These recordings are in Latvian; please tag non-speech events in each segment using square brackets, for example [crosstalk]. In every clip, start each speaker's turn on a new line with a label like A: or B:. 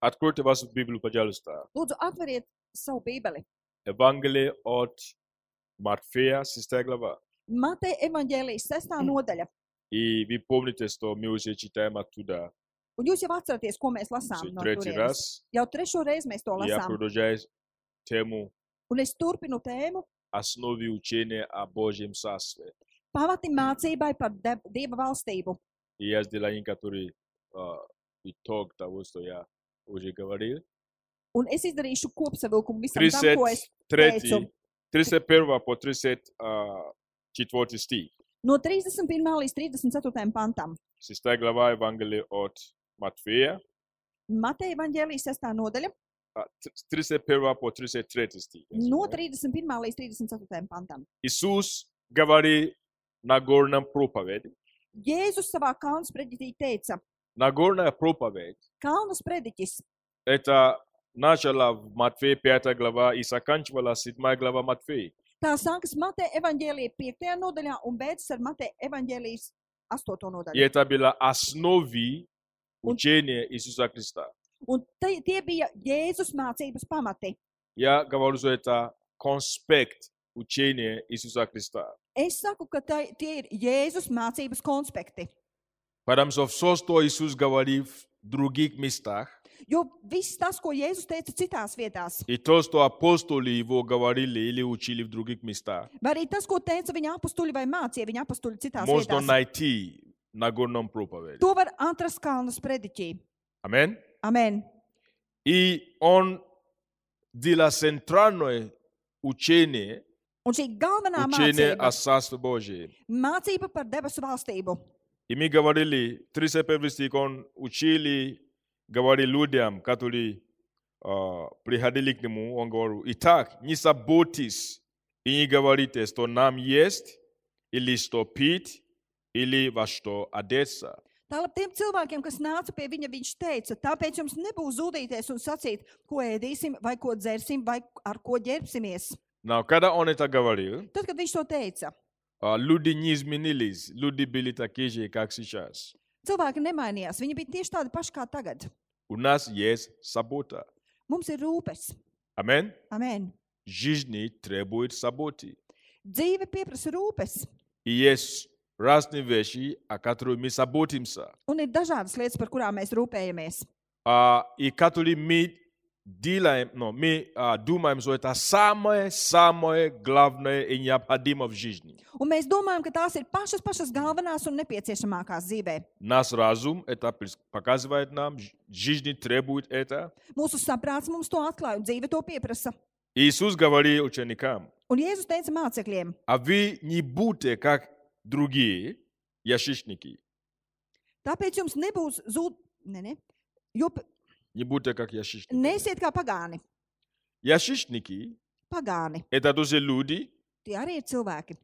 A: Откройте вашу Библию, пожалуйста.
B: Lūdzu, atveriet savu Bībeli.
A: Евангелие от Матфея, 6 глава.
B: Mateja evanģēlijas sestā
A: Mm.
B: nodaļa.
A: И вы помните, что мы уже читаем оттуда
B: Un jūs jau atceraties, ko mēs lasām
A: уже
B: no
A: третий
B: turienes.
A: раз.
B: Jau trešo reizi mēs to
A: Я
B: lasām.
A: продолжаю тему
B: Un es turpinu tēmu
A: основы учения о Божьем Царстве.
B: pamati mācībai par deb- Dieva valstību.
A: И я сделаю некоторый а, итог того, что я уже говорил.
B: Un es izdarīšu kopsavilkumu visam, tam, ko es
A: 33, 31 по uh, 34 стих.
B: no 31. līdz 34. pantam.
A: 6 глава Евангелия от Матфея.
B: Mateja evanģēlijas sestā nodaļa
A: а, т- с 31 по 33 стих. я
B: no
A: забыл.
B: 31. līdz 34. pantam.
A: Иисус говорит на горном проповеди.
B: Jēzus savā kalnu sprediķī teica,
A: Нагорная проповедь
B: kalnu sprediķis
A: это начало в Матфея 5 глава и заканчивала 7 глава Матфеja.
B: Tā sākas Mateja evanģēlīja 5. nodaļā un beidzas ar Mateja evanģēlijas 8.
A: И
B: nodaļu.
A: это было основой
B: Он-
A: учения Иисуса Христа.
B: Un te, tie bija Jēzus mācības pamati.
A: Я говорю, что это конспект учения Иисуса Христа.
B: Es saku, ka tai, tie ir Jēzus mācības konspekti.
A: Потому что все, что Иисус говорит в других местах,
B: Jo viss tas, ko Jēzus teica citās vietās,
A: и то, что апостоли его говорили или учили в других местах,
B: vai arī tas, ko teica viņa apstuļi vai mācīja viņa apstuļi citās
A: можно
B: vietās,
A: найти на горном проповеди.
B: to var atrast Kalnu sprediķī.
A: Амин.
B: Amen.
A: И он для центральное учение,
B: Un šī galvenā
A: учение
B: mācība,
A: о Царстве Божьем.
B: mācība par debesu valstību.
A: И мы говорили, 31 стих, он учили, говорил людям, которые а, приходили к нему, он говорил, итак, не заботьтесь и не говорите, что нам есть, или что пить, или во что одеться.
B: Tālāk tiem cilvēkiem, kas nāca pie viņa, viņš teica, tāpēc jums nebūs zudīties un sacīt, ko ēdīsim, vai ko dzersim, vai ar ko ģērbsimies.
A: Но когда он это говорил,
B: Tad, kad viņš to teica,
A: А, люди не изменились, люди были такие же, как сейчас.
B: cilvēki nemainījās. Viņi bija tieši tādi paši kā tagad.
A: У нас есть сабота.
B: Mums ir rūpes.
A: Амин.
B: Amen.
A: Жизнь требует саботы.
B: Dzīve pieprasa rūpes,
A: И есть разные вещи, о которых мы заботимся.
B: un ir dažādas lietas, par kurām mēs rūpējamies.
A: А, и которые мы делаем, но мы а, думаем, что это самое-самое главное и необходимое в жизни.
B: Un mēs domājam, ka tās ir pašas, pašas galvenās un nepieciešamākās dzīvē.
A: Наш разум это прис- показывает нам, ж- жизнь требует это.
B: Mūsu saprāts mums to atklāja, un dzīve to pieprasa.
A: Иисус говорил ученикам,
B: Un Jēzus teica mācekļiem,
A: А вы не будьте, как другие ящичники.
B: tāpēc jums nebūs zudīties. Ne, ne. Jo p-
A: Не будьте, как ящичники.
B: Nesiet kā pagāni.
A: Ящичники
B: Pagāni
A: – это тоже люди.
B: tie arī ir cilvēki.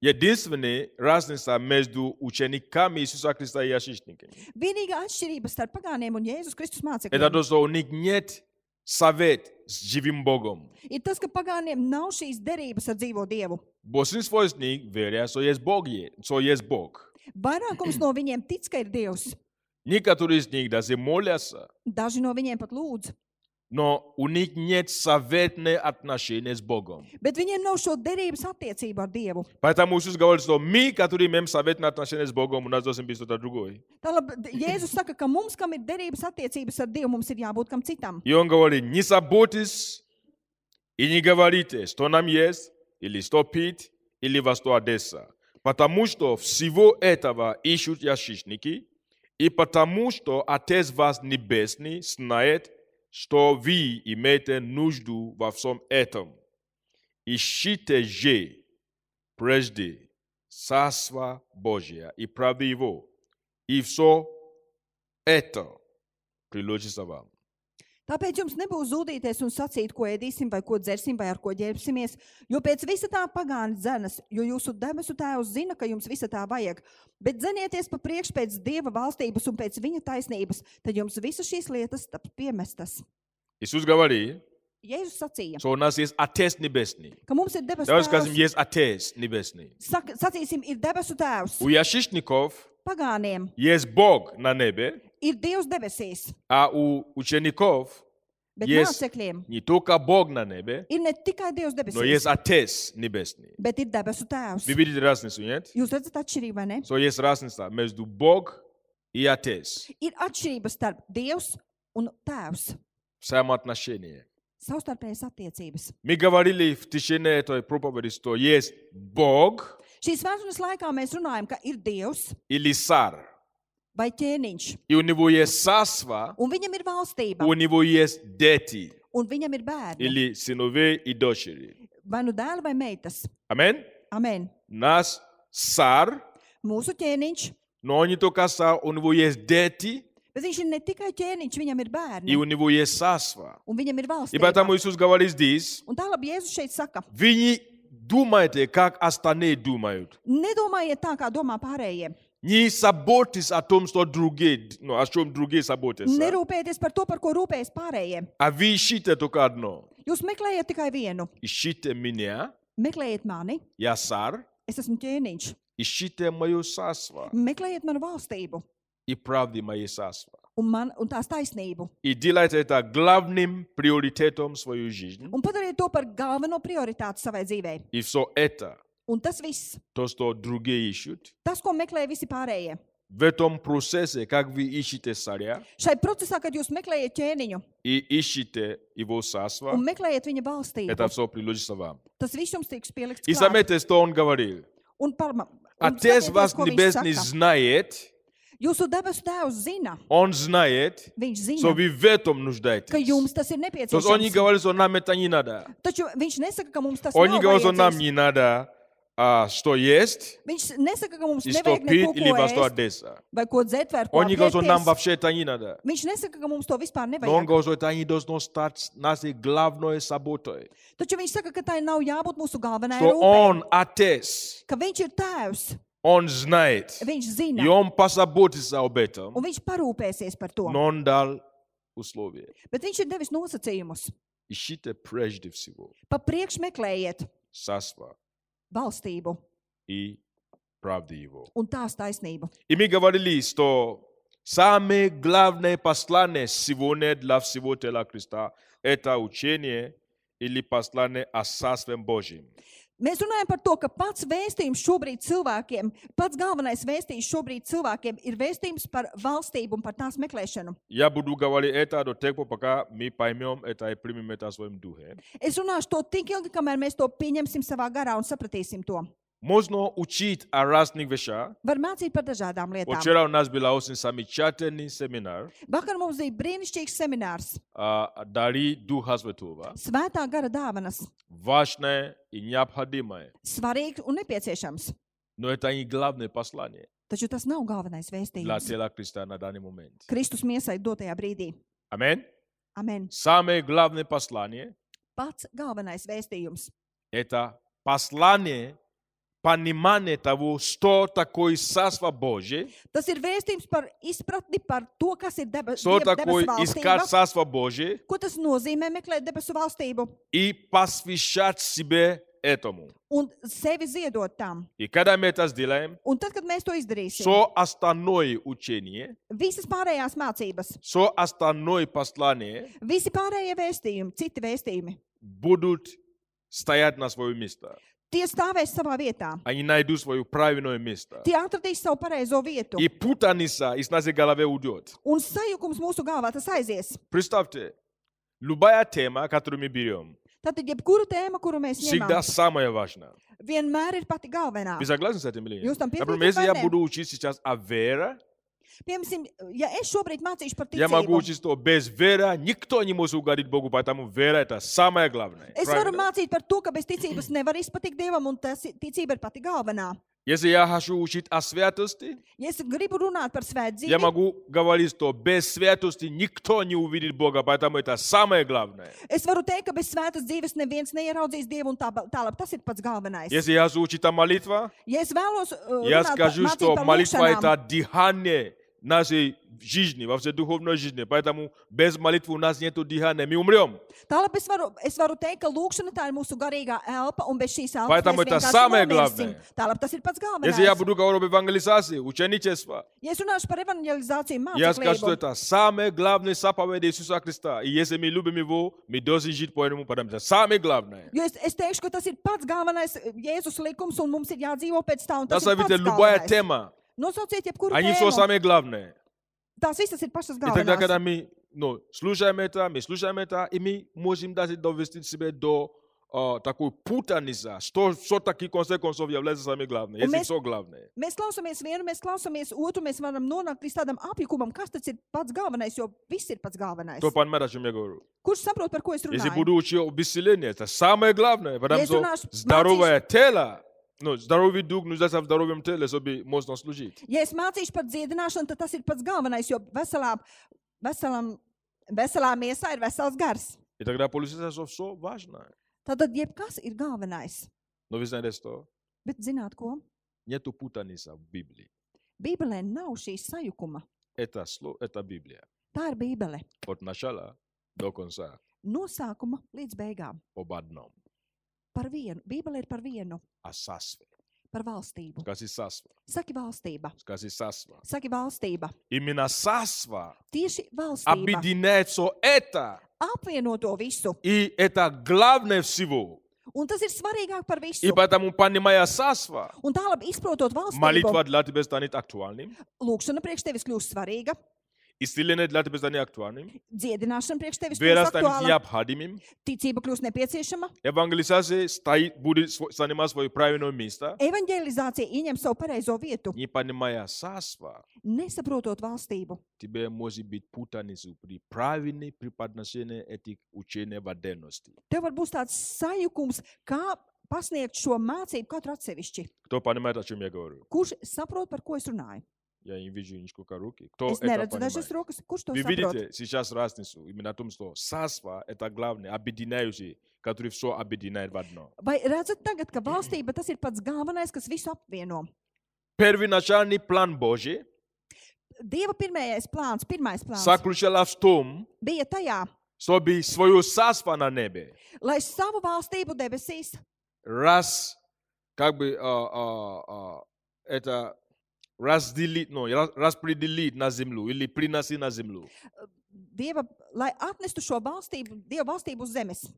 A: Единственная разница между учениками Иисуса Христа и ящичниками –
B: Vienīgā atšķirība starp pagāniem un Jēzus Kristus
A: это
B: mācekļiem
A: то, что у них нет совет с живым Богом.
B: ir tas, ka pagāniem nav šīs derības ar dzīvo Dievu.
A: Большинство из них верят, что есть Бог. е- Что есть Бог.
B: Vairākums no viņiem tic, ka ir Dievs.
A: Некоторые из них даже молятся,
B: Daži no viņiem pat lūdz,
A: но у них нет советных отношений с Богом.
B: bet viņiem nav šo derības attiecību ar Dievu.
A: Поэтому Иисус говорит, что мы, которые имеем советные отношения с Богом, у нас должен быть что-то другое.
B: Tālāk d- Jēzus saka, ka mums, kam ir derības attiecības ar Dievu, mums ir jābūt kam citam.
A: И он говорит, не заботьтесь и не говорите, что нам есть, или что пить, или во что одеться. Потому что всего этого ищут ящичники, и потому что Отец вас Небесный знает, что вы имеете нужду во всем этом. Ищите же прежде Царство Божие и правды Его, и все это приложится вам.
B: Tāpēc jums nebūs zudīties un sacīt, ko ēdīsim, vai ko dzersim, vai ar ko ģērbsimies. Jo pēc visa tā pagāna dzenas, jo jūsu debesu tēvs zina, ka jums visa tā vajag. Bet dzenieties pa priekšu pēc dieva valstības un pēc viņa taisnības, tad jums visas šīs lietas taps piemestas.
A: Иисус говорит,
B: Jēzus sacīja,
A: что у нас есть Отец Небесный.
B: ka mums ir debesu
A: Давайте скажем,
B: tēvs.
A: есть Отец Небесный.
B: Saka, sacīsim, ir debesu tēvs.
A: У ящичников
B: Pagāniem
A: есть Бог на небе,
B: ir Dievs debesīs,
A: А у учеников
B: bet
A: Yes.
B: yes. mācekļiem
A: не только Бог на небе,
B: ir ne tikai Dievs
A: но
B: debesīs,
A: есть Отец Небесный.
B: bet ir debesu Tēvs.
A: Вы видите разницу, нет?
B: Jūs redzat atšķirību, vai ne?
A: So есть разница между Бог и Отец.
B: Ir atšķirība starp Dievs un Tēvs,
A: Самоотношение.
B: savstarpējas attiecības.
A: Мы говорили в течение этой проповеди, что есть Бог
B: Šīs vēstures laikā mēs runājam, ka ir Dievs
A: или Сар.
B: vai ķēniņš,
A: И у него есть царство,
B: un viņam ir valstība,
A: у него есть дети
B: un viņam ir bērni,
A: или сыновей и дочери.
B: vai nu dēli vai meitas.
A: Амин.
B: Amen.
A: Нас Сар,
B: Mūsu ķēniņš,
A: но он не только Сар, у него есть дети
B: bet viņš ir ne tikai ķēniņš, viņam ir
A: и
B: bērni,
A: у него есть царство.
B: un viņam ir
A: И
B: valstība.
A: поэтому Иисус говорит здесь,
B: Un tālāk Jēzus šeit saka,
A: вы не думайте, как остальные думают.
B: nedomājiet tā, kā domā pārējie.
A: Не заботьтесь о том, что другие, ну, о чем другие заботятся.
B: Nerūpējieties par to, par ko rūpējas pārējie.
A: А вы ищите только одно.
B: Jūs meklējiet tikai vienu.
A: Ищите меня,
B: Meklējiet mani,
A: я Сар,
B: es esmu ķēniņš.
A: ищите мое царство
B: Meklējiet manu valstību
A: и правды моей царства.
B: un, man, un tās taisnību.
A: И делайте это главным приоритетом свою жизнь.
B: Un padariet to par galveno prioritāti savai dzīvei.
A: И все это,
B: Un tas viss,
A: то, что другие ищут,
B: tas, ko meklē visi pārējie.
A: в этом процессе, как вы ищете царя
B: Šai procesā, kad jūs meklējat ķēniņu
A: и ищете его царство,
B: un meklējat viņa valstību,
A: это все приложится вам.
B: tas viss jums tiks pielikts.
A: И
B: klāt.
A: заметьте, что он говорил.
B: Un parma- un
A: Отец
B: skatieties,
A: вас
B: ko viņš
A: небесный
B: saka.
A: знает,
B: Jūsu debesu tēvs zina,
A: он знает,
B: viņš
A: что
B: zina,
A: вы в этом
B: ka
A: нуждаетесь.
B: jums tas ir
A: То есть он не
B: nepieciešams.
A: говорит, что нам это не надо.
B: Taču viņš nesaka, ka mums tas
A: Он не
B: nav
A: говорит, что нам
B: vajadzīgs.
A: не надо, а, что есть,
B: Viņš nesaka, ka mums
A: и что
B: nevajag neko
A: пить или во что
B: tādu,
A: одеться.
B: vai ko dzert, vai ar ko
A: Он не говорит, что нам
B: apģērbties.
A: вообще это не надо.
B: Viņš nesaka, ka mums to vispār
A: Но он
B: nevajag.
A: говорит, что это не должно стать нашей главной заботой.
B: Taču viņš saka, ka tai nav jābūt mūsu galvenajai
A: Что
B: rūpei.
A: он отец,
B: Ka viņš ir tēvs,
A: он знает,
B: viņš
A: и
B: zina,
A: он позаботится об этом,
B: un viņš parūpēsies par to.
A: но он дал условия.
B: Bet viņš ir devis nosacījumus.
A: Ищите прежде всего
B: Pa priekš meklējiet
A: царство
B: valstību
A: и правды его.
B: un tās taisnību.
A: И мы говорили, что самое главное послание сегодня для всего тела Христа – это учение или послание о Царстве Божьем.
B: Mēs runājam par to, ka pats vēstījums šobrīd cilvēkiem, pats galvenais vēstījums šobrīd cilvēkiem ir vēstījums par valstību un par tās meklēšanu.
A: Я буду говорить это до тех пор, пока мы поймем это и примем это в своем духе.
B: Es runāšu to tik ilgi, kamēr mēs to pieņemsim savā garā un sapratīsim to.
A: Можно учить о разных вещах.
B: Var mācīt par dažādām lietām.
A: Вчера у нас был очень замечательный семинар
B: Vakar mums bija brīnišķīgs seminārs,
A: а, «Дары Духа Святого».
B: Svētā gara dāvanas.
A: Важное и необходимое.
B: Svarīgs un nepieciešams.
A: Но это не главное послание
B: Taču tas nav galvenais
A: для
B: vēstījums.
A: тела Христа на данный момент.
B: Kristus miesai dotajā brīdī.
A: Аминь.
B: Amen.
A: Самое главное послание
B: Pats galvenais vēstījums
A: – это послание, понимание того, что такое Царство Божие,
B: Tas ir vēstījums par izpratni par to, kas ir debe-
A: что
B: Dieva
A: такое
B: debesu
A: искать
B: valstība.
A: Царство Божие
B: Ko tas nozīmē meklēt debesu valstību
A: и посвящать себе этому.
B: un sevi ziedot tam?
A: И когда мы это сделаем,
B: Un tad, kad mēs to izdarīsim,
A: все
B: so,
A: остальное учение,
B: visas pārējās mācības,
A: все остальное послание
B: visi pārējie vēstījumi, citi vēstījumi,
A: будут стоять на свое место.
B: tie stāvēs savā vietā.
A: Они найдут свое правильное место.
B: Tie atradīs savu pareizo vietu.
A: И путаница из нашей головы уйдет.
B: Un sajukums mūsu galvā tas aizies.
A: Представьте, любая тема, которую мы берем,
B: Tātad, jebkura tēma, kuru mēs
A: всегда
B: ņemam,
A: самое важное.
B: vienmēr ir pati galvenā.
A: Вы согласны с этим или нет?
B: Just там
A: Например,
B: первый
A: если я
B: пример.
A: буду учить сейчас а о вере,
B: Piemēram, ja es šobrīd mācīšu par
A: я могу
B: ticību,
A: учить, что без веры никто не может угодить Богу, поэтому вера это самое главное.
B: Es varu
A: Правильно?
B: mācīt par to, ka bez ticības nevar izpatikt Dievam, un tas i- ticība ir pati galvenā.
A: Если я хочу учить о святости,
B: Ja es gribu runāt par
A: я
B: svētdzību,
A: могу говорить, что без святости никто не увидит Бога, поэтому это самое главное.
B: es varu teikt, ka bez svētas dzīves neviens neieraudzīs Dievu, un tā, tālāk tas ir pats galvenais.
A: Если я хочу учить о молитве,
B: Ja es vēlos uh,
A: я
B: runāt par-
A: скажу,
B: mācīt
A: что
B: par
A: молитва
B: lūgšanām,
A: это дыхание нашей жизни, во всей духовной жизни. Поэтому без молитвы у нас нет дыхания, мы умрем.
B: Tālāk es varu, es varu teikt, ka lūkšana tā ir mūsu garīgā elpa, un bez šīs elpas
A: Поэтому это самое главное.
B: Tālāk tas ir pats
A: Если я
B: galvenais.
A: буду говорить об евангелизации, ученичество,
B: Ja es runāšu par evanģelizāciju,
A: я скажу, что
B: mācību,
A: это самое главное заповедь Иисуса Христа. И если мы любим Его, мы должны жить по этому потому что Это самое главное.
B: jo es, es teikšu, ka tas ir pats galvenais eh, Jēzus likums, un mums ir jādzīvo pēc tā, un tas ir
A: Назовите
B: pats
A: любая
B: galvenais.
A: тема,
B: Nosauciet jebkuru
A: они все
B: tēmu.
A: самое главное.
B: Tās visas ir pašas
A: И тогда, когда
B: galvenās.
A: мы ну, слушаем это, мы слушаем это, и мы можем даже довести себя до а, такой путаницы, что все-таки, в конце концов, является самое главное, если
B: мы-
A: все главное.
B: Mēs klausāmies vienu, mēs klausāmies otru, mēs varam nonākt līdz tādam apjukumam, kas tas ir pats galvenais, jo viss ir pats galvenais.
A: Кто понимает, о чем я говорю?
B: Kurš saprot, par ko es
A: Если
B: runāju?
A: буду учить об исцелении, это самое главное, потому
B: Если
A: что
B: наш
A: здоровое тело, ну, здоровый дух нуждается в здоровом теле, чтобы можно служить.
B: Ja es mācīšu par dziedināšanu, tad tas ir pats galvenais, jo veselā, veselam, veselā miesā ir vesels gars.
A: И тогда получится, что все важно.
B: Tātad, jebkas ir galvenais.
A: Но вы знаете, что
B: Bet zināt, ko?
A: нету путаницы в Библии.
B: Bībelē nav šī sajukuma.
A: Это слово, это Библия.
B: Tā ir Bībele.
A: От начала до конца
B: No sākuma līdz beigām.
A: об одном.
B: Par vienu. Bībele ir par vienu,
A: О царстве.
B: par valstību.
A: Скажи царство.
B: Saki valstība.
A: Скажи царство.
B: Saki valstība.
A: Именно царство
B: Tieši valstība.
A: объединяет все это.
B: Apvieno to visu.
A: И это главное всего.
B: Un tas ir svarīgāk par
A: И
B: visu.
A: поэтому, понимая царство,
B: Un tālāk, izprotot valstību,
A: молитва для тебя станет актуальным.
B: lūkšana priekš tevis kļūst svarīga.
A: Исцеление для тебя станет актуальным.
B: Dziedināšana priekš tevis
A: Вера
B: kļūst
A: станет
B: aktuāla,
A: необходимым.
B: ticība kļūst nepieciešama,
A: Евангелизация стоит, будет сво- занимать свое правильное место.
B: evanģelizācija ieņem savu pareizo vietu,
A: Не понимая царство,
B: nesaprotot valstību.
A: тебе может быть путаница при правильном преподношении этих учений в отдельности.
B: Tev var būt tāds sajukums, kā pasniegt šo mācību katru atsevišķi.
A: Кто понимает, о чем я говорю?
B: Kurš saprot, par ko es runāju?
A: Я не вижу нисколько руки. Кто
B: Es
A: это
B: neredzu
A: понимает?
B: dažas rokas, kurš to
A: Вы
B: saprot.
A: видите сейчас разницу именно в том, что царство – это главное, объединяющее, которое все объединяет в одно.
B: Vai redzat tagad, ka valstība tas ir pats galvenais, kas visu apvieno?
A: Первоначальный план Божий
B: Dieva pirmais plāns, pirmais plāns
A: заключался в том,
B: bija tajā,
A: чтобы свое царство на небе
B: lai savu valstību debesīs
A: раз, как бы, а, а, а, это разделить, ну, раз- распределить на землю или приносить на землю.
B: Dieva, lai atnestu šo valstību, Dieva valstību uz zemes.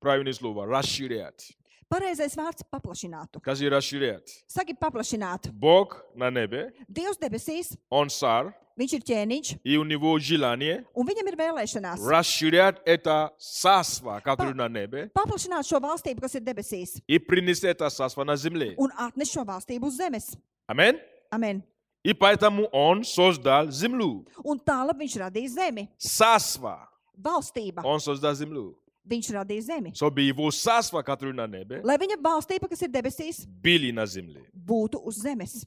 A: Правильное слово – расширять.
B: Pareizais vārds - paplašinātu.
A: Скажи «расширять».
B: Saki, paplašināt.
A: Бог на небе,
B: Dievs debesīs,
A: Он царь,
B: viņš ir ķēniņš,
A: и у Него желание –
B: un viņam ir vēlēšanās
A: расширять это царство, которое
B: Па-
A: на небе,
B: paplašināt šo valstību, kas ir debesīs,
A: и принести это царство на земле.
B: un atnest šo valstību uz zemes.
A: Аминь.
B: Amen.
A: И поэтому он создал землю.
B: Un tālāk viņš radīja zemi,
A: Царство.
B: valstība.
A: Он создал землю.
B: Viņš radīja zemi.
A: Чтобы его царство, которое на небе,
B: Lai viņa valstība, kas ir debesīs,
A: были на земле.
B: būtu uz zemes.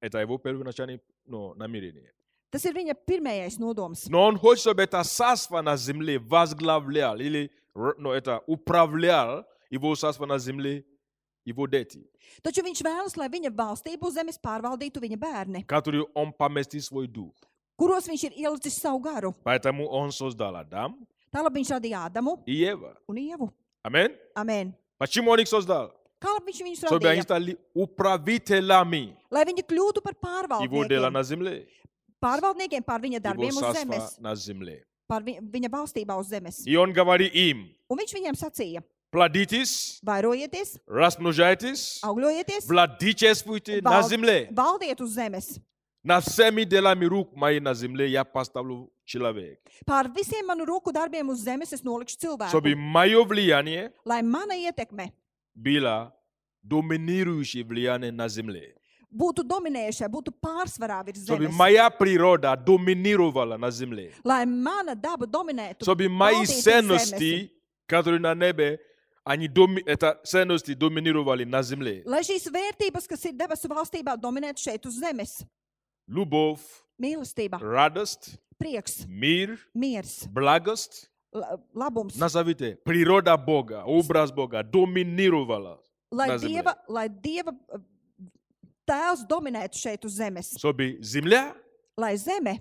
A: Это его первоначальное ну, намерение.
B: Tas ir viņa pirmais nodoms.
A: Но он хочет, чтобы это царство на земле возглавлял или р- ну, это, управлял его царство на земле, его дети,
B: Taču viņš vēlas, lai viņa valstību uz zemes pārvaldītu viņa bērni,
A: которые он поместил свой дух.
B: kuros viņš ir ielicis savu garu.
A: Поэтому он создал Адам
B: Tālāk viņš radīja Ādamu
A: и Ева.
B: un Ievu.
A: Аминь.
B: Amen.
A: Почему он их создал?
B: Kā lai viņš viņus
A: Чтобы они
B: radīja?
A: стали управителями
B: Lai viņi kļūtu par
A: его дела
B: pārvaldniekiem,
A: на земле,
B: pārvaldniekiem pār viņa
A: его
B: darbiem uz
A: царства
B: zemes,
A: на земле.
B: pār vi- viņa valstībā uz zemes.
A: И он говорит им,
B: Un viņš viņiem sacīja:
A: плодитесь,
B: vairojieties,
A: размножайтесь,
B: augļojieties,
A: владычествуйте на
B: val-
A: земле.
B: valdiet uz zemes.
A: На всеми делами рук моих на земле я поставлю человек.
B: Pār visiem manu roku darbiem uz zemes es nolikšu
A: Чтобы
B: cilvēku,
A: мое влияние
B: lai mana ietekme
A: было доминирующее влияние на земле.
B: būtu dominējušai, būtu pārsvarā virs
A: Чтобы
B: zemes.
A: моя природа доминировала на земле.
B: Lai mana daba dominētu,
A: Чтобы мои
B: valdītu uz zemes.
A: ценности, которые на небе, они доми... это ценности доминировали на земле.
B: Lai šīs vērtības, kas ir debesu valstībā, dominētu šeit uz zemes.
A: Любовь,
B: Mīlestība,
A: радость,
B: prieks,
A: мир,
B: miers,
A: благость.
B: la- labums.
A: Назовите, природа Бога, образ Бога доминировала
B: lai
A: на земле.
B: dieva, lai dieva uh, tēls dominētu šeit uz zemes,
A: Чтобы земля
B: lai zeme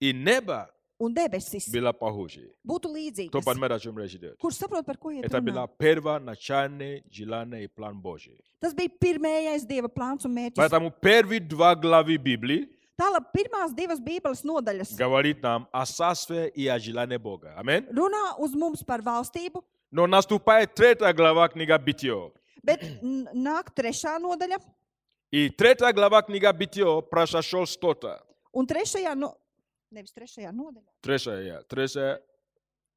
A: и небо
B: un debesis
A: bila pahoje.
B: būtu
A: To pan
B: līdzīgas.
A: mera čem reži det.
B: Kurš saprot, par ko ir
A: Это
B: runa?
A: была первая начальная желанная и план Божий.
B: Tas bija pirmais dieva plāns un mērķis.
A: Поэтому первые два главы Библии
B: Tālāk, pirmās divas Bībeles nodaļas
A: говорит нам о царстве и о желании Бога. Аминь.
B: runā uz mums par valstību,
A: Но наступает третья глава книга Битие.
B: bet n- nāk trešā nodaļa,
A: И третья глава книга Битие произошел что-то.
B: un trešajā, no, nevis trešajā nodaļā,
A: Третья, третья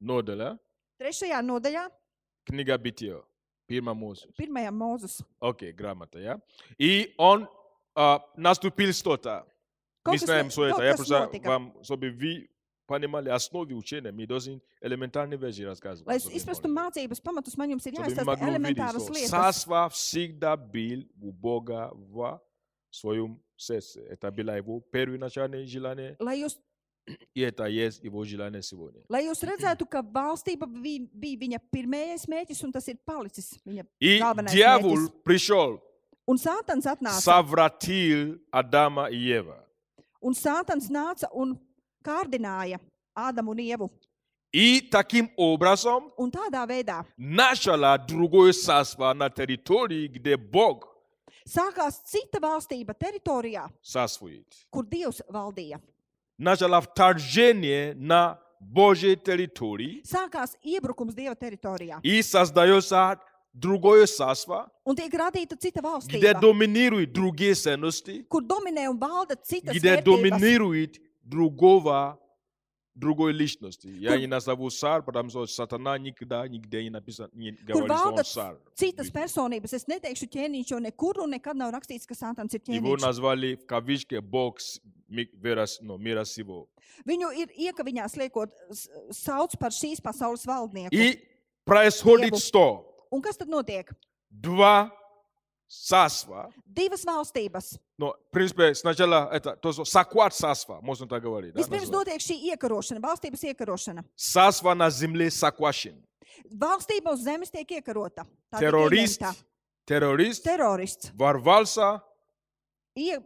A: неделя
B: trešajā nodaļā
A: книга Битие. Пирма Моисей.
B: pirmajā mūzus.
A: Окей, грамота, я. И он а, наступил что-то. Мы
B: Kaut kas
A: знаем
B: ne-
A: все
B: kaut
A: это. Я
B: kas
A: просто
B: notika.
A: вам, чтобы вы понимали основы учения, мы должны элементарные вещи рассказывать.
B: Lai es
A: чтобы
B: izprastu
A: поняли.
B: mācības pamatus, man jums ir
A: Чтобы мы
B: jāizsaka
A: могли увидеть,
B: elementāras
A: что
B: lietas.
A: царство всегда был у Бога в своем сердце. Это было его первоначальное желание,
B: Lai jūs,
A: и это есть его желание сегодня.
B: lai jūs redzētu, ka valstība vi- bija viņa pirmais mērķis, un tas ir palicis viņa
A: И
B: galvenais
A: дьявол
B: mērķis.
A: пришел,
B: Un Sātans atnāca,
A: совратил Адама и Ева.
B: un Sātans nāca un kārdināja Ādamu un Ievu.
A: И таким образом
B: Un tādā veidā
A: начало другое царство на территории, где Бог
B: sākās cita valstība teritorijā,
A: царствует.
B: kur Dievs valdīja.
A: Начало вторжение на Божьей территории
B: Sākās iebrukums Dieva teritorijā,
A: и создается другое царство,
B: un tiek radīta cita
A: где
B: valstība,
A: доминируют другие ценности,
B: kur dominē un valda citas
A: где
B: vērtības.
A: доминирует другого, другой личности. Я не назову царь, потому что сатана никогда, нигде не написано, не
B: kur
A: говорит, что он
B: valda
A: царь.
B: citas personības. Es neteikšu ķēniņš, jo nekur un nekad nav rakstīts, ka Sātans ir
A: Его
B: ķēniņš.
A: назвали в кавичке Бог с- ми- вера с- ну, мира сего.
B: Viņu ir iekaviņās liekot, s- sauc par šīs pasaules valdnieku.
A: И происходит
B: Его.
A: что?
B: Un kas tad notiek?
A: Два царства.
B: Divas valstības.
A: Но, в принципе, сначала это то, что сакуат царства, можно так говорить. Да,
B: Vispirms
A: назвать.
B: notiek šī iekarošana, valstības iekarošana.
A: Царство на земле сакуашин.
B: Valstība uz zemes tiek iekarota. Tā tiek
A: Террорист,
B: ieņemta.
A: террорист
B: Terorists.
A: ворвался
B: Ie,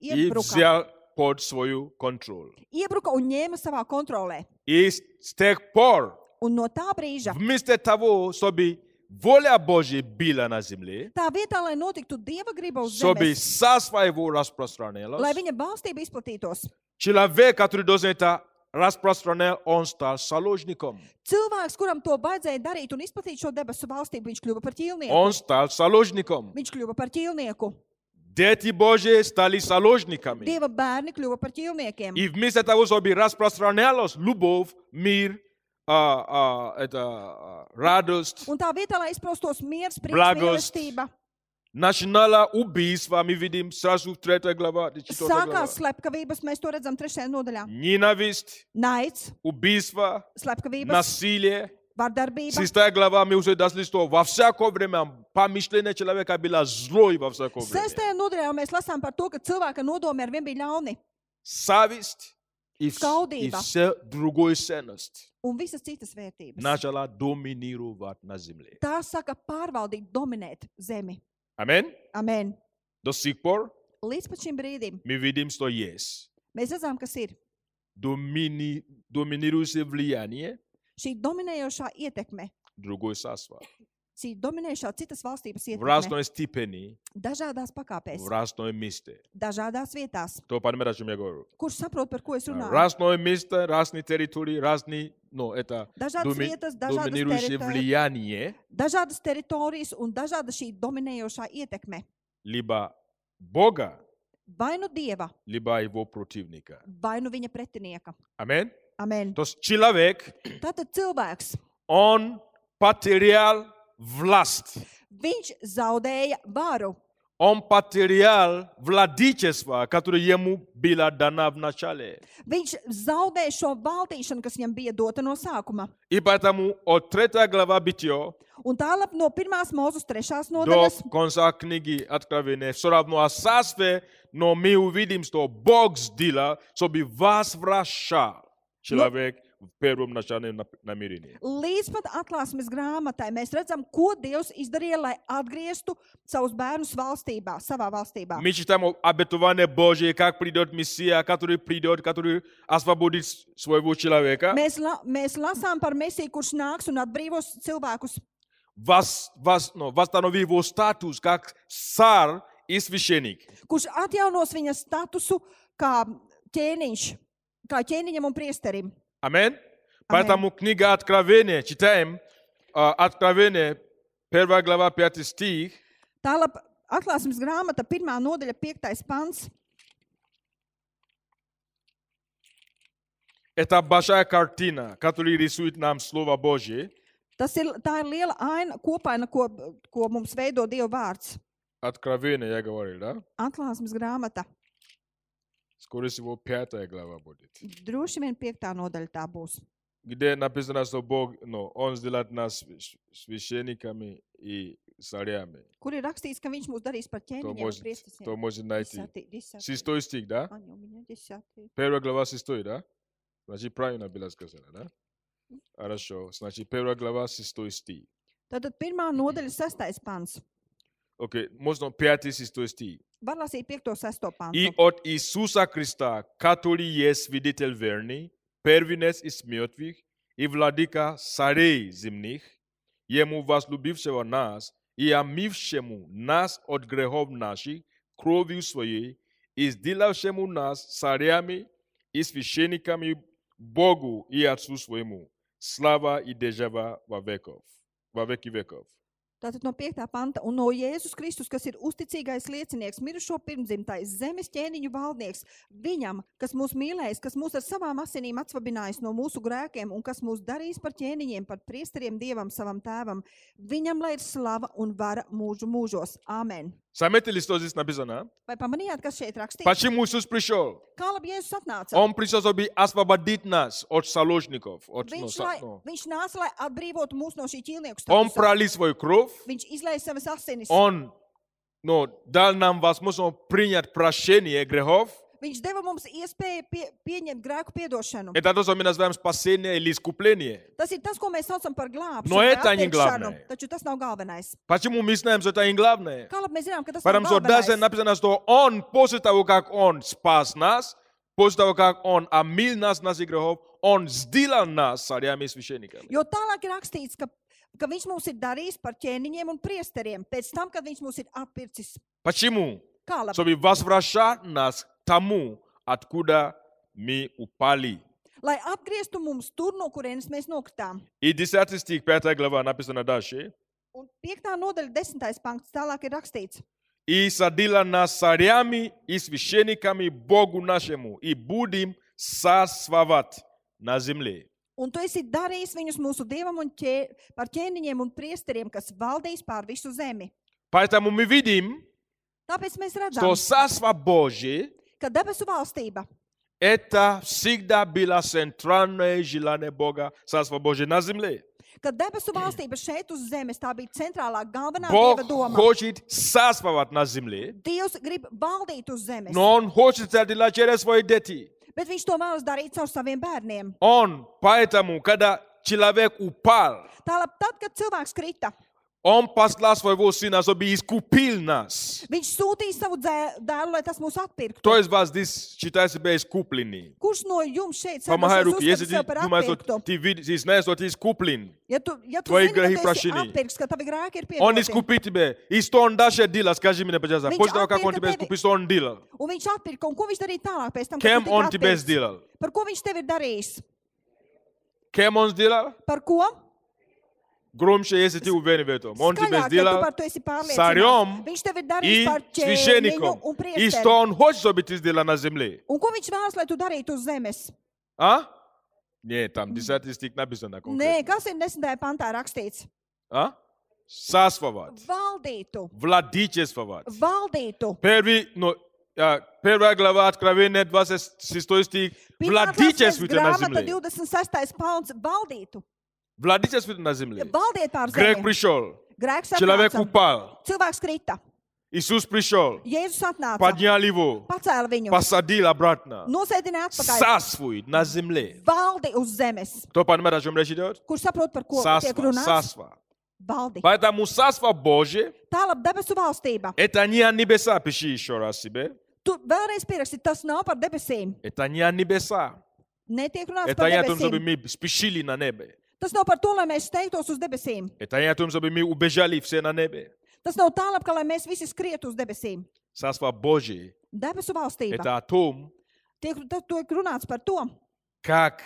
A: и
B: iebruka,
A: взял под свою контроль.
B: iebruka un ņēma savā kontrolē.
A: И с с тех пор,
B: Un no tā brīža,
A: вместо того, чтобы воля Божья была на земле,
B: tā vietā, lai notiktu dieva griba uz
A: чтобы
B: zemes,
A: царство его распространялось,
B: lai viņa valstība izplatītos,
A: Человек, который должен это распространять, он стал заложником.
B: cilvēks, kuram to baidzēja darīt un izplatīt šo debesu valstību, viņš kļuva par ķīlnieku.
A: Он стал заложником.
B: Viņš kļuva par ķīlnieku.
A: Дети Божьи стали заложниками.
B: Dieva bērni kļuva par ķīlniekiem.
A: И вместо того, чтобы распространялась любовь, мир, а, а, это, а, радость,
B: Un tā vietā, lai izpaustos miers, prieks,
A: Blagost.
B: mīlestība,
A: начинало убийство, мы видим сразу в 3 глава, и 4 глава.
B: sākās slepkavības, mēs to redzam trešajā nodaļā.
A: Ненависть,
B: Naids,
A: убийство,
B: slepkavības,
A: насилие.
B: vardarbība.
A: 6 глава, мы уже дошли, что во всякое время помышление человека было злое во всякое время.
B: Sestajā nodaļā jau mēs lasām par to, ka cilvēka nodomi ar vien bija ļauni
A: savist и, вс- и
B: Skaudība.
A: все другой ценность
B: un visas citas vērtības.
A: начала доминировать на земле.
B: Tā saka pārvaldīt, dominēt zemi.
A: Амин.
B: Amen.
A: До сих пор
B: Līdz pat šim brīdim
A: мы видим, что есть
B: mēs redzam, kas ir
A: домини, доминирующее влияние
B: šī dominējošā ietekme,
A: другой сасва.
B: šī dominējošā citas valstības
A: В
B: ietekme
A: разной степени,
B: dažādās pakāpēs,
A: в разное месте.
B: dažādās vietās.
A: Кто понимает, о чем я говорю?
B: Kurš saprot, par ko es runāju?
A: Разное место, разные территории, разные, ну, это
B: Dažādas
A: доми-
B: vietas, dažādas,
A: доминирующее
B: teritori-
A: влияние,
B: dažādas teritorijas un dažāda šī dominējošā ietekme.
A: либо Бога,
B: Vai nu dieva,
A: либо его противника.
B: vai nu viņa pretinieka.
A: Амин.
B: Amen.
A: То есть человек
B: Tātad cilvēks,
A: Он потерял власть.
B: viņš zaudēja varu.
A: Он потерял владычество, которое ему было дано в начале.
B: Viņš zaudēja šo valdīšanu, kas viņam bija dota no sākuma.
A: И поэтому от 3 глава Битье
B: Un tālāk no 1. mūzes 3.
A: до
B: nodaļas
A: конца книги Откровения все равно о царстве, но мы увидим, что Бог сделал, чтобы возвращал человек в первом начальном нап- намерении.
B: Līdz pat atklāsmes grāmatai mēs redzam, ko Dievs izdarīja, lai atgrieztu savus bērnus valstībā, savā valstībā.
A: Мы читаем о обетовании Божье, как придет Мессия, который придет, который освободит с- своего человека.
B: Mēs, la, mēs lasām par Mēsiju, kurš nāks un atbrīvos cilvēkus.
A: Вос- вос- ну, восстанови его статус как царь и священник.
B: kurš atjaunos viņa statusu kā ķēniņš, kā ķēniņam un priesterim.
A: Амин. Поэтому книга Откровения, читаем а, Откровение, первая глава, пятый стих.
B: Tālāk atklāsmes grāmata, pirmā nodaļa, piektais pants.
A: Это большая картина, которую рисует нам Слово Божье.
B: Tas ir, tā ir liela aina, kopaina, ko, ko mums veido Dieva vārds.
A: Откровение, я говорил, да?
B: Atklāsmes grāmata,
A: Скорее всего, пятая глава будет.
B: droši vien piektā nodaļa tā būs.
A: Где написано, что Бог, ну, Он сделает нас свящ- священниками и царями.
B: Kur ir rakstīts, ka viņš mūs darīs par
A: Кто
B: ķēniņiem un
A: может, кто
B: priestesiem?
A: может найти.
B: Desatī, desatī.
A: Шестой стих, да?
B: Aņu, viņa desatī.
A: Первая глава шестой, да? Значит, правильно было сказано, да? Хорошо. Значит, первая глава шестой стих.
B: Tātad pirmā nodaļa, sastais pants.
A: Окей, можно пятый шестой стих.
B: Var lasīt piekto, sesto pantu.
A: И от Иисуса Христа, который есть свидетель верный, первенец из мертвых и владыка царей земных, ему возлюбившего нас и омившему нас от грехов наших кровью своей, и сделавшему нас царями и священниками Богу и Отцу своему, слава и держава во веков, во веки веков.
B: Tātad no 5. panta, un no Jēzus Kristus, kas ir uzticīgais liecinieks, mirušo pirmdzimtais, zemes ķēniņu valdnieks, viņam, kas mūs mīlēs, kas mūs ar savām asinīm atsvabinājis no mūsu grēkiem un kas mūs darīs par ķēniņiem, par priesteriem dievam, savam tēvam, viņam lai ir slava un vara mūžu mūžos. Āmen!
A: Заметили, что здесь написано?
B: Vai pamanījāt, kas šeit rakstīts?
A: Почему Иисус пришел?
B: Kā labi Jēzus atnāca?
A: Он пришел, чтобы освободить нас от заложников. От, ну,
B: Viņš,
A: са-
B: lai,
A: ну.
B: viņš nāca, lai atbrīvotu mūs no šī ķīlnieku
A: Он
B: statusa.
A: пролил свою кровь.
B: Viņš izlēja savas asinis.
A: Он ну, дал нам возможность принять прощение грехов.
B: Viņš deva mums iespēju pie, pieņemt grēku piedošanu.
A: Это то, что мы называем спасение или искупление.
B: Tas ir tas, ko mēs saucam par glābšanu.
A: No
B: vai
A: eta nie
B: atpirkšanu,
A: glavne.
B: Taču tas nav galvenais.
A: Почему мы знаем, что это не главное?
B: Kā labi mēs zinām, ka tas
A: Потому что
B: nav
A: даже
B: galvenais?
A: написано, что Он, после того, как Он спас нас, после того, как Он омил нас от наших грехов, Он сделал нас царями и священниками.
B: Jo tālāk ir rakstīts, ka, ka viņš mūs ir darījis par ķēniņiem un priesteriem pēc tam, kad viņš mūs ir atpircis.
A: Почему?
B: Kā labi?
A: чтобы возвращать нас к тому, откуда мы упали.
B: Lai atgrieztu mums tur, no kurienes mēs nokritām.
A: И 10 стих, 5 глава написано дальше.
B: Un piektā nodaļa, desmitais punkts, tālāk ir rakstīts.
A: «И садила нас царями и священниками Богу нашему, и будем сосвавать на земле».
B: Un tu esi darījis viņus mūsu dievam un ķē, par ķēniņiem un priesteriem, kas valdīs pār visu zemi.
A: Поэтому мы видим,
B: Tāpēc mēs
A: что
B: redzam,
A: царство Божье
B: ka debesu valstība
A: – это всегда было центральное желание Бога, царство Божье на земле.
B: ka debesu valstība šeit uz zemes tā bija centrālā galvenā
A: Бог
B: dieva doma.
A: хочет царствовать на земле,
B: Dievs grib valdīt uz zemes, no.
A: но Он хочет это делать через свои дети.
B: bet viņš to vēlas darīt caur saviem bērniem.
A: Он, поэтому, когда человек упал,
B: Tālāk, tad, kad cilvēks krita,
A: он послал своего сына, чтобы искупил нас.
B: viņš sūtīja savu dzē- dēlu, lai tas mūs atpirktu.
A: Кто из вас здесь считает себя искупленным?
B: Kurš no jums šeit
A: Помогай
B: samaksās
A: руки, если
B: uzskatu
A: ты
B: sev par
A: думаешь, что
B: atpirktu?
A: ты, видишь, ты знаешь, что ты искуплен,
B: Ja tu, ja tu
A: Tvoji
B: zini, ka
A: grehi
B: tu esi
A: prašinī.
B: atpirks, ka tavi grēki ir
A: он
B: piedoti,
A: искупит тебя. И что он дальше делал, скажи мне, пожалуйста,
B: Ведь
A: после того, как
B: отпирка
A: он тебя
B: тебе-
A: искупил, что он делал?
B: un viņš atpirka, un ko viņš darīja tālāk pēc tam, kad
A: Кем
B: tu
A: он
B: tiki
A: тебя
B: atpirkts?
A: сделал?
B: Par ko viņš tev ir darījis?
A: Кем он сделал?
B: Par ko?
A: Громче, если ты уверен в этом. Он тебя
B: Skaļāk, ja tu
A: сделал
B: par to esi
A: царем
B: pārliecināts. Viņš tev ir darījis
A: и
B: par ķēniņu
A: священником.
B: un
A: И что
B: priesteri.
A: он хочет, чтобы ты сделал на земле?
B: Un ko viņš vēlas, lai tu darītu uz zemes?
A: А? Нет, там 10 стих написано
B: Nē,
A: конкретно.
B: kas ir nesenajā pantā rakstīts?
A: А? Сасвават.
B: Valdītu,
A: Владычествовать.
B: valdītu.
A: Первый, ну, а, первая глава Откровения, 26 стих.
B: Pirmā klases
A: Владычествуйте на
B: grāmata,
A: земле.
B: 26. pants, valdītu.
A: Владычествуйте на земле.
B: Valdiet pār
A: Грех
B: zemi.
A: пришел.
B: Grēks
A: Человек
B: atnāca.
A: упал.
B: Cilvēks krita.
A: Иисус пришел,
B: Jēzus atnāca,
A: поднял его,
B: pacēla viņu,
A: посадил обратно,
B: nosēdināja atpakaļ,
A: сасвует на земле.
B: valdi uz zemes,
A: Кто понимает, о чем речь идет?
B: kurš saprot, par ko tiek
A: Сасва,
B: runāts.
A: сасва.
B: Valdi.
A: Поэтому сасва Божье,
B: Tālāk debesu valstība.
A: это не о небеса, пиши еще раз себе,
B: Tu vēlreiz pieraksti, tas nav par debesīm.
A: это не о небеса,
B: Netiek runāts
A: это
B: par
A: не о том, чтобы
B: debesīm.
A: мы спешили на небе,
B: Tas nav par to, lai mēs steigtos uz debesīm.
A: это не о том, чтобы мы убежали все на небе.
B: Tas nav tālāk, ka lai mēs visi skrietu uz debesīm.
A: Царство Божие
B: Debesu valstība.
A: это о том,
B: Tiek, tad tiek runāts par to,
A: как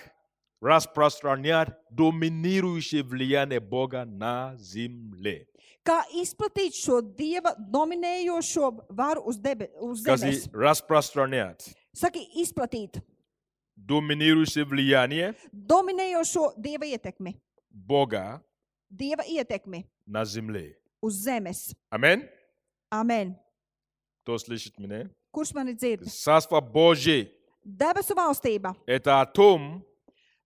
A: распространять доминирующее влияние Бога на земле.
B: kā izplatīt šo dieva dominējošo varu uz, debe, uz
A: Скажи,
B: zemes.
A: распространять
B: Saki, izplatīt
A: доминирующее влияние
B: dominējošo dieva ietekmi,
A: Бога
B: dieva ietekmi
A: на земле.
B: uz zemes.
A: Амин.
B: Amen.
A: Кто слышит меня?
B: Kurš mani dzird?
A: Царство Божие
B: Debesu valstība.
A: это о том,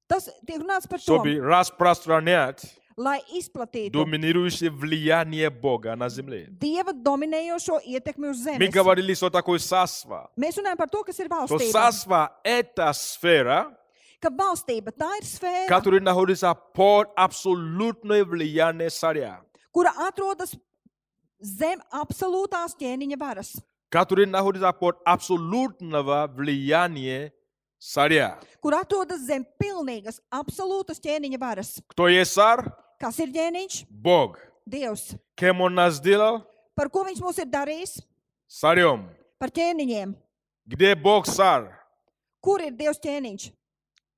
B: Tas tiek runāts par to,
A: чтобы распространять
B: lai izplatītu
A: доминирующее влияние Бога на земле.
B: dieva dominējošo ietekmi uz
A: Мы
B: zemes.
A: говорили, что такое сасва.
B: Mēs runājam par to, kas ir
A: То
B: valstība.
A: сасва – это сфера,
B: Ka valstība tā ir sfēra,
A: которая находится под абсолютное влияние царя.
B: kura atrodas zem absolūtās ķēniņa varas,
A: который находится под абсолютного влияния царя.
B: kur atrodas zem pilnīgas, absolūtas ķēniņa varas.
A: Кто есть царь?
B: Kas ir ķēniņš?
A: Бог.
B: Dievs.
A: Кем он нас сделал?
B: Par ko viņš mūs ir darījis?
A: Царем.
B: Par ķēniņiem.
A: Где Бог царь?
B: Kur ir Dievs ķēniņš?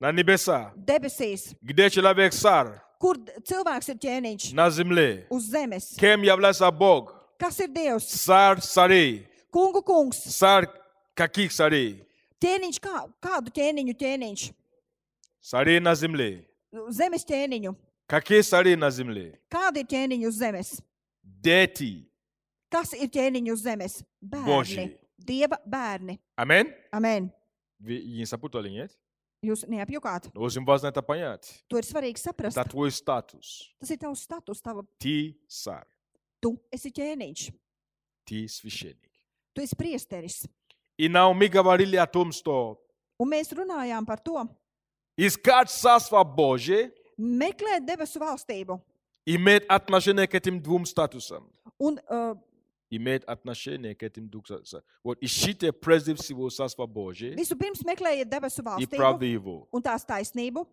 A: На небеса.
B: Debesīs.
A: Где человек царь?
B: Kur d- cilvēks ir ķēniņš?
A: На земле.
B: Uz zemes.
A: Кем является Бог?
B: Kas ir Dievs?
A: Царь царей.
B: Kungu kungs.
A: Царь каких царей?
B: Ķēniņš kā, kādu ķēniņu ķēniņš?
A: Царей на земле.
B: Zemes ķēniņu.
A: Какие цари на земле?
B: Kādi ir ķēniņi uz zemes?
A: Дети.
B: Kas ir ķēniņi uz zemes? Bērni.
A: Božji.
B: Dieva bērni.
A: Амин.
B: Amen.
A: Вы не запутали, нет?
B: Jūs neapjukāt.
A: Очень важно это понять.
B: To ir svarīgi saprast.
A: Это твой статус.
B: Tas ir tavs status, tava
A: Ты царь.
B: tu esi ķēniņš.
A: ты священник.
B: Tu esi priesteris.
A: И Наоми говорили о том, что
B: Un mēs runājām par to.
A: искать Царство Божие
B: Meklēt debesu valstību
A: имеет отношение к этим двум статусам.
B: un uh,
A: Имеет отношение к этим двум статусам. Вот ищите прежде всего Царство Божие
B: vispirms meklējiet debesu
A: и
B: valstību
A: правду Его.
B: un tās taisnību.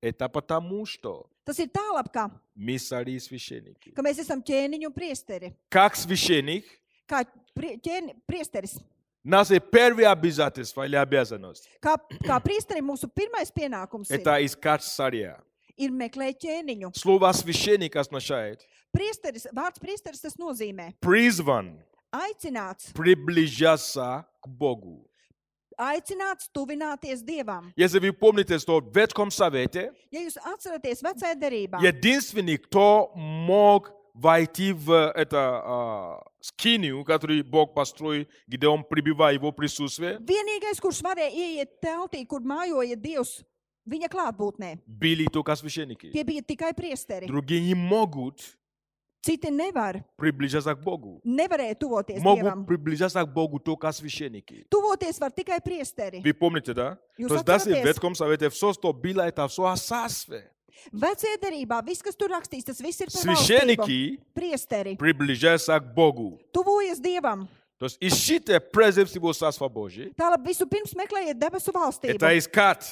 A: Это потому, что
B: Tas ir tālāk, ka,
A: мы цари и священники.
B: ka mēs esam ķēniņi un priesteri.
A: Как священник,
B: Kā prie, ķēni, priesteris,
A: наше первое обязательство или обязанность
B: kā, kā priesterim, mūsu pirmais pienākums ir,
A: это искать царя.
B: ir meklēt ķēniņu.
A: Слово священник означает
B: Priesteris, vārds priesteris tas nozīmē
A: призван
B: aicināts,
A: приближаться к Богу.
B: aicināts tuvināties dievam.
A: Если вы помните, что в Ветхом Совете
B: Ja jūs atceraties vecajā derībā,
A: единственный, кто мог войти в эту а, скинию, которую Бог построил, где он прибивает его присутствие,
B: vienīgais, kurš varēja ieiet teltī, kur mājoja Dievs, viņa klātbūtnē,
A: были только священники.
B: tie bija tikai priesteri.
A: Другие не могут
B: Citi nevar,
A: приближаться к Богу.
B: nevarēja tuvoties dievam.
A: Могут приближаться к Богу только священники.
B: Tuvoties var tikai priesteri.
A: Вы помните, да?
B: You
A: То есть даже в
B: согласны?
A: Ветхом Совете все, что было, это все о царстве.
B: Vecajā derībā viss, kas tur rakstīts, tas viss ir par valstību.
A: Священники
B: Priesteri
A: приближаются к Богу.
B: tuvojas dievam.
A: То есть ищите прежде всего Царство Божие.
B: Tālāk vispirms meklējiet debesu valstību.
A: Это искать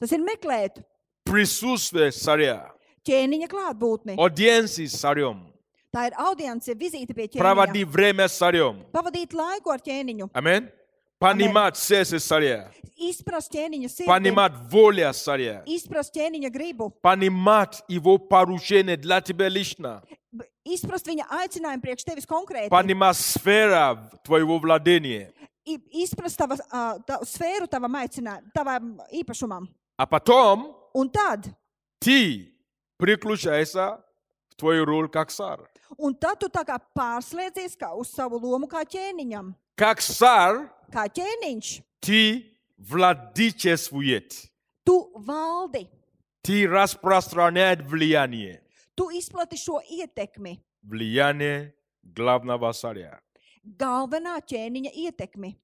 B: Tas ir meklēt
A: присутствие царя,
B: ķēniņa klātbūtni.
A: аудиенции с царем,
B: Tā ir audience, vizīte pie ķēniņa.
A: проводи время с царем.
B: Pavadīt laiku ar ķēniņu,
A: Амин. Понимать сердце царя,
B: izprast ķēniņa sirdi,
A: понимать воля царя,
B: izprast ķēniņa gribu,
A: понимать его поручение для тебя лично,
B: b- izprast viņa aicinājumu priekš tevis konkrēti,
A: понимать сфера твоего владения.
B: i- izprast tava, uh, ta, sfēru tavam aicinājumam, tavam īpašumam.
A: А потом
B: Un tad,
A: ты переключаешься в твою роль как царь.
B: un tad tu tā kā pārslēdzies kā uz savu lomu kā ķēniņam.
A: Как царь
B: Kā ķēniņš,
A: ты владычествует,
B: tu valdi,
A: ты распространяет влияние.
B: tu izplati šo ietekmi,
A: влияние главного царя.
B: galvenā ķēniņa ietekmi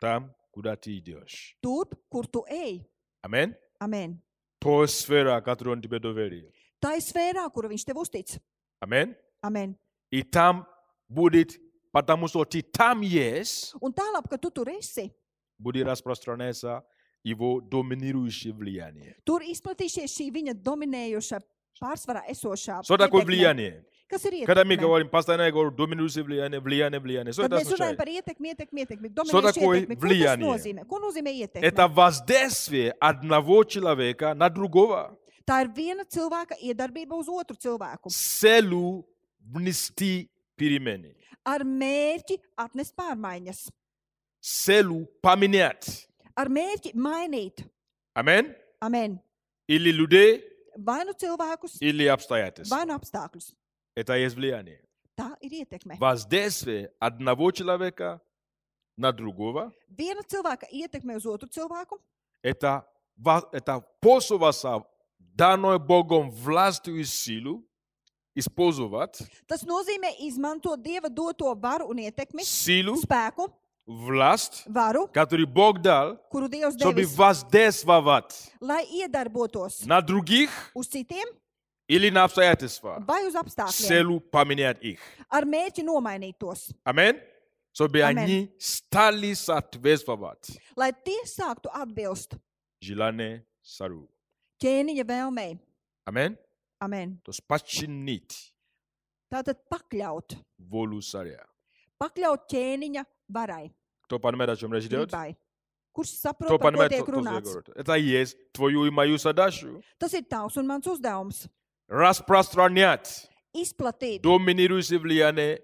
A: tam, куда ты идешь.
B: turp, kur tu ej.
A: Amen.
B: Amen.
A: То сфера, которую он тебе доверил.
B: Tā ir sfērā, kuru viņš tev uztic.
A: Amen.
B: Amen.
A: И там будет, потому что ты там есть,
B: Un tālāk, kad tu tur esi,
A: будет распространяться его доминирующее влияние.
B: tur izplatīsies šī viņa dominējoša, pārsvarā esošā.
A: Что такое
B: ietekme.
A: влияние?
B: Kas ir
A: Когда мы
B: ietekme?
A: говорим, постоянно я говорю, доминирующее влияние, влияние, влияние. Что
B: Kad
A: это
B: mēs runājam
A: означает?
B: par ietekmi, ietekmi, ietekmi, dominējošu
A: такое
B: ietekmi, ko tas
A: влияние?
B: nozīmē? Ko nozīmē ietekme?
A: Это воздействие одного человека на другого.
B: Tā ir viena cilvēka iedarbība uz otru cilvēku
A: с целью внести перемены,
B: ar mērķi atnest pārmaiņas,
A: с целью поменять.
B: ar mērķi mainīt.
A: Амин.
B: Amen.
A: Или людей,
B: Vai nu cilvēkus,
A: или обстоятельств.
B: vai nu apstākļus.
A: Это есть влияние.
B: Tā ir ietekme.
A: Воздействие одного человека на другого –
B: Viena cilvēka ietekme uz otru cilvēku.
A: это, ва- это посоваться данной Богом властью и силу, использовать
B: Tas nozīmē izmantot dieva doto varu un ietekmi,
A: силу,
B: spēku,
A: власть,
B: varu,
A: которую Бог дал,
B: kuru dievs
A: чтобы
B: devis,
A: воздействовать
B: lai iedarbotos
A: на других
B: uz citiem
A: или на обстоятельства
B: vai uz
A: с
B: apstākļiem,
A: целью поменять их.
B: ar mērķi nomainīt tos,
A: Amen. Чтобы
B: Amen.
A: они стали соответствовать
B: lai tie sāktu atbilst
A: желанию Сару.
B: ķēniņa vēlmei.
A: Amen.
B: Amen.
A: То есть подчинить
B: Tātad pakļaut,
A: волю Саря.
B: pakļaut ķēniņa varai,
A: Кто понимает, о чем речь идет?
B: gribai. Kurš saprot,
A: Кто
B: par ko
A: понимает,
B: tiek
A: тот- тот
B: runāts?
A: говорит. Это и есть твою и мою задачу.
B: Tas ir tavs un mans uzdevums.
A: Распространять
B: Izplatīt
A: доминирующее влияние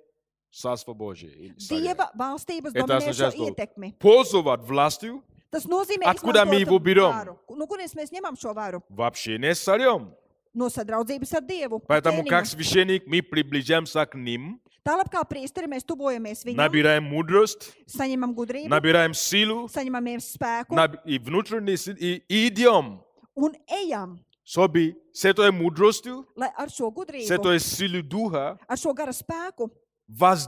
A: Царства Божия. или Царя.
B: dieva valstības
A: Это означает,
B: dominējošo
A: что-
B: ietekmi.
A: Пользовать властью
B: Tas nozīmē,
A: Откуда мы
B: izmantot
A: его берем?
B: varu. No kurienes mēs ņemam šo varu?
A: в общении с Царем.
B: No sadraudzības ar Dievu. ar
A: Поэтому как
B: ķēniņu.
A: священник мы приближаемся к ним,
B: Tālāk kā priesteri mēs tuvojamies viņam,
A: набираем мудрость,
B: saņemam gudrību,
A: набираем силу,
B: saņemam viņiem spēku
A: на, и внутренний сын, и, и идем,
B: un ejam,
A: чтобы с этой мудростью,
B: lai ar šo
A: с
B: gudrību,
A: этой силой духа
B: ar šo gara spēku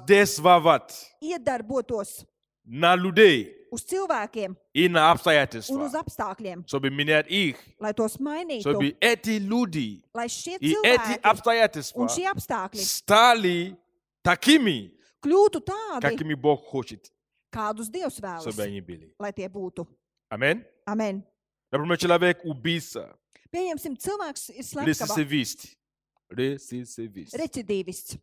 A: воздействовать
B: iedarbotos
A: на людей
B: uz cilvēkiem
A: и на
B: un uz
A: обстоятельства,
B: apstākļiem,
A: чтобы менять их,
B: lai tos mainītu,
A: чтобы эти люди
B: lai šie
A: и эти
B: cilvēki
A: обстоятельства
B: un šie apstākļi
A: стали такими,
B: kļūtu tādi,
A: какими Бог хочет,
B: kādus Dievs
A: чтобы
B: vēlas,
A: они были.
B: lai tie būtu.
A: Аминь.
B: Amen.
A: Например, человек убийца,
B: Pieņemsim, cilvēks ir slepkavā,
A: рецессивист, рецессивист,
B: recidīvists,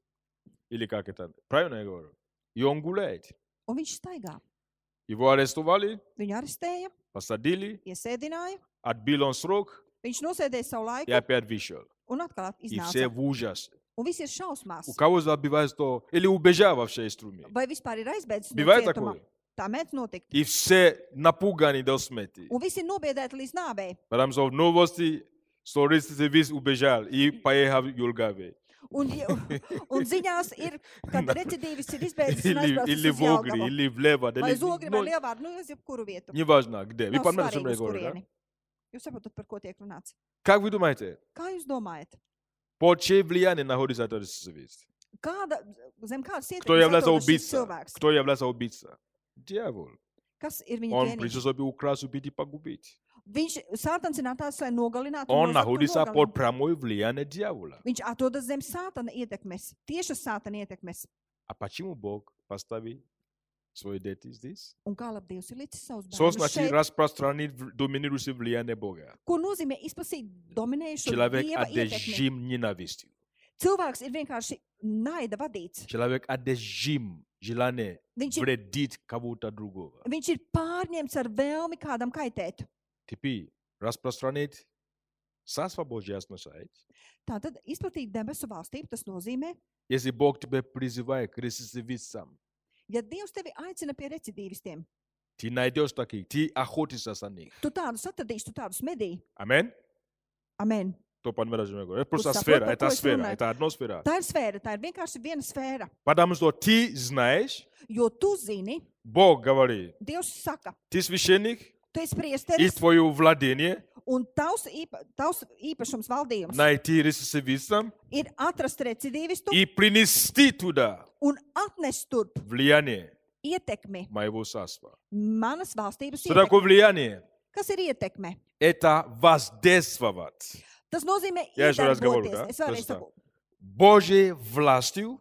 A: или как это, правильно я говорю? И он гуляет.
B: un viņš staigā.
A: Его арестовали,
B: Viņu arestēja,
A: посадили,
B: iesēdināja,
A: отбил он срок
B: viņš nosēdēja savu
A: и
B: laiku
A: опять вышел.
B: un atkal at-
A: И все
B: iznāca.
A: в ужасе.
B: Un viss ir šausmās.
A: У кого забивает то, или убежал вообще из тюрьмы.
B: Vai vispār ir aizbēdzis? No
A: Бывает
B: cietuma?
A: такое?
B: Tā mēdz notikt.
A: И все напуганы до смерти.
B: Un visi ir nobiedēti līdz nāvei.
A: Потому что в новости, что рецидивист убежал и поехал в Юлгаве.
B: Un, [laughs] un ziņās ir, ka recidīvists ir izbeidzis
A: [laughs]
B: un
A: Или,
B: aizbraucis
A: или
B: uz
A: в Огре,
B: Jelgavu.
A: или в Лево. да
B: Vai
A: или-
B: uz ogri, vai
A: ну,
B: lielvārdu, nu uz jebkuru vietu.
A: Неважно где. Вы
B: Nav
A: понимаете, о чем
B: svarīgi,
A: я
B: uz
A: говорю, да?
B: kurieni. Jūs saprotat, par ko tiek runāts.
A: Как вы думаете,
B: Kā jūs domājat?
A: под чьей влияние находится этот рецидивист?
B: Kāda, zem kādas
A: Кто является
B: atrodas šis
A: убийцей?
B: cilvēks?
A: Кто является убийцей? Дьявол.
B: Kas ir viņa
A: Он
B: ķēniņš?
A: пришел, чтобы украсть, убить и погубить.
B: Viņš sātans ir nācis, lai nogalinātu. un
A: Он
B: nozagtu un
A: находится
B: nogalinātu.
A: под прямое влияние дьявола.
B: Viņš atrodas zem sātana ietekmes, tieši sātana ietekmes.
A: А почему Бог поставил свои дети здесь?
B: Un kā labi Dievs ir licis savus
A: Что
B: bērnus
A: значит
B: šeit?
A: распространить в- доминирующее влияние Бога?
B: Ko nozīmē izplasīt dominējušo
A: Человек
B: dieva ietekmi?
A: одержим ненавистью.
B: Cilvēks ir vienkārši naida vadīts.
A: Человек одержим желание
B: Viņš ir,
A: вредить кого-то другого.
B: viņš ir pārņemts ar vēlmi kādam kaitēt.
A: Теперь распространить Царство Божье означает,
B: Tātad izplatīt debesu valstību, tas nozīmē,
A: если Бог тебя призывает к рецидивистам,
B: ja Dievs tevi aicina pie recidīvistiem,
A: ты найдешь таких, ты охотишься за них.
B: tu tādus atradīsi, tu tādus medī.
A: Аминь?
B: Amen.
A: Кто понимает, о чём я говорю? Это просто
B: Пусть
A: сфера,
B: забота
A: это
B: твоя
A: сфера,
B: сильная.
A: это одна сфера.
B: Tā ir sfēra, tā ir vienkārši viena sfēra.
A: Потому что ты знаешь,
B: Jo tu zini,
A: Бог говорит,
B: Dievs saka,
A: ты священник,
B: Tu esi
A: и
B: priesteris
A: твое владение
B: un tavs, īpa, tavs īpašums valdījums
A: найти ресурсовистам
B: ir atrast recidīvistu
A: и принести туда
B: un atnest turp
A: влияние
B: ietekmi
A: моего царства.
B: manas valstības
A: Что такое
B: ietekmi.
A: влияние?
B: Kas ir ietekme?
A: Это воздействовать
B: Tas nozīmē,
A: Jā, es vēlreiz gabalu,
B: iedarboties.
A: tā?
B: Es vēlreiz
A: Tas tā.
B: saku,
A: Божьей властью,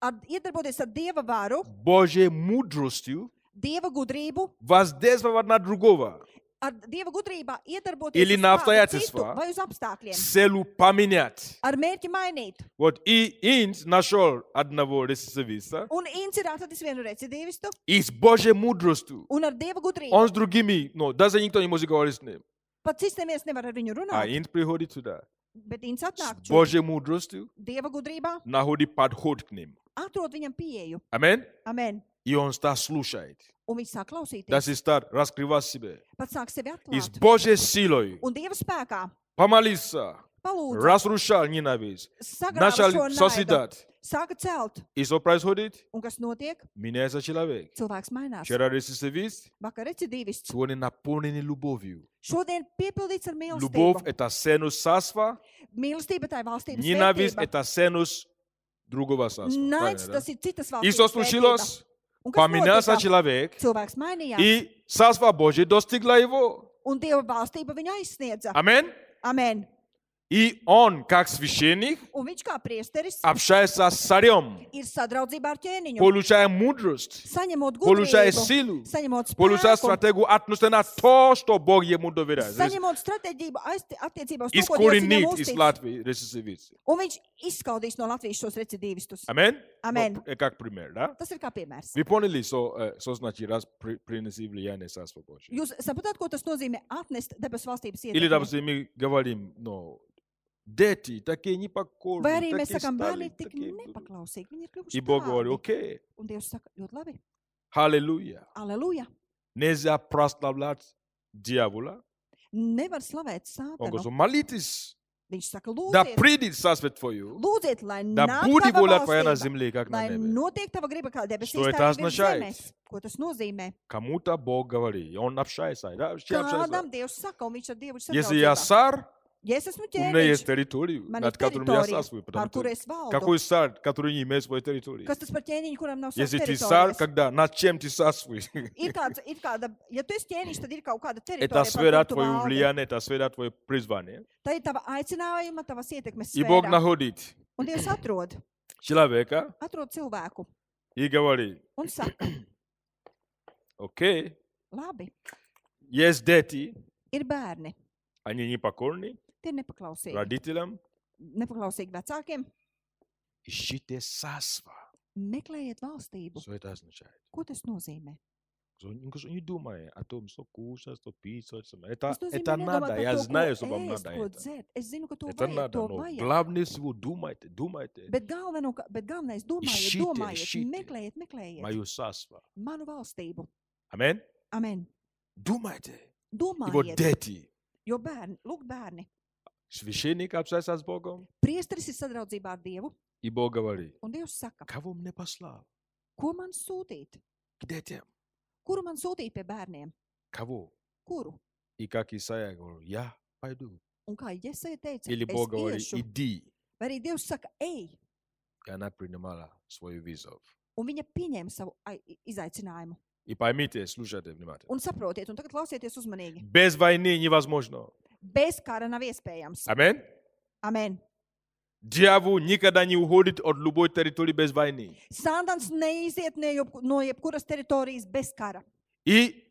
B: ar, iedarboties ar dieva varu,
A: Божьей мудростью,
B: dieva gudrību,
A: воздействовать на другого,
B: ar dieva gudrībā iedarboties
A: Ili
B: uz
A: nav
B: kādu
A: apstājoties,
B: citu
A: va?
B: vai uz apstākļiem,
A: с целью поменять.
B: ar mērķi mainīt.
A: Вот и Инс нашел одного ресурсовиста,
B: Un Inns ir atradis vienu recidīvistu,
A: и с Божьей мудростью,
B: un ar dieva gudrību
A: он с другими, но даже никто не может говорить с ним.
B: pat cistemies nevar ar viņu
A: А
B: runāt,
A: Инс приходит сюда.
B: bet Inns atnāk
A: С
B: šo
A: Божьей мудростью
B: dieva gudrībā,
A: находит подход к ним.
B: atrod viņam pieeju.
A: Аминь.
B: Amen.
A: И он стал слушать.
B: Un viņš sāk klausīties,
A: Даже стал раскрывать себя.
B: pats sāk sevi
A: И с
B: atklāt.
A: Божьей силой
B: Un dieva spēkā
A: помолиться,
B: palūdz,
A: разрушал ненависть,
B: sagrāv šo
A: начал
B: naidu,
A: созидать.
B: sāka celt.
A: И что происходит?
B: Un kas notiek?
A: Меняется человек.
B: Cilvēks mainās.
A: Вчера рецидивист,
B: Vakar recidīvists.
A: сегодня наполнен любовью.
B: Šodien piepildīts ar
A: Любовь –
B: mīlestību.
A: это ценность царства,
B: Mīlestība tā ir valstības
A: ненависть –
B: vērtība.
A: это ценность другого царства.
B: Naids
A: Правильно, да?
B: tas ir citas
A: И что
B: valstības vērtība.
A: случилось?
B: Un kas
A: Поменялся
B: notika?
A: человек,
B: Cilvēks mainījās,
A: и царство Божье достигло его.
B: un Dieva valstība viņu aizsniedza.
A: Аминь.
B: Amen.
A: И он, как священник,
B: Un viņš kā priesteris
A: общается с царем,
B: ir sadraudzībā ar ķēniņu,
A: получая мудрость,
B: saņemot
A: получая
B: gudrību,
A: силу,
B: saņemot
A: получая
B: spēku,
A: стратегию относительно то, что Бог ему доверяет. Знаете,
B: saņemot stratēģiju aizt- attiecībā uz to, ko Dievs viņam
A: Искоренит из
B: uztic.
A: Латвии рецидивист.
B: Un viņš izskaudīs no Latvijas šos recidīvistus.
A: Аминь?
B: Аминь.
A: Ну, э, Как пример, да?
B: Tas ir kā piemērs.
A: Вы поняли, что, э, что значит раз при- принеси влияние Царства Божьего?
B: Jūs saprotat, ko tas nozīmē atnest debesu valstības
A: Или,
B: ietekmi?
A: допустим, мы говорим, но дети такие
B: Vai
A: непокорные,
B: arī mēs
A: такие
B: sakām,
A: стали,
B: bērni ir tik
A: такие...
B: nepaklausīgi, viņi ir kļuvuši
A: И Бог говорит,
B: tādi.
A: окей,
B: Un Dievs saka, ļoti labi,
A: аллилуйя.
B: aleluja.
A: Нельзя прославлять дьявола.
B: Nevar slavēt
A: Он говорит,
B: sātanu.
A: молитесь,
B: Viņš saka,
A: да
B: lūdziet,
A: придет царство твое,
B: lūdziet lai
A: да
B: nāk
A: будет
B: tava
A: воля твоя на
B: valstība,
A: земле, как
B: lai
A: на небе.
B: notiek tava griba kā debesīs,
A: Что это
B: tā arī virs
A: означает?
B: zemes. Ko tas nozīmē?
A: Кому-то Бог говорит, и он общается, да, с кем общается.
B: Kādam Dievs saka, un viņš ar Dievu ir
A: Если я
B: sadraudzībā.
A: царь,
B: Ja es esmu
A: у меня есть
B: nu ķēniņš,
A: территорию,
B: man
A: над
B: ir
A: которым я
B: teritorija,
A: царствую. потому
B: pār
A: что
B: kuru es valdu.
A: Какой царь, который не имеет своей территории?
B: Kas tas par ķēniņu, kuram nav savas
A: Если ты царь,
B: teritorijas?
A: когда над чем ты [laughs] царствуешь?
B: Ir kāds, ir kāda, ja tu esi ķēniņš, tad ir kaut kāda
A: Это
B: teritorija,
A: сфера
B: pār kuru tu
A: твоего
B: valdi.
A: влияния, это сфера твоего призвания.
B: Tā ir tava aicinājuma, tavas ietekmes
A: И Бог
B: sfērā.
A: находит
B: Un Dievs atrod,
A: человека
B: atrod cilvēku
A: и говорит,
B: un saka,
A: окей,
B: labi,
A: есть дети,
B: ir bērni,
A: они непокорны
B: tie ir nepaklausīgi.
A: родителям,
B: Nepaklausīgi vecākiem,
A: ищите царство.
B: meklējiet valstību.
A: Что это означает?
B: Ko tas nozīmē?
A: Что он- что Не думай о том, что кушать, что пить, Ну, что это. это,
B: Tas nozīmē,
A: это
B: nedomā
A: надо,
B: par
A: я
B: to, ko
A: знаю, что вам
B: ēst,
A: надо
B: ko
A: это.
B: dzert. Es zinu, ka to
A: Это
B: vajag,
A: надо,
B: to
A: но
B: vajag.
A: главное всего думайте, думайте.
B: Bet, galveno, ka- bet galvenais, domājiet,
A: Ищите,
B: domājiet,
A: ищите.
B: meklējiet, meklējiet
A: Мое царство.
B: manu valstību.
A: Аминь.
B: Amen.
A: Думайте. И вот
B: Domājiet,
A: дети.
B: jo bērni, lūk, bērni.
A: Священник общается с Богом,
B: Priesteris ir sadraudzībā ar Dievu,
A: и Бог говорит,
B: un Dievs saka,
A: кого мне послал?
B: ko man sūtīt?
A: К детям.
B: Kuru man sūtīt pie bērniem?
A: Кого?
B: Kuru?
A: И как Исаия говорил, я пойду.
B: Un kā Jēzus teica,
A: Или Бог говорит,
B: es iešu,
A: иди.
B: vai arī Dievs saka, ej,
A: И она принимала свою вызов.
B: un viņa pieņēma savu ai- i- izaicinājumu.
A: И поймите, слушайте внимательно.
B: Un saprotiet, un tagad klausieties uzmanīgi.
A: Без войны невозможно.
B: Bez kara nav iespējams.
A: Аминь.
B: Amen.
A: Дьявол никогда не уходит от любой территории без войны.
B: Sandans neiziet ne jeb, no jebkuras teritorijas bez kara.
A: И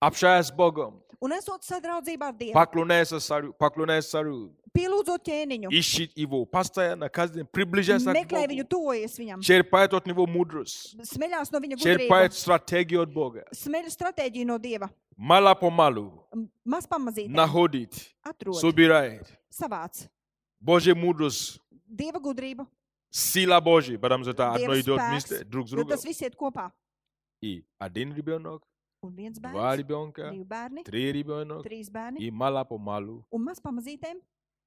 A: общаясь с Богом,
B: Un esot sadraudzībā ar Dievu,
A: поклоняется царю, поклоняется царю,
B: pielūdzot ķēniņu,
A: ищет его, постоянно каждый день приближается к
B: meklē viņu,
A: Богу,
B: tojies viņam,
A: черпает от него мудрость,
B: smeļās no viņa
A: черпает
B: gudrības,
A: стратегию от Бога.
B: smeļ stratēģiju no Dieva,
A: мало-помалу
B: M- maz pamazīt,
A: находит,
B: atrod,
A: собирает
B: savāc
A: Божья мудрость,
B: Dieva gudrību,
A: сила Божья, потому что это
B: Dieva
A: одно идет
B: spēks,
A: вместе, друг с
B: jo
A: другом.
B: tas viss iet kopā.
A: И один ребенок,
B: Un viens
A: два
B: bērns,
A: ребенка,
B: divi bērni,
A: три ребенок,
B: trīs bērni,
A: и мало-помалу
B: un maz pamazītēm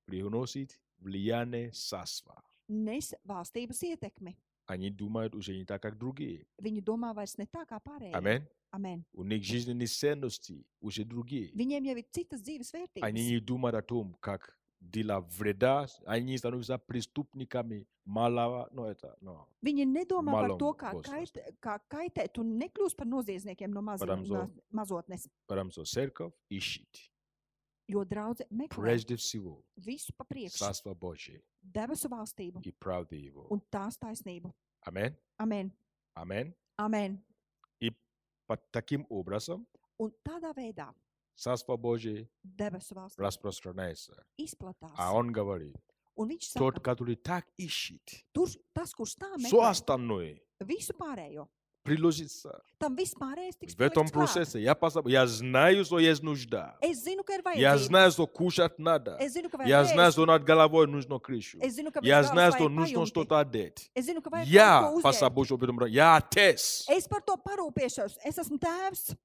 A: приносит влияние царства.
B: nes valstības ietekmi.
A: Они думают уже не так, как другие.
B: Viņi domā vairs ne tā kā pārējie.
A: Аминь.
B: Amen.
A: У них жизненные ценности уже другие.
B: Viņiem jau ir citas dzīves
A: Они
B: vērtības.
A: не думают о том, как для вреда, они становятся преступниками малого, но это, ну, но.
B: Viņi nedomā par
A: Malom
B: to, kā,
A: būs
B: kait, kā kaitēt un nekļūst par noziedzniekiem no mazi-
A: Paramzo.
B: ma- mazotnes.
A: Потому что церковь ищет
B: Jo draudze meklē
A: прежде всего
B: visu pa priekšu,
A: Царство Божие
B: debesu valstību
A: и правды Его.
B: un tās taisnību.
A: Амин.
B: Amen.
A: Амин.
B: Amen.
A: Под таким образом
B: Un tādā veidā
A: Царство Божие
B: debesu valsts
A: распространяется.
B: izplatās.
A: А он говорит,
B: Un viņš
A: тот,
B: saka,
A: который так ищет,
B: tur, tas, kurš tā
A: все
B: meklē
A: остальное
B: visu pārējo,
A: приложится
B: tam viss pārējais tiks
A: в этом
B: palikts klāt.
A: процессе. Я, пос- я знаю, что есть нужда.
B: Es zinu, ka ir
A: Я
B: vajadzība.
A: знаю, что кушать надо.
B: Es zinu, ka
A: Я
B: vajag
A: знаю,
B: ēst.
A: что над головой нужно крышу.
B: Es zinu, ka
A: Я
B: bez galvas
A: знаю, что
B: vajag
A: нужно
B: pajumti.
A: что-то отдать.
B: Es zinu, ka vajag
A: Я,
B: kaut ko
A: паса
B: uzēst.
A: Божьего, об этом говорю, я отец.
B: Es par to parūpēšos. Es esmu tēvs,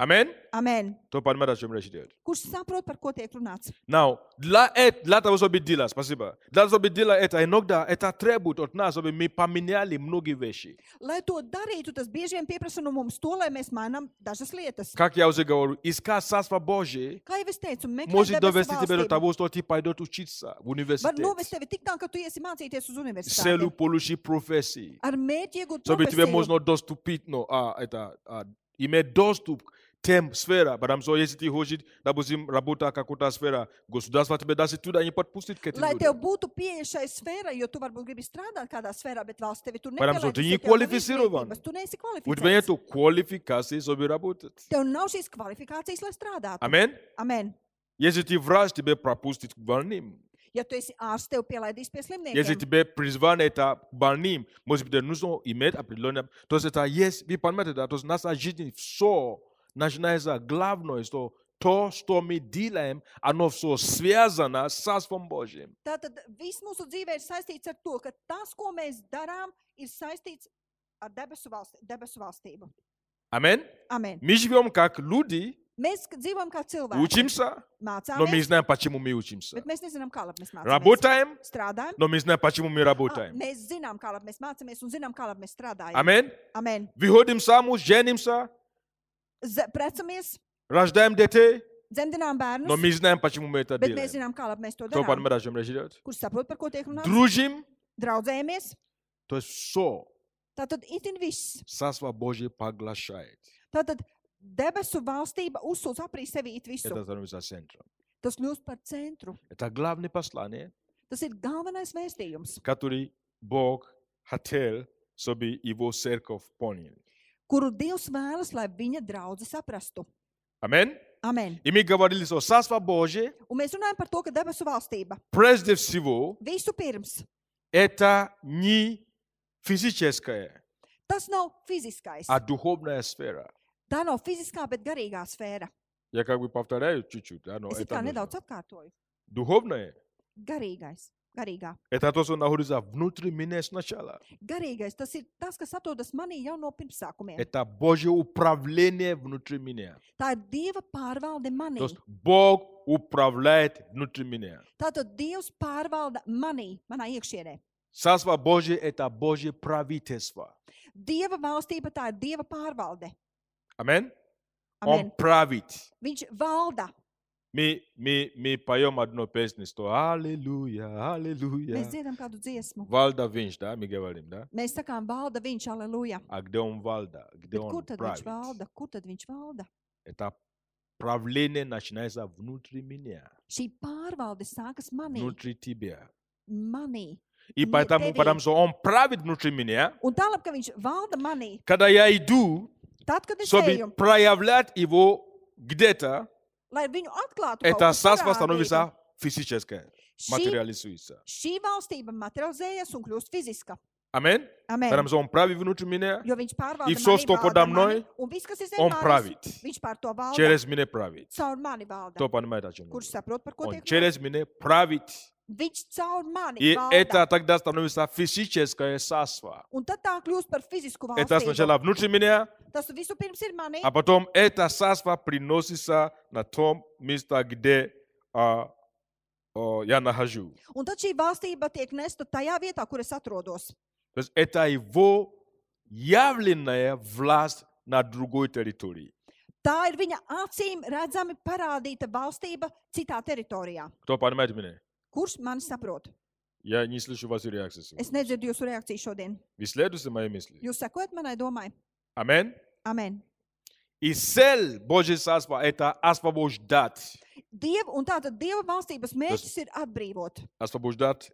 A: Амин.
B: amen,
A: То понимает, о чем речь идет.
B: kurš saprot, par ko tiek runāts.
A: Now, для, эт- для того, чтобы делать, спасибо, для того, чтобы делать это, иногда это требует от нас, чтобы мы поменяли многие вещи.
B: Lai to darītu, tas bieži vien pieprasa no mums to, lai mēs mainām dažas lietas.
A: Как я уже говорю, искать Царство Божие
B: Kā jau es teicu, meklējot
A: может
B: debesu
A: довести тебя до
B: valstību
A: того, что ты пойдешь учиться в
B: var novest
A: университет
B: tevi tik tālu, ka tu iesi mācīties uz
A: с целью
B: universitāti.
A: получить профессии.
B: Ar mērķi iegūt
A: чтобы тебе
B: profesiju,
A: можно доступить, но, а, это, а, иметь доступ к тем сферам, потому что если ты хочешь, допустим, работать в какой-то сфере, государство тебя даже туда не подпустит к этим
B: lai tev
A: людям.
B: būtu pieeja šai sfērai, jo tu varbūt gribi strādāt kādā sfērā, bet valsts tevi tur
A: Param,
B: nepalaidīs,
A: tu
B: jo
A: viņi
B: tev nav
A: kvalificirovanā.
B: izglītības, Tu neesi
A: У тебя нет
B: kvalificēts.
A: квалификации, чтобы работать.
B: Tev nav šīs kvalifikācijas, lai strādātu.
A: Амин?
B: Amen.
A: Если ты врач, тебя пропустит к больным.
B: Ja tu esi ārsts, tev pielaidīs pie
A: Если
B: slimniekiem.
A: тебе призван это к больным, может быть, нужно иметь определенное... То есть это есть, вы понимаете, да? То есть наша жизнь все начинается главное, что то, что мы делаем, оно все связано с Царством Божьим.
B: Tātad viss mūsu dzīvē ir saistīts ar to, ka tas, ko mēs darām, ir saistīts ar debesu, valst, debesu valstību.
A: Амин?
B: Amen.
A: Мы живем как люди,
B: Mēs k- dzīvojam kā cilvēki.
A: учимся, но мы не
B: Mācāmies,
A: знаем, почему мы учимся.
B: bet mēs nezinām, kā labi mēs mācāmies.
A: Работаем,
B: Strādājam.
A: но мы не знаем, почему мы
B: Ah,
A: работаем.
B: mēs zinām, kā labi mēs mācāmies un zinām, kā labi mēs strādājam.
A: Амин?
B: Amen.
A: Выходим замуж, женимся,
B: Z precamies,
A: рождаем детей, но
B: dzemdinām bērnus,
A: мы не знаем, почему мы это
B: bet mēs
A: делаем.
B: zinām, kā labi mēs to
A: Кто
B: darām.
A: понимает, о чем речь идет?
B: Kurš saprot, par ko tiek runāts?
A: Дружим,
B: Draudzējamies.
A: то есть все
B: Tātad itin viss.
A: Царство Божье поглощает.
B: Tātad debesu valstība uzsūc aprī sevi it visu.
A: Это становится центром.
B: Tas kļūst par centru.
A: Это главное послание,
B: Tas ir galvenais vēstījums,
A: которое Бог хотел, чтобы его церковь поняла.
B: kuru Dievs vēlas, lai viņa draugi saprastu.
A: Амин?
B: Amen.
A: И мы говорили, что Царство Божье,
B: Un mēs runājam par to, ka debesu valstība
A: прежде всего,
B: vispirms
A: это не физическая,
B: tas nav fiziskais.
A: а духовная сфера.
B: Tā nav fiziskā, bet garīgā sfēra.
A: Я как бы повторяю чуть-чуть, да, но
B: Es it
A: это
B: kā
A: нужно.
B: nedaudz atkārtoju.
A: Духовное
B: Garīgais. Garīgā.
A: Это то, что находится внутри меня сначала.
B: Garīgais tas ir tas, kas atrodas manī jau no pirmsākumiem.
A: Это Божье управление внутри меня.
B: Tā ir Dieva pārvalde manī.
A: То есть Бог управляет внутри меня.
B: Tātad Dievs pārvalda manī, manā iekšienē.
A: Царство Божье – это Божье правительство.
B: Dieva valstība tā ir Dieva pārvalde.
A: Амин? Он
B: Amen.
A: правит.
B: Viņš valda.
A: Мы, мы, мы поем одну песню, что «Аллилуйя, аллилуйя».
B: Mēs dziedam kādu dziesmu.
A: Вальда Винч, да, мы говорим, да?
B: Mēs sakām, valda viņš, aleluja.
A: А где он Вальда? Где
B: Bet kur
A: он
B: tad
A: правит?
B: viņš valda? Kur tad viņš valda?
A: Это правление начинается внутри меня,
B: Šī pārvalde sākas manī.
A: внутри тебя.
B: manī.
A: И
B: Не
A: поэтому,
B: перед.
A: потому что он правит внутри меня,
B: Un tālāk, ka viņš valda manī,
A: Когда я иду,
B: tad, kad es eju,
A: чтобы проявлять его где-то,
B: lai viņu atklātu, kaut
A: это
B: kur
A: царство
B: parādītu,
A: становится физическое,
B: šī,
A: материализуется.
B: šī valstība materializējas un kļūst fiziska.
A: Амин?
B: Amen.
A: Потому что он правит внутри меня,
B: Jo viņš pārvalda
A: If so,
B: mani,
A: što
B: valda
A: podam
B: mani,
A: noi,
B: un viss, kas ir zem
A: он
B: manis,
A: правит.
B: viņš pār to valda,
A: Через меня правит.
B: caur mani valda.
A: Кто понимает, о чем я
B: Kurš
A: говорю?
B: saprot, par ko
A: Он
B: tiek runāts?
A: через меня правит.
B: Viņš caur mani
A: И
B: valda.
A: это тогда становится физическое царство.
B: Un tad tā kļūst par fizisku
A: Это
B: valstību.
A: сначала внутри меня,
B: Tas visu pirms ir manī.
A: а потом это царство приносится на том месте, где а, а, я нахожусь.
B: Un tad šī valstība tiek nesta tajā vietā, kur es atrodos.
A: То есть это его явленная власть на другой территории.
B: Tā ir viņa acīm redzami parādīta valstība citā teritorijā.
A: Кто понимает меня?
B: Kurš man saprot?
A: Я не слышу вашей реакции. сегодня.
B: Es nedzirdu jūsu reakciju šodien.
A: Вы следуете моей мысли?
B: Jūs sekojat manai domai?
A: Аминь.
B: Amen.
A: И цель Божьей царства – это освобождать.
B: Dieva un tātad Dieva valstības mērķis ir atbrīvot.
A: Освобождать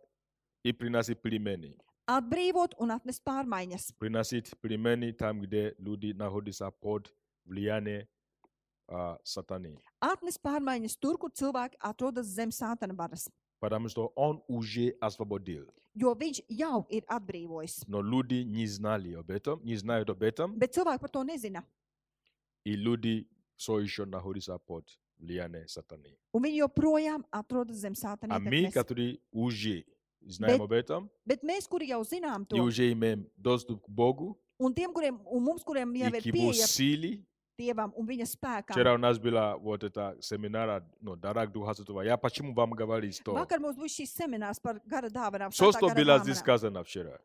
A: и приносить перемены.
B: Atbrīvot un atnest pārmaiņas.
A: Приносить перемены там, где люди находятся под влиянием а, сатаны.
B: Atnest pārmaiņas tur, kur cilvēki atrodas zem sātana varas.
A: Потому что он уже освободил.
B: Jo viņš jau ir atbrīvojis.
A: Но люди не знали об этом, не знают об этом.
B: Bet cilvēki par to nezina.
A: И люди все еще находятся под влиянием сатаны.
B: Un viņi joprojām atrodas zem sātana
A: А мы,
B: ietekmes.
A: которые уже знаем
B: Бе-
A: об этом,
B: Bet mēs, kuri jau zinām
A: и
B: to,
A: уже имеем доступ к Богу,
B: un tiem, kuriem, un mums, kuriem
A: и
B: jau
A: к
B: ir
A: Его
B: pieeja
A: силе,
B: Dievam un viņa spēkam.
A: Вчера у нас была вот эта семинара, но дарак Духа Святого. Я почему вам говорил, что
B: Vakar mums bija šis seminārs par gara dāvanām.
A: все,
B: svētā
A: что
B: gara
A: было здесь
B: dāvanām.
A: сказано вчera,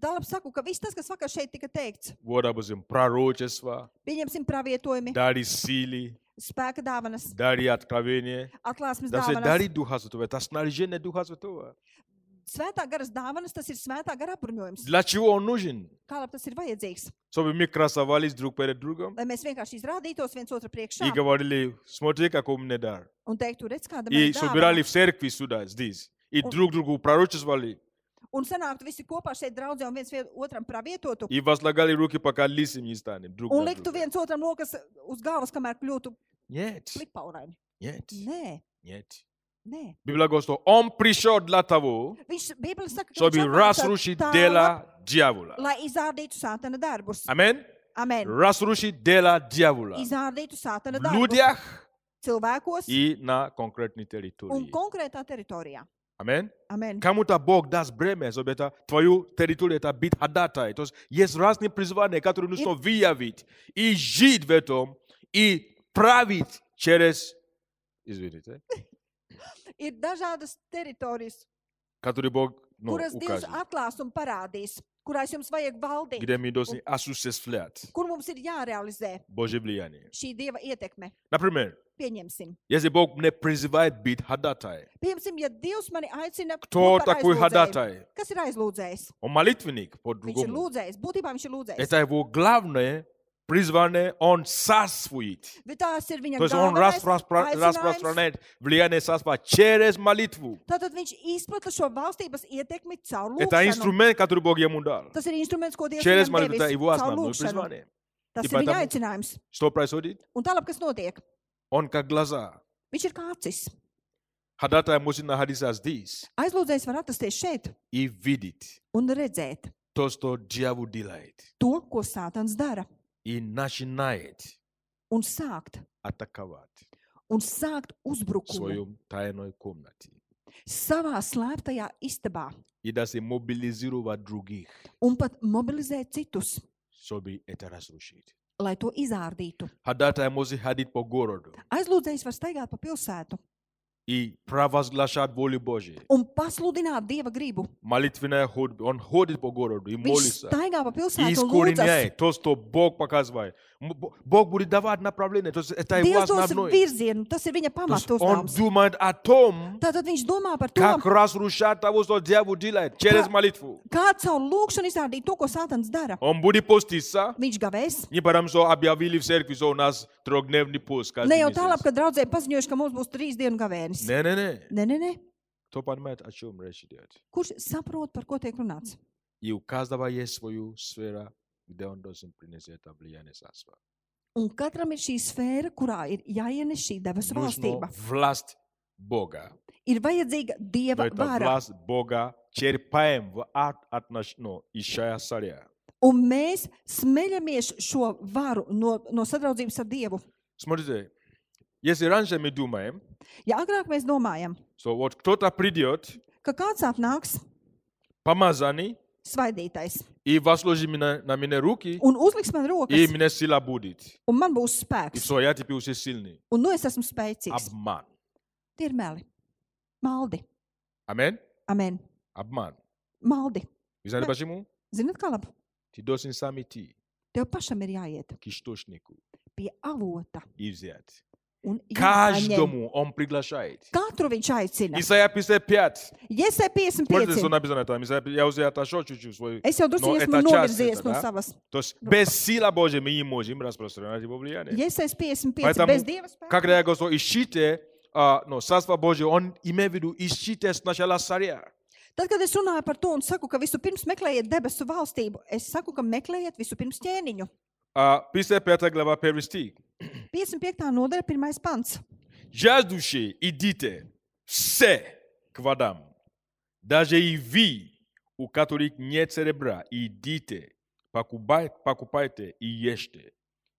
B: Tālāk saku, ka viss tas, kas vakar šeit tika teikts,
A: вот, допустим, пророчество,
B: pieņemsim pravietojumi,
A: дары силы,
B: spēka dāvanas,
A: дары откровения,
B: atklāsmes
A: даже
B: dāvanas.
A: дары Духа Святого, это снаряжение Духа Святого.
B: Svētā garas dāvanas, tas ir svētā gara apbruņojums.
A: Для чего он нужен?
B: Kā lai tas ir vajadzīgs?
A: Чтобы мы красовались друг перед другом
B: Lai mēs vienkārši izrādītos viens otru
A: и
B: priekšā
A: говорили, смотри, какой у меня дар.
B: un teiktu, redz, kāda
A: И
B: ir
A: собирали в церкви сюда, здесь, и
B: Он-
A: друг другу пророчествовали,
B: Un sanāktu visi kopā šeit draudzē un viens vien- otram pravietotu.
A: и возлагали руки, пока лисим не станем друг
B: Un
A: на
B: liktu
A: друга.
B: viens otram rokas uz galvas, kamēr kļūtu
A: Нет,
B: klipauraini.
A: нет,
B: Nē,
A: нет.
B: nē.
A: Библия говорит, что он пришел для того,
B: Viņš Bībele saka, ka viņš
A: чтобы
B: atnāca
A: разрушить
B: tālāk,
A: дела дьявола.
B: Lai izrādītu sātana darbus.
A: Амин.
B: Amen.
A: Разрушить дела дьявола
B: Izrādītu sātana
A: в
B: darbus
A: людях
B: cilvēkos
A: и на конкретной
B: un
A: территории.
B: konkrētā teritorijā.
A: Амин.
B: Amen.
A: Кому-то Бог даст бремя, чтобы это твою территорию, это быть ходатай. То есть есть разные призвания, которые нужно выявить и жить в этом, и править через,
B: eh?"
A: извините,
B: Ir dažādas teritorijas,
A: которые Бог ну,
B: kuras Dievs
A: укажет,
B: atklās un parādīs, kurās jums vajag valdīt,
A: где мы должны осуществлять
B: kur mums ir jārealizē
A: Божье влияние.
B: šī Dieva ietekme.
A: Например,
B: Pieņemsim,
A: Если Бог мне призывает быть ходатай,
B: Pieņemsim ja Dievs mani aicina,
A: кто
B: kļūt par
A: такой
B: aizlūdzēju.
A: ходатай?
B: Kas ir aizlūdzējis?
A: Он молитвенник
B: Viņš ir
A: по-другому.
B: lūdzējis, būtībā viņš ir lūdzējis.
A: Это его главное призвание, он сасвует.
B: Bet tās ir viņa
A: То есть он
B: galvenais
A: распро- распро-
B: aicinājums.
A: распространяет влияние сасва через молитву.
B: Tātad viņš izplata šo valstības ietekmi caur
A: Это
B: lūgšanu.
A: инструмент, который Бог ему дал.
B: Tas ir instruments, ko Dievs
A: Через
B: viņam
A: молитву это
B: devis,
A: его
B: caur
A: основное
B: lūgšanu.
A: призвание.
B: Tas
A: И
B: ir viņa
A: поэтому-
B: aicinājums.
A: Что происходит?
B: Un tālāk, kas notiek?
A: Он как глаза.
B: Viņš ir kā acis.
A: Ходатай может находиться здесь
B: Aizlūdzējs var atrasties šeit
A: и видеть
B: un redzēt
A: то, что дьявол делает.
B: to, ko Sātans dara,
A: И начинает
B: un sākt,
A: атаковать
B: un sākt
A: в
B: uzbrukumu
A: своем тайной комнате.
B: savā slēptajā istabā
A: и даже мобилизировать других,
B: un pat mobilizēt citus,
A: чтобы это разрушить.
B: lai to izārdītu.
A: Ходатай может ходить по городу
B: Aizlūdzējs var staigāt pa pilsētu
A: и провозглашать волю Божию.
B: un pasludināt dieva gribu.
A: Молитвенная ходьба. Он ходит по городу и
B: Viņš
A: молится.
B: staigā pa
A: И
B: pilsētu un lūdzas.
A: искореняет то, что Бог показывает. М- Бо- Бог будет давать направление. То есть это его
B: Dievs dos
A: основное.
B: virzienu, tas ir viņa
A: То есть
B: pamatu
A: он
B: uzdevums.
A: думает о том,
B: Tātad viņš domā par to,
A: как разрушать того, что дьявол делает через
B: Ka-
A: молитву.
B: kā caur lūgšanu izrādīt to, ko Sātans dara.
A: Он будет поститься.
B: Viņš gavēs.
A: Не потому что объявили в церкви, что у нас трехдневный пост. каждый
B: Ne jau
A: месяц.
B: tālāk, kad draudzē paziņojuši, ka mums būs trīs dienu gavēnis.
A: Не, не, не.
B: Nē, nē, nē.
A: Кто понимает, о чем речь идет?
B: Kurš saprot, par ko tiek runāts?
A: И у каждого есть свою сфера, где он должен принести это влияние царства.
B: Un katram ir šī sfēra, kurā ir jāienes šī debesu
A: Нужно
B: valstība.
A: власть Бога.
B: Ir vajadzīga
A: Но
B: dieva
A: это
B: vara.
A: власть Бога черпаем в от, от наш- ну, Ишая царя.
B: Un mēs smeļamies šo varu no, no sadraudzības ar dievu.
A: Смотрите, если раньше мы думаем,
B: Ja agrāk mēs domājam,
A: что вот кто-то придет,
B: ka kāds atnāks,
A: помазанный,
B: svaidītais,
A: и возложит меня- на меня руки,
B: un uzliks man
A: и
B: rokas,
A: мне сила будет.
B: un man būs
A: И
B: spēks,
A: все, я теперь уже сильный.
B: un nu es esmu spēcīgs.
A: Обман.
B: Tie ir meli. Maldi.
A: Амин?
B: Amen.
A: Обман.
B: Maldi.
A: Вы знаете
B: Да.
A: почему?
B: Ziniet, kā labi?
A: Ты должен сам идти.
B: Tev pašam ir jāiet
A: к источнику
B: pie avota
A: и взять.
B: un jāsaņem.
A: Каждому он приглашает.
B: Katru viņš aicina.
A: Исайя 55.
B: Iesai
A: Смотрите,
B: 55.
A: что написано там. Исайя- Я уже отошел чуть-чуть. в свой-
B: Es jau drusku
A: No,
B: esmu
A: etā čāsta
B: novirzies
A: tad,
B: no
A: ā?
B: savas.
A: То есть без силы Божьей мы не можем распространять его влияние.
B: Iesai 55.
A: Поэтому,
B: Bez dieva spēka.
A: Когда я говорю, ищите, а, ну, Царство Божие, он имеет в виду, ищите сначала царя.
B: Tad, kad es runāju par to un saku, ka vispirms meklējiet debesu valstību, es saku, ka meklējiet vispirms ķēniņu.
A: А, 55 глава, 1 стих.
B: 55. nodaļa, 1. pants.
A: Жаждущие, идите все к водам. Даже и вы, у которых нет серебра, идите, покупай- покупайте и ешьте.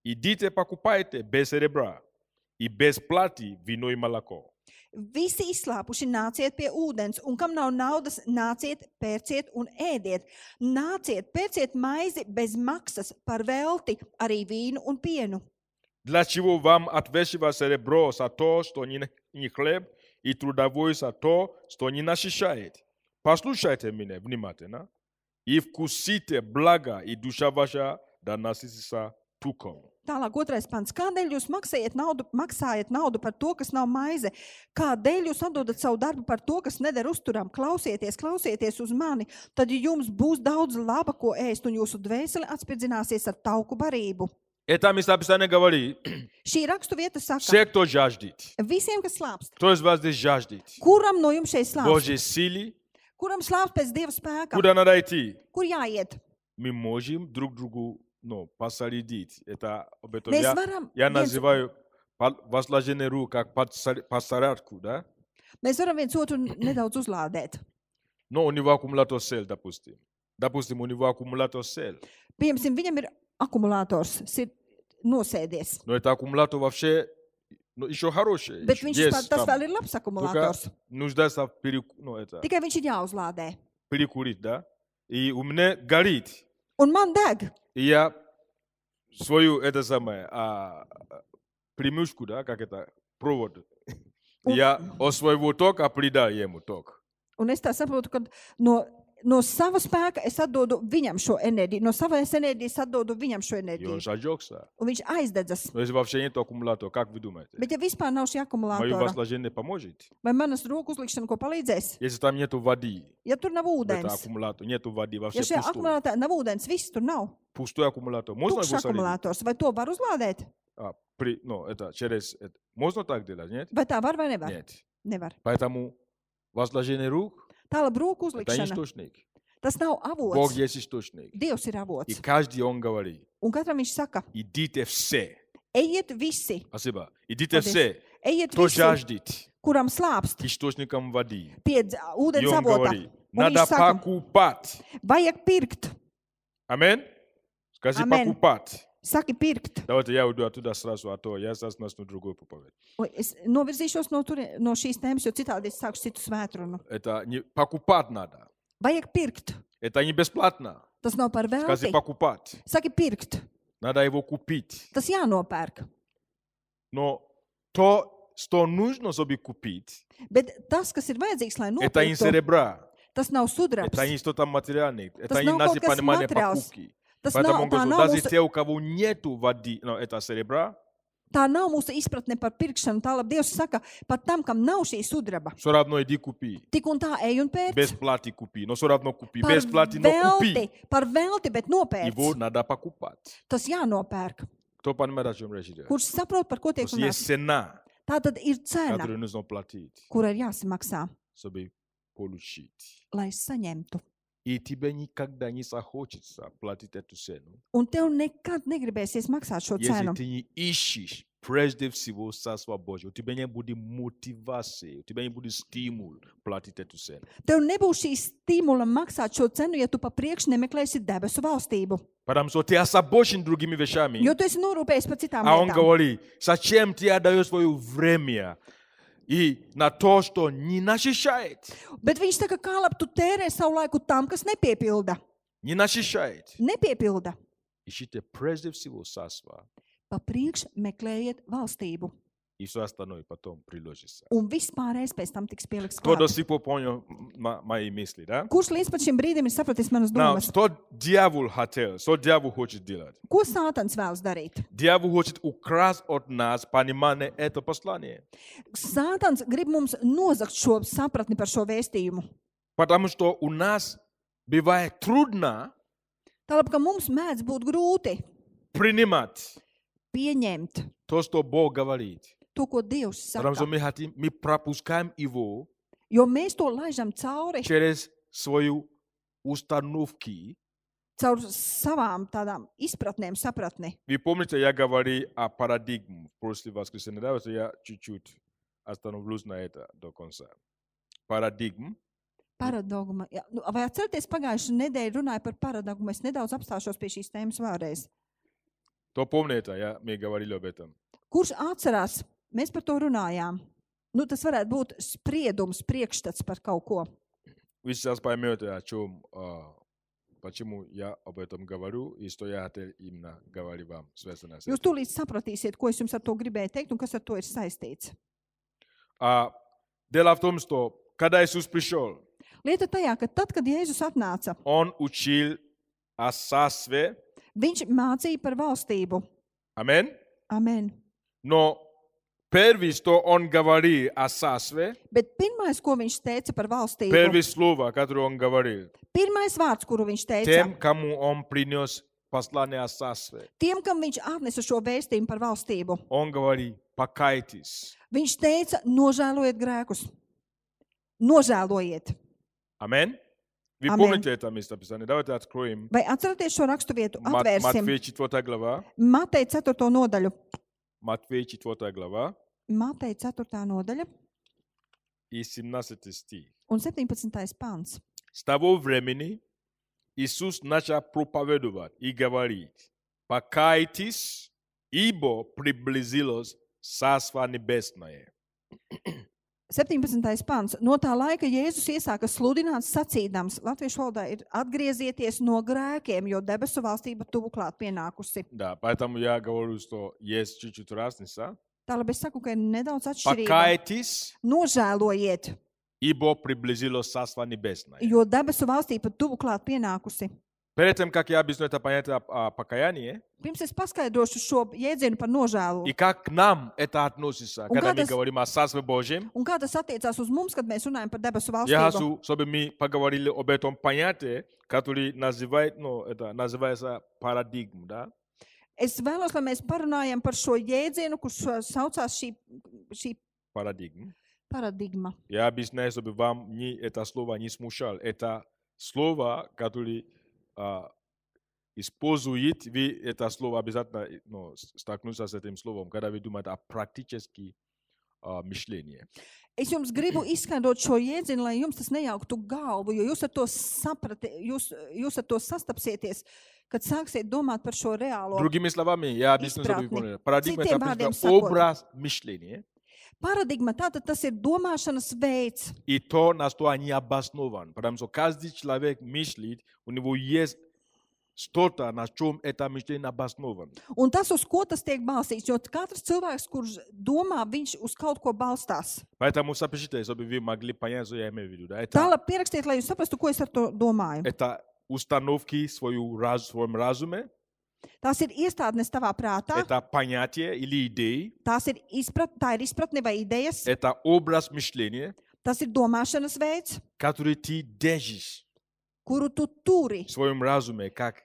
A: Идите, покупайте без серебра и без платы вино и молоко.
B: Visi izslāpuši, nāciet pie ūdens, un kam nav naudas, nāciet, pērciet un ēdiet. Nāciet, pērciet maizi bez maksas, par velti, arī vīnu un pienu.
A: Для чего вам отвешивать серебро за то, что не, не хлеб, и трудовой за то, что не насыщает? Послушайте меня внимательно и вкусите благо, и душа ваша да насытится туком.
B: Tālāk, otrais pants. Kādēļ jūs maksājat naudu, maksājat naudu par to, kas nav maize? Kādēļ jūs atdodat savu darbu par to, kas neder uzturām? Klausieties, klausieties uz mani, tad jums būs daudz laba, ko ēst, un jūsu dvēsele atspērdzināsies ar tauku barību.
A: Это местописание говорит,
B: Šī raksturvieta saka,
A: все, кто жаждет,
B: visiem, kas slāpst,
A: кто из вас здесь жаждет
B: kuram no jums šeit slāpst,
A: Божьей силы,
B: kuram slāpst pēc dieva spēka,
A: куда надо идти,
B: kur jāiet?
A: мы можем друг другу ну, посолидить. Это об этом
B: Mēs
A: я,
B: varam,
A: я
B: viens,
A: называю пол- возложение рук как подсо- посорадку, да?
B: mēs varam viens otru nedaudz uzlādēt.
A: Но у него аккумулятор сел, допустим. Допустим, у него аккумулятор сел.
B: Piemēram, viņam ir akumulators, tas ir nosēdies.
A: Но это аккумулятор вообще ну, еще хороший.
B: Bet
A: еще
B: viņš Nu
A: есть
B: yes, tas
A: там.
B: vēl ir labs
A: Только
B: akumulators.
A: нуждается в переку- ну, это,
B: Tikai viņš ir jāuzlādē.
A: перекурить, да? И
B: E
A: у меня горит.
B: Un man deg.
A: И я свою, это самое, а, а, примушку, да, как это, провод. Я от своего тока придал
B: e
A: ему ток.
B: Un es tā saprotu, ka no, no sava spēka es atdodu viņam šo enerģiju, no savas enerģijas atdodu viņam šo
A: И он
B: enerģiju.
A: зажегся.
B: E Un viņš aizdedzas.
A: Но если вообще нет аккумулятора, как вы думаете?
B: Bet, ja vispār nav
A: Мое
B: šī akumulātora,
A: возложение поможет?
B: vai manas rokas uzlikšana ko palīdzēs,
A: Если там нету воды,
B: ja tur nav
A: в этом
B: ūdens,
A: аккумуляторе, нету воды, вообще
B: ja šajā
A: пустой.
B: akumulātorā nav ūdens, viss tur nav.
A: Пустой аккумулятор. Можно его
B: Tukšs
A: солидить?
B: akumulators, vai to var uzlādēt?
A: А, при- ну, это через... это- Можно так делать, нет?
B: Vai tā var vai nevar?
A: Нет.
B: Nevar.
A: Поэтому возложение рук
B: Tālāk,
A: –
B: rokas
A: это
B: uzlikšana.
A: источник.
B: Tas nav
A: Бог
B: avots.
A: есть источник.
B: Dievs ir
A: И
B: avots.
A: каждый он говорит,
B: Un katram viņš saka,
A: идите все.
B: ejiet visi,
A: Спасибо. Идите
B: Подожди.
A: все,
B: ejiet
A: кто
B: visi,
A: жаждет
B: kuram slāpst.
A: к источникам воды.
B: pie dz-
A: И
B: ūdens
A: он
B: avota.
A: говорит,
B: Un
A: надо
B: viņš saka,
A: покупать.
B: vajag pirkt,
A: Амин? Скажи
B: Амен.
A: покупать.
B: saki, pirkt.
A: Давайте я уйду оттуда сразу, а то я сейчас начну другую проповедь.
B: Un Es novirzīšos no, turi, no šīs tēmas, jo citādi es sāku citu svētrunu.
A: Это не покупать надо.
B: Vajag pirkt.
A: Это не бесплатно.
B: Tas nav par
A: Скажи
B: velti.
A: покупать.
B: Saki, pirkt.
A: Надо его купить.
B: Tas jānopērk.
A: Но то, что нужно, чтобы купить,
B: Bet tas, kas ir vajadzīgs, lai
A: это не
B: nopērktu,
A: серебра,
B: tas nav sudrabs.
A: это не что-то материальное, это
B: Тас
A: не
B: нау
A: наше
B: колкас
A: понимание
B: материалс.
A: покупки.
B: Tas nav,
A: Поэтому он
B: tā,
A: говорит,
B: nav
A: даже
B: mūsu,
A: те, у кого нету воды, но это серебра,
B: tā nav mūsu izpratne par pirkšanu. Tālāk Dievs saka, pat tam, kam nav šī sudraba,
A: все равно иди купи.
B: tik un tā ej un
A: Без
B: pērc.
A: платы купи, но все равно купи.
B: Par
A: Без платы, но
B: velti,
A: купи.
B: par velti, bet
A: Его
B: nopērc.
A: надо покупать.
B: Tas jānopērk.
A: Кто понимает, о чем речь идет?
B: kurš saprot, par ko
A: То
B: tiek
A: есть
B: runāts.
A: есть цена,
B: Tā tad ir cena,
A: которую нужно платить,
B: kura ir jāsamaksā,
A: чтобы получить.
B: lai saņemtu.
A: И тебе никогда не захочется платить эту цену,
B: Un tev nekad negribēsies maksāt šo
A: Если
B: cenu.
A: ты не ищешь прежде всего Царство Божье, у тебя не будет мотивации, у тебя не будет стимул платить эту цену.
B: Tev nebūs šī stimula maksāt šo cenu, ja tu pa priekšu nemeklēsi debesu valstību.
A: Потому что ты озабочен другими вещами.
B: Jo tu esi norūpējies par citām
A: А он
B: lietām.
A: говорит, зачем ты отдаешь свое время и на то, что не насыщает,
B: Bet viņš saka, kā labi tu tērē savu laiku tam, kas nepiepilda.
A: не насыщает.
B: Nepiepilda.
A: Ищите прежде всего Царство
B: Pa priekšu meklējiet valstību.
A: и все остальное потом приложится.
B: Un vispārējais pēc tam tiks pieliks
A: Кто до
B: klāt.
A: сих пор понял м- ма- мои мысли, да?
B: Kurš līdz pat šim brīdim ir sapratis manas
A: Now,
B: domas?
A: что дьявол хотел, что дьявол хочет делать?
B: Ko Sātans vēlas darīt?
A: Дьявол хочет украсть от нас понимание это послание.
B: Sātans grib mums nozagt šo sapratni par šo vēstījumu.
A: Потому что у нас бывает трудно
B: Tālāk, ka mums mēdz būt grūti
A: принимать
B: pieņemt
A: то, что Бог говорит.
B: to, ko Dievs
A: Потому что
B: saka.
A: мы, хотим, мы пропускаем его
B: Jo mēs to laižam cauri,
A: через свою установки.
B: caur savām tādām izpratnēm, sapratni.
A: Вы помните, я говорил о парадигме в прошлое воскресенье. Давайте я чуть-чуть остановлюсь на это до конца. Парадигм.
B: Paradogma. Jā, nu, vai atceraties, pagājušā nedēļa runāja par paradogmu? Es nedaudz apstāšos pie šīs tēmas vēlreiz.
A: Кто помнит это? Я, мы говорили об этом.
B: Kurš atcerās? Mēs par to runājām. Nu, tas varētu būt spriedums, priekšstats par kaut ko.
A: Вы сейчас поймете, о чем, а, почему я об этом говорю и что я хотел именно говорить вам, связанное с
B: Jūs
A: этим.
B: tūlīt sapratīsiet, ko es jums ar to gribēju teikt un kas ar to ir saistīts.
A: А, дело в том, что когда Иисус пришел,
B: Lieta tajā, ka tad, kad Jēzus atnāca,
A: Он учил о царстве.
B: viņš mācīja par valstību.
A: Аминь.
B: Amen.
A: Но первое, что он говорил о царстве,
B: Bet pirmais, ko viņš teica par valstību,
A: первое слово, которое он говорил,
B: pirmais vārds, kuru viņš teica,
A: тем, кому он принес послание о царстве,
B: tiem, kam viņš atnesa šo vēstījumu par valstību,
A: он говорит, покайтесь.
B: viņš teica, nožēlojiet grēkus. Nožēlojiet.
A: Аминь. Вы
B: Аминь.
A: помните это местописание? Давайте откроем.
B: Vai atceraties šo raksturvietu?
A: Мат-
B: Atvērsim
A: Матфея 4 глава.
B: Mateja 4. nodaļu.
A: Матфея 4 глава
B: Mateja 4. nodaļa
A: и 17 стих.
B: un 17. pāns.
A: С того времени Иисус начал проповедовать и говорить, покайтесь, ибо приблизилось Царство Небесное.
B: 17. pāns. No tā laika Jēzus iesāka sludināt, sacīdams, Latviešu valodā ir atgriezieties no grēkiem, jo debesu valstība tuvu klāt pienākusi.
A: Да, поэтому я говорю, что есть чуть-чуть разница.
B: Tālāk es saku, ka ir nedaudz atšķirīga.
A: Покайтесь,
B: Nožēlojiet,
A: ибо приблизилось Царство Небесное.
B: jo debesu valstība tuvu klāt pienākusi.
A: Перед тем, как я объясню это понятие о, о покаянии,
B: Pirms es paskaidrošu šo jēdzienu par
A: и
B: nožēlu.
A: как к нам это относится,
B: У
A: когда мы
B: Гадас-
A: говорим о Царстве Божьем,
B: Un kā tas attiecās uz mums, kad mēs runājam par debesu
A: я
B: valstību?
A: хочу, чтобы мы поговорили об этом понятии, которое называет, ну, это называется парадигм, да?
B: Es vēlos, lai mēs parunājam par šo jēdzienu, kurš ā, saucās šī, šī
A: Парадигм.
B: paradigma.
A: Я объясняю, чтобы вам не, это слово не смущало. Это слово, которое а, использует, вы это слово обязательно э, ну, с- столкнутся с этим словом, когда вы думаете о практическом мышлении.
B: Es jums gribu izskaidrot šo jēdzienu, lai jums tas nejauktu galvu, jo jūs ar to, saprati, jūs, jūs ar to sastapsieties, kad sāksiet domāt par šo reālo.
A: Другими словами, я объясню, чтобы вы
B: Исправный.
A: поняли. Парадигма – это
B: Цитем
A: в принципе,
B: Вадим Сокол.
A: образ мышления
B: Paradigma tātad tas ir domāšanas veids,
A: и то, на что они обоснованы. Потому что каждый человек мыслит, у него есть что-то, на чем это мышление обосновано.
B: un tas, uz ko tas tiek balstīts. Jo katrs cilvēks, kurš domā, viņš uz kaut ko balstās.
A: Поэтому запишите, чтобы вы могли понять, что я имею в виду. Да? Это
B: Tālāk pierakstiet, lai jūs saprastu, ko es ar to domāju.
A: это установки свою раз, в своем разуме,
B: Tās ir iestādnes tavā prātā.
A: это понятие или идеи,
B: Tās ir, izprat, tā ir izpratne vai idejas,
A: это образ мышления,
B: tas ir domāšanas veids,
A: который ты держишь
B: kuru tu turi,
A: в своем разуме как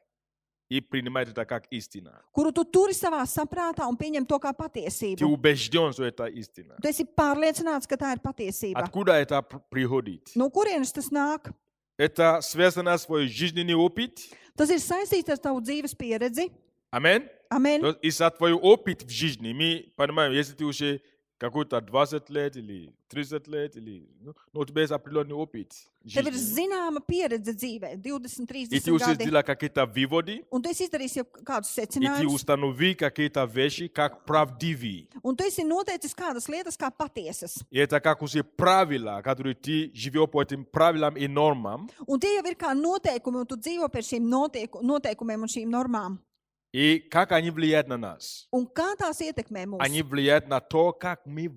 A: и принимает это как истина.
B: kuru tu turi savā saprātā un pieņem to kā
A: Ты
B: patiesību.
A: убежден, что это истина.
B: Tu esi pārliecināts, ka tā ir patiesība.
A: Откуда это пр- приходит?
B: No kurienes tas nāk?
A: Это связано с твоей жизненный опыт.
B: Tas ir saistīts ar tavu dzīves pieredzi.
A: Аминь.
B: Amen.
A: То есть Из-за твоего опыта в жизни мы понимаем, если ты уже какой-то 20 лет или 30 лет, или, ну, ну, у тебя есть определенный опыт
B: Tev ir
A: жизни.
B: zināma pieredze dzīvē, 20,
A: И
B: 30
A: ты уже
B: gadi.
A: сделал какие-то выводы,
B: Un tu esi izdarījis jau kādus
A: и ты
B: secinājumus,
A: установил какие-то вещи как правдивые.
B: un tu esi noteicis kādas lietas kā patiesas.
A: И это как уже правила, которые ты живешь по этим правилам и нормам,
B: Un tie jau ir kā noteikumi, un tu dzīvo pēc šiem noteiku- noteikumiem un šīm normām.
A: и И как они влияют на нас?
B: Un kā tās ietekmē mūs?
A: Они влияют на то, как мы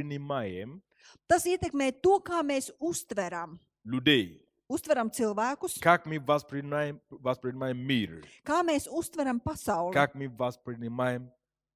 A: воспринимаем
B: Tas ietekmē to, kā mēs uztveram.
A: людей,
B: Uztveram cilvēkus,
A: как мы воспринимаем, воспринимаем мир,
B: kā mēs uztveram pasauli, kā,
A: как мы воспринимаем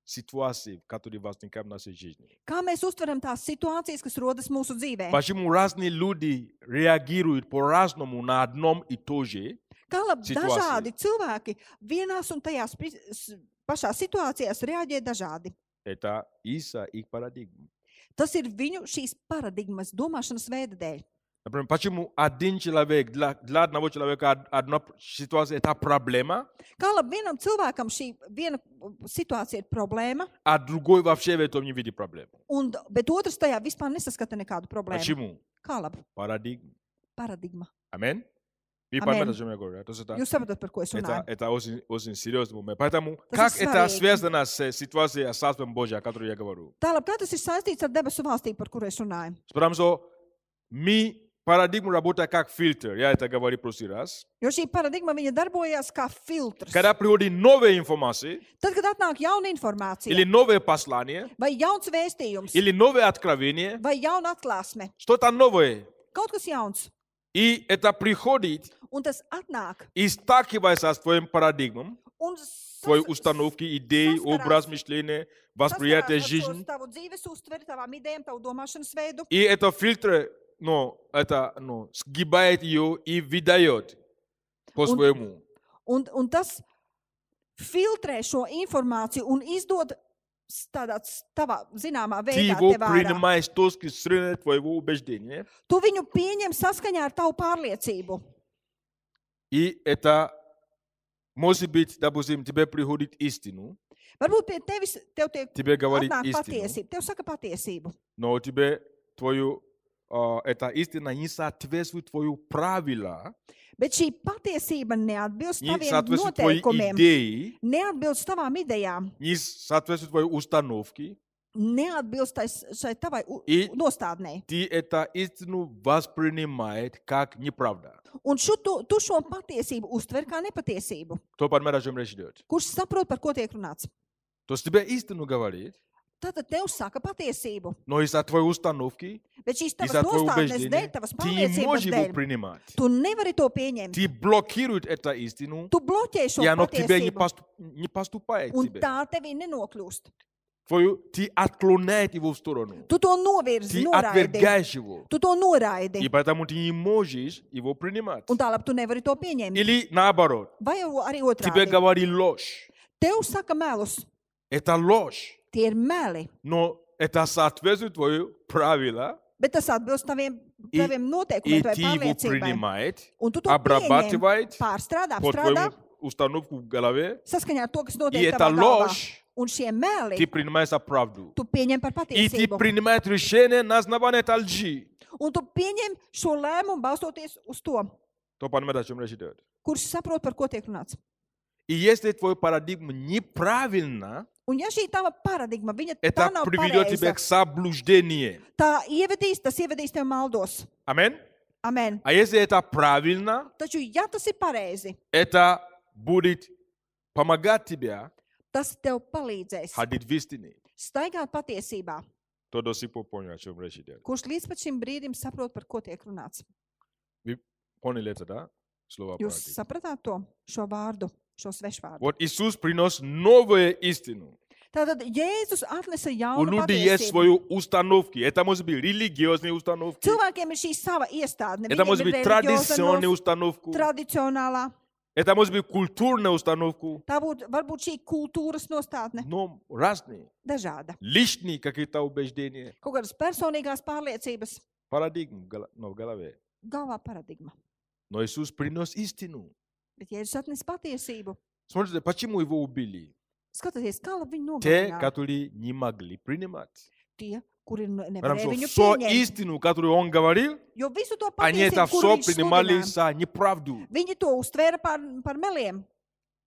A: ситуации, которые возникают в нашей жизни.
B: kā mēs uztveram tās situācijas, kas rodas mūsu dzīvē.
A: Почему разные люди реагируют по-разному на одном и то же,
B: Kā labi
A: situācija.
B: dažādi cilvēki vienās un tajās pri- s- pašās situācijās reaģē dažādi.
A: это из-за их парадигмы.
B: Tas ir viņu šīs paradigmas, domāšanas veida dēļ.
A: Например, почему один человек, для, для одного человека од- одна п- ситуация – это проблема,
B: Kā labi vienam cilvēkam šī viena uh, situācija ir problēma,
A: а другой вообще в этом не видит проблему.
B: un, d- bet otrs tajā vispār nesaskata nekādu problēmu.
A: Почему?
B: Kā labi
A: Парадигма.
B: paradigma.
A: Амин? Вы
B: Амин.
A: понимаете, о чем я говорю? да? То есть это,
B: Jūs saprotat, par ko es
A: это,
B: runāju?
A: это очень, очень серьезный момент. Поэтому,
B: То
A: как
B: есть
A: это
B: смотри.
A: связано с э, ситуацией с Царством Божьим, о которой я говорю?
B: Tālāk, kā tas ir saistīts ar debesu valstību, par kuru es runāju?
A: Потому что мы, парадигма работает как фильтр. Я это говорил в прошлый раз.
B: Jo šī paradigma viņa darbojās kā filtrs.
A: Когда приходит новая информация,
B: Tad, kad atnāk jauna informācija,
A: или новое послание,
B: vai jauns vēstījums,
A: или новое откровение,
B: vai jauna atklāsme,
A: что-то новое,
B: kaut kas jauns,
A: и это приходит
B: un tas atnāk
A: и сталкивается с твоим парадигмом,
B: un
A: твоей
B: sas-
A: установки, идей,
B: состараться.
A: образ мышления,
B: saskarās
A: восприятие
B: ar šo
A: жизни.
B: Tavu dzīves uztveri, tavām idejām, tavu domāšanas veidu,
A: И это фильтр, ну, это, ну, сгибает ее и выдает по-своему.
B: un, un tas filtrē šo informāciju un izdod s- tādā s- tavā zināmā
A: Ты
B: veidā.
A: его
B: tev ārā.
A: принимаешь с точки зрения твоего убеждения.
B: Tu viņu pieņem saskaņā ar tavu pārliecību.
A: И это, может быть, допустим, тебе приходит истину,
B: Varbūt pie tevis tev tiek
A: тебе говорит
B: atnāk
A: истину,
B: patiesība, tev saka patiesību.
A: но тебе твою, а, эта истина не соответствует твою правила,
B: Bet šī patiesība neatbilst
A: не
B: taviem
A: соответствует твоей
B: noteikumiem,
A: идее,
B: neatbilst tavām idejām,
A: не соответствует твоей установке.
B: neatbilst tais- šai tavai u-
A: I-
B: nostādnei.
A: Ты эту истину воспринимает как неправда.
B: Un šo, tu, tu šo patiesību uztver kā nepatiesību.
A: Кто понимает, о чем речь идет?
B: Kurš saprot, par ko tiek runāts?
A: То есть тебе истину говорит,
B: Tātad tev saka patiesību,
A: но из-за твоей установки,
B: bet šīs tavas
A: из-за твоего
B: nostādnes dēļ,
A: убеждения,
B: tavas
A: ты не
B: pārliecības
A: можешь его
B: dēļ,
A: принимать.
B: tu nevari to pieņemt.
A: Ты блокируешь эту истину,
B: Tu bloķē šo
A: и оно к тебе не,
B: patiesību,
A: посту- не поступает к
B: un
A: тебе.
B: tā tevī nenokļūst.
A: Твою, ты отклоняет его в сторону.
B: Tu to
A: Ты
B: novirzi, noraidi.
A: отвергаешь его.
B: Tu to
A: И
B: noraidi,
A: поэтому ты не можешь его принимать.
B: un tālāk tu nevari to pieņemt.
A: Или наоборот,
B: Vai jau arī
A: тебе
B: otrādi?
A: говорит ложь.
B: Tev saka melus,
A: Это ложь.
B: tie ir meli,
A: Но это соответствует твоему правилу,
B: bet tas atbilst taviem,
A: I-
B: taviem
A: и
B: noteikumiem,
A: ты
B: tavai
A: его
B: pārliecībai.
A: принимает,
B: Un tu to pieņem,
A: обрабатывает
B: pārstrādā,
A: по
B: apstrādā,
A: твоему установку в голове,
B: saskaņā ar to, kas
A: и
B: notiek
A: это
B: tavā galvā.
A: ложь,
B: Un šie meli
A: ты принимаешь за правду.
B: tu pieņem par
A: И ты
B: patiesību.
A: принимаешь решение на основании этой лжи.
B: Un tu pieņem šo lēmumu balstoties uz to,
A: Кто понимает, о чем речь идет?
B: kurš saprot, par ko tiek runāts.
A: И если твоя парадигма неправильна,
B: Un ja šī tava paradigma, viņa tā
A: это
B: nav
A: приведет тебя
B: pareiza,
A: к соблуждению.
B: tā ievedīs, tas ievedīs tev maldos.
A: Амин.
B: Amen.
A: А если это правильно,
B: Taču, ja tas ir pareizi,
A: это будет помогать тебе
B: tas tev palīdzēs
A: ходить в истине.
B: staigāt patiesībā.
A: Кто до сих пор понял, о чем речь идет?
B: kurš līdz pat šim brīdim saprot, par ko tiek runāts.
A: Поняли это, да? Слово
B: Jūs
A: парадигма.
B: sapratāt to šo vārdu, šo svešvārdu.
A: Вот Иисус приносит новую истину.
B: Tātad Jēzus atnesa
A: У
B: jaunu
A: людей есть
B: patiesību.
A: свои установки. Это может быть религиозные установки.
B: Cilvēkiem ir šī sava iestādne.
A: Это
B: Viņiem
A: может
B: ir
A: быть
B: reliģioza
A: традиционная
B: nos-
A: установка.
B: tradicionālā,
A: Это может быть культурная установка.
B: tā būt, varbūt šī kultūras nostādne
A: Но разные.
B: dažāda.
A: Лишние какие-то убеждения,
B: Kaut kādas personīgās pārliecības,
A: парадигмы в гол- ну, в голове.
B: galvā paradigma.
A: Но Иисус принес истину.
B: Bet Jēzus atnes patiesību.
A: Смотрите, почему его убили?
B: Skatieties, kā labi viņi
A: Те,
B: nogalināja
A: которые не могли принимать.
B: tie, kuri ne-
A: Потому
B: nevarēja
A: что
B: viņu
A: все
B: pieņemt.
A: истину, которую он говорил,
B: Jo visu to
A: они это
B: patiesību,
A: все
B: kuru viņš
A: принимали
B: sludināja,
A: за неправду.
B: Viņi to uztvēra par, par meliem,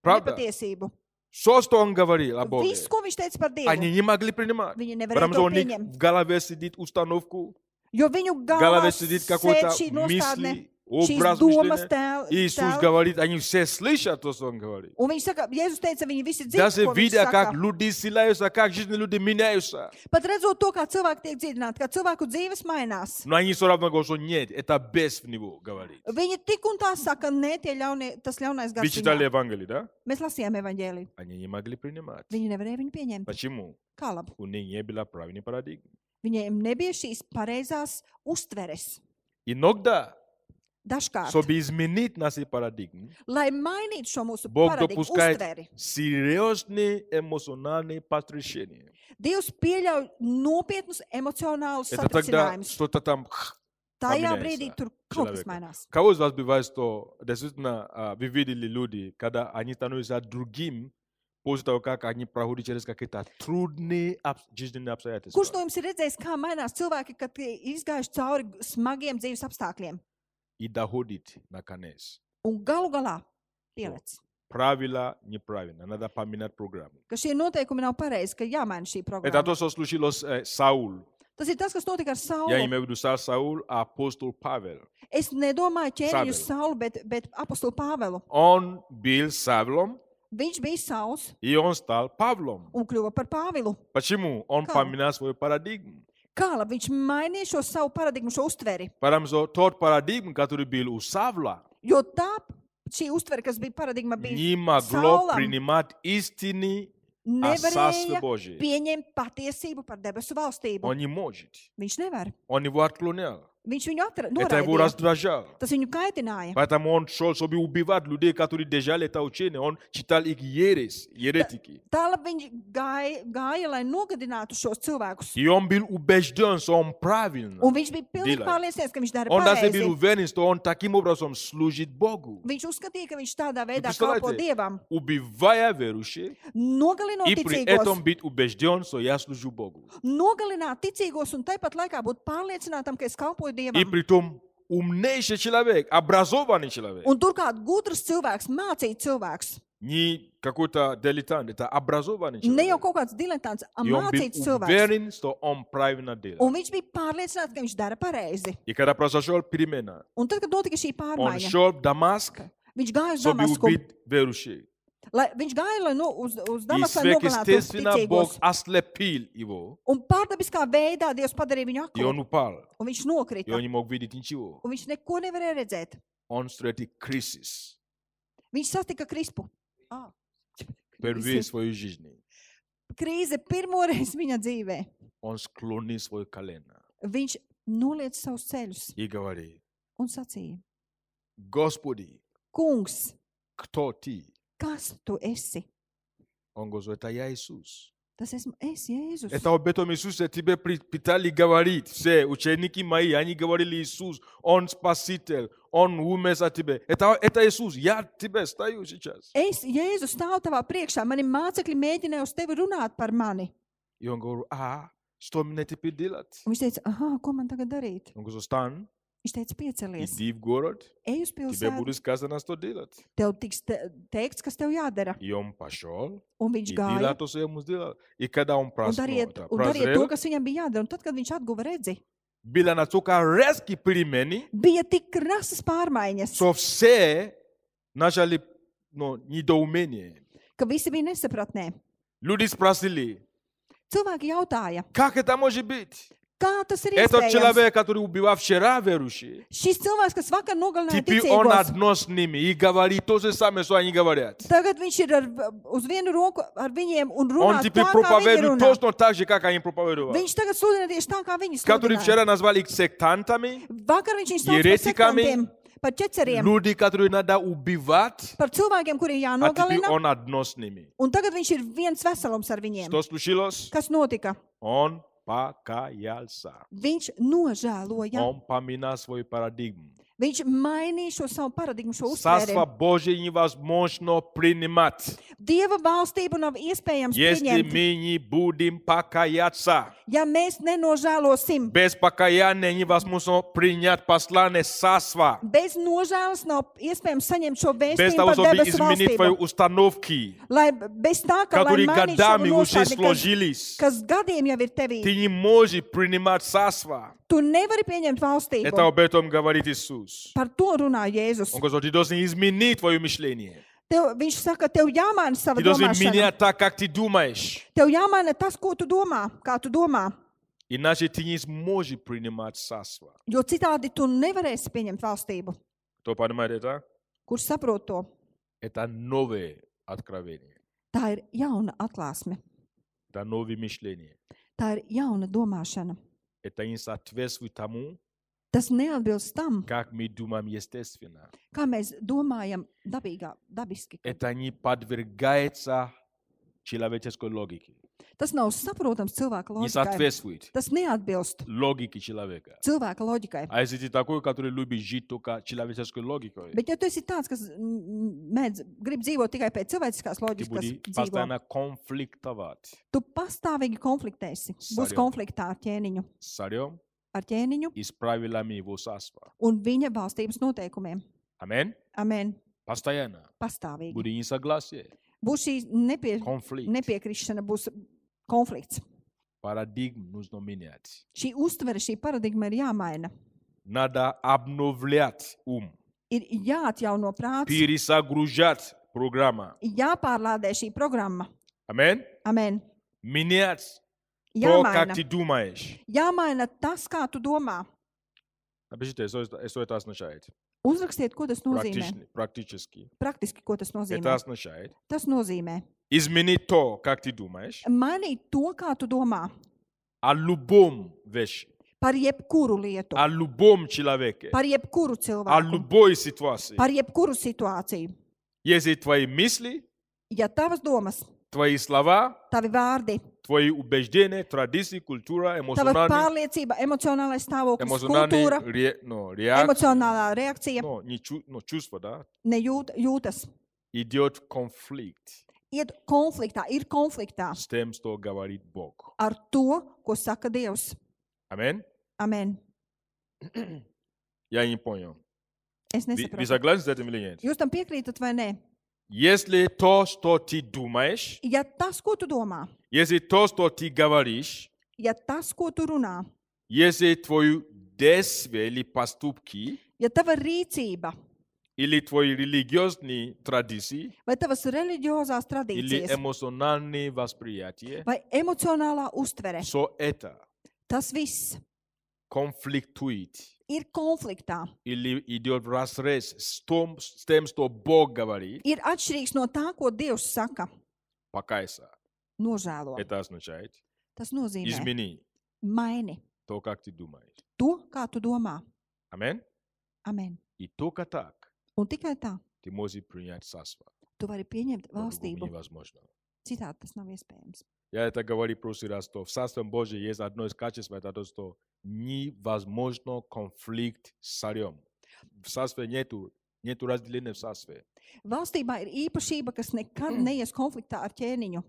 B: par
A: Правда?
B: patiesību.
A: Все, что он говорил о Боге,
B: Viss, ko viņš teica par Dievu,
A: они не могли принимать.
B: viņi nevarēja
A: Потому что
B: to
A: у них
B: pieņemt.
A: в голове сидит установку,
B: Jo viņu
A: в
B: galvā
A: голове сидит
B: sēž
A: какой-то
B: šī nostādne,
A: мысли,
B: šīs
A: образ
B: domas
A: мышления.
B: tēl-
A: Иисус
B: tēl.
A: говорит, они все слышат то, что Он говорит.
B: Un viņš saka, Jēzus teica, viņi visi dzird,
A: Даже
B: ko viņš
A: видя,
B: saka.
A: как люди исцеляются, как жизни люди меняются.
B: Pat redzot to, kā cilvēki tiek dziedināti, kā cilvēku dzīves mainās.
A: Но они все равно говорят, что нет, это без в него говорит.
B: Viņi tik un tā saka, nē, tie ļaunie, tas ļaunais
A: Вы
B: gars.
A: читали
B: viņā."
A: Евангелие, да?
B: Mēs lasījām evaņģēliju.
A: Они не могли принимать.
B: Viņi nevarēja viņu pieņemt.
A: Почему?
B: Kā labi?
A: У них не было правильной парадигмы.
B: Viņiem nebija šīs pareizās uztveres.
A: Иногда,
B: Dažkārt, so,
A: чтобы изменить наши парадигмы,
B: lai mainītu šo mūsu
A: Бог
B: paradigmu,
A: допускает-
B: uztveri,
A: серьезные эмоциональные потрясения.
B: Dievs pieļauj nopietnus emocionālus
A: Это тогда
B: satricinājumus.
A: что-то там... х,
B: Tajā
A: paminēja
B: brīdī
A: sā-
B: tur kaut kas
A: cilvēku.
B: mainās.
A: Кого из вас бывает, что действительно а, вы видели люди, когда они становятся другим после того, как они проходят через какие-то трудные обс- жизненные обстоятельства?
B: Kurš no jums ir redzējis, kā mainās cilvēki, kad tie ir izgājuši cauri g- smagiem dzīves apstākļiem?
A: И доходит, наконец.
B: Un galu galā pielec,
A: Правильно, неправильно. Надо поменять программу.
B: ka šie noteikumi nav pareizi, ka jāmaina šī
A: Это
B: programma.
A: то, что случилось э, Саул.
B: Tas ir tas, kas notika ar
A: Я
B: Saulu.
A: имею в виду Са- Саул, а апостол Павел.
B: Es nedomāju ķēniņu
A: Saulu.
B: Saulu, bet, bet apostulu Pāvelu.
A: Он был Савлом,
B: Viņš bija Sauls
A: и он стал Павлом.
B: un kļuva par Pāvilu.
A: Почему? Он
B: Как?
A: поменял свою парадигму.
B: Kā labi viņš mainīja šo savu paradigmu, šo uztveri?
A: Потому что тот парадигм, который был у Савла,
B: Jo tā šī uztvere, kas bija paradigma, bija
A: не могло
B: Саулом.
A: принимать истины о царстве
B: nevarēja
A: Божьем.
B: pieņemt patiesību par debesu valstību.
A: Он не может.
B: Viņš nevar.
A: Он его отклонял.
B: Viņš viņu
A: Это его
B: atrada.
A: раздражало.
B: Tas viņu kaitināja.
A: Поэтому он шел, чтобы убивать людей, которые держали это учение. Он читал их ересь, еретики.
B: Tālāk viņš gāja, gāja, lai nogadinātu šos cilvēkus.
A: И он был убежден, что он правильно.
B: Un viņš bija pilnīgi
A: Dīvaini.
B: pārliecināts, ka viņš dara
A: Он даже был
B: pareizi.
A: уверен, что он таким образом служит Богу.
B: Viņš uzskatīja, ka viņš tādā veidā
A: представляете?
B: kalpo Dievam,
A: Убивая верующих,
B: nogalinot
A: и при этом
B: ticīgos,
A: быть убежден, что я служу Богу.
B: nogalināt ticīgos un tāpat laikā būt pārliecinātam, ka es kalpoju
A: И
B: Dievam.
A: при том умнейший человек, obrazованный человек,
B: Un turklāt gudrs cilvēks, mācīts cilvēks,
A: не какой-то дилетант, это образованный
B: ne jau
A: человек.
B: kaut kāds diletants,
A: И он был
B: mācīts cilvēks.
A: уверен, что он правильно делает.
B: Un viņš bija pārliecināts, ka viņš dara pareizi.
A: И когда произошел перемена,
B: Un tad, kad notika šī
A: он
B: pārmaiņa,
A: шел в Дамаск,
B: viņš gāja uz
A: чтобы
B: Damasku.
A: убить верующих.
B: Lai, viņš gāja lai no, uz, uz
A: И
B: Damasku, lai nogalinātu
A: сверхъестественно Бог
B: ticīgos.
A: ослепил его,
B: Un pārdabiskā veidā Dievs padarīja viņu
A: и
B: aklu,
A: он упал,
B: un viņš
A: и
B: nokrita,
A: он не мог видеть ничего.
B: un viņš neko nevarēja redzēt.
A: Он встретил кризис
B: Viņš satika krispu. Ah,
A: впервые в своей жизни.
B: Krīze [laughs] pirmoreiz viņa dzīvē.
A: Он склонил свое колено
B: Viņš noliec savus ceļus
A: и говорит,
B: un sacīja:
A: Господи,
B: Kungs,
A: кто ты?
B: kas tu esi?
A: Он говорит, это я Иисус.
B: Tas esmu es, Jēzus.
A: Это об этом Иисусе тебе при- пытали говорить. Все ученики мои, они говорили, Иисус, Он Спаситель, Он умер за тебя. Это, это Иисус, я тебе стою сейчас.
B: Es, Jēzus, stāvu tavā priekšā. Mani mācekļi mēģināja uz tevi runāt par mani.
A: И он говорит, а, что мне теперь делать?
B: Un viņš teica, ah, ko man tagad darīt?
A: Он говорит, стань,
B: Viņš teica, piecelies,
A: иди в город,
B: ej uz
A: тебе
B: pilsētu.
A: будет сказано, что делать.
B: Tev tiks te, teikts, kas tev jādara.
A: И он пошел,
B: Un viņš
A: и
B: gāja
A: делал то, что ему сделал. И когда он
B: un
A: проснулся,
B: darīja,
A: да,
B: un darīja to,
A: прозрел,
B: kas viņam bija jādara. Un tad, kad viņš atguva redzi,
A: было настолько резкие перемены,
B: bija tik krasas pārmaiņas,
A: что все начали ну, недоумение.
B: ka visi bija nesapratnē.
A: Люди спросили,
B: Cilvēki jautāja,
A: Как это может быть?
B: kā tas ir
A: Этот
B: iespējams.
A: человек, который убивал вчера верующих,
B: Šis cilvēks, kas vakar nogalināja
A: теперь он
B: ticīgos,
A: одно с ними и говорит то же самое, что они говорят.
B: tagad viņš ir ar, uz vienu roku ar viņiem un runā
A: Он
B: tā,
A: теперь
B: kā viņi
A: проповедует
B: runā.
A: точно так же, как они проповедовали.
B: Viņš tagad sludina tieši tā, kā viņi
A: Которые
B: sludina.
A: вчера назвали их сектантами,
B: Vakar viņš viņus sauca par
A: Ierētikami.
B: sekmantiem, par ķeceriem,
A: люди, которые надо убивать,
B: par cilvēkiem, kuriem
A: а теперь
B: jānogalina,
A: он одно с ними.
B: un tagad viņš ir viens veselums ar viņiem.
A: Что случилось?
B: Kas notika?
A: Он покаялся.
B: Viņš nožēloja.
A: Он поменял свою парадигму.
B: Viņš mainīja šo savu paradigmu, šo uztveri.
A: Царство Божье невозможно принимать,
B: Dieva valstību nav iespējams
A: если
B: pieņemt,
A: мы не будем покаяться.
B: ja mēs nenožēlosim.
A: Без покаяния невозможно принять послание Сасва.
B: Bez nožēlas nav iespējams saņemt šo
A: Без
B: vēstījumu
A: того,
B: par
A: чтобы
B: debesu
A: изменить твои
B: valstību.
A: установки,
B: Lai bez tā, ka lai
A: которые
B: mainītu šo
A: годами уже
B: nostādni, kas,
A: сложились,
B: kas gadiem jau ir tevī,
A: ты не можешь принимать Сасва.
B: tu nevari pieņemt valstību.
A: Это об этом говорит Иисус. Иисус.
B: Par to runā Jēzus.
A: Он говорит, ты должен изменить твое мышление.
B: Tev, viņš saka, tev jāmaina sava
A: Ты должен
B: domāšana.
A: менять так, как ты думаешь.
B: Tev jāmaina tas, ko tu domā, kā tu domā.
A: Иначе ты не сможешь принимать царство.
B: Jo citādi tu nevarēsi pieņemt valstību.
A: Кто понимает это?
B: Kurš saprot to?
A: Это новое откровение.
B: Tā ir jauna atklāsme,
A: Это новое мышление.
B: tā ir jauna domāšana.
A: Это не соответствует тому,
B: Tas neatbilst tam,
A: как мы думаем естественно.
B: kā mēs domājam dabīgā, dabiski.
A: Это не подвергается человеческой логике.
B: Tas nav saprotams cilvēka
A: Не
B: loģikai.
A: соответствует
B: Tas neatbilst
A: логике человека.
B: cilvēka loģikai.
A: А если ты такой, который любит жить только человеческой логикой,
B: Bet, ja tu esi tāds, kas mm, mēdz, grib dzīvot tikai pēc cilvēciskās
A: ты
B: loģikas,
A: будешь
B: dzīvo,
A: постоянно конфликтовать
B: tu pastāvīgi konfliktēsi. Būs
A: Sarjau.
B: konfliktā ar ķēniņu,
A: с царем
B: ar ķēniņu
A: и с правилами его царства.
B: un viņa valstības noteikumiem.
A: Аминь.
B: Amen.
A: Постоянно.
B: Pastāvīgi.
A: Будет несогласие,
B: Būs šī nepie,
A: конфликт.
B: nepiekrišana, būs konflikts.
A: Парадигм нужно менять.
B: Šī uztvere, šī paradigma ir jāmaina.
A: Надо обновлять ум,
B: Ir jāatjauno prāts,
A: пересогружать программа.
B: jāpārlādē šī programma.
A: Аминь.
B: Amen.
A: Менять то, как
B: Jāmaina,
A: ты думаешь.
B: jāmaina tas, kā tu domā.
A: Напишите, что это, что это означает.
B: Uzrakstiet, ko tas nozīmē.
A: Практично, практически.
B: Praktiski, ko tas
A: Это
B: nozīmē.
A: означает
B: Tas nozīmē
A: изменить то, как ты думаешь,
B: mainīt to, kā tu domā
A: о любом вещи,
B: par jebkuru lietu,
A: о любом человеке,
B: par
A: о
B: jebkuru cilvēku,
A: любой ситуации.
B: par jebkuru situāciju.
A: Если твои мысли,
B: Ja tavas domas,
A: твои слова,
B: tavi vārdi,
A: твои убеждения, традиции, культура,
B: tava
A: эмоциональные,
B: pārliecība, emocionālais stāvoklis, kultūra,
A: эмоциональные ре- ну, реакции,
B: emocionālā reakcija,
A: ну, не чу- ну, чувства, да,
B: nejūt, jūtas,
A: идет конфликт
B: iet konfliktā, ir konfliktā
A: с тем, что говорит Бог.
B: ar to, ko saka Dievs.
A: Аминь.
B: Amen.
A: Я не понял.
B: Es
A: Вы, вы
B: nesaprotu.
A: согласны с этим или нет?
B: Jūs tam piekrītat vai nē?
A: Если то, что ты думаешь,
B: Ja tas, ko tu domā,
A: если то, что ты говоришь,
B: ja tas, ko tu runā,
A: если твои действия или поступки,
B: ja tava rīcība
A: или твои религиозные традиции,
B: vai tavas reliģiozās
A: или
B: tradīcijas
A: эмоциональные восприятия,
B: vai emocionālā uztvere,
A: все это
B: tas viss
A: конфликтует
B: ir konfliktā,
A: или идет в разрез с, том, с тем, что Бог говорит,
B: ir atšķirīgs no tā, ko Dievs saka.
A: покайся.
B: Nožēlo.
A: Это означает,
B: Tas nozīmē,
A: измени
B: maini
A: то, как ты думаешь.
B: to, kā tu domā.
A: Аминь.
B: Amen.
A: И только так
B: Un tikai tā
A: ты можешь принять царство.
B: tu vari pieņemt
A: По-другому
B: valstību.
A: Невозможно.
B: Citādi tas nav iespējams.
A: Я это говорю в прошлый раз, что в Царстве Божьем есть одно из качеств, это то, что невозможно конфликт с царем. В Царстве нету, нету разделения в Царстве.
B: Valstībā ir īpašība, kas nekad neies konfliktā ar ķēniņu.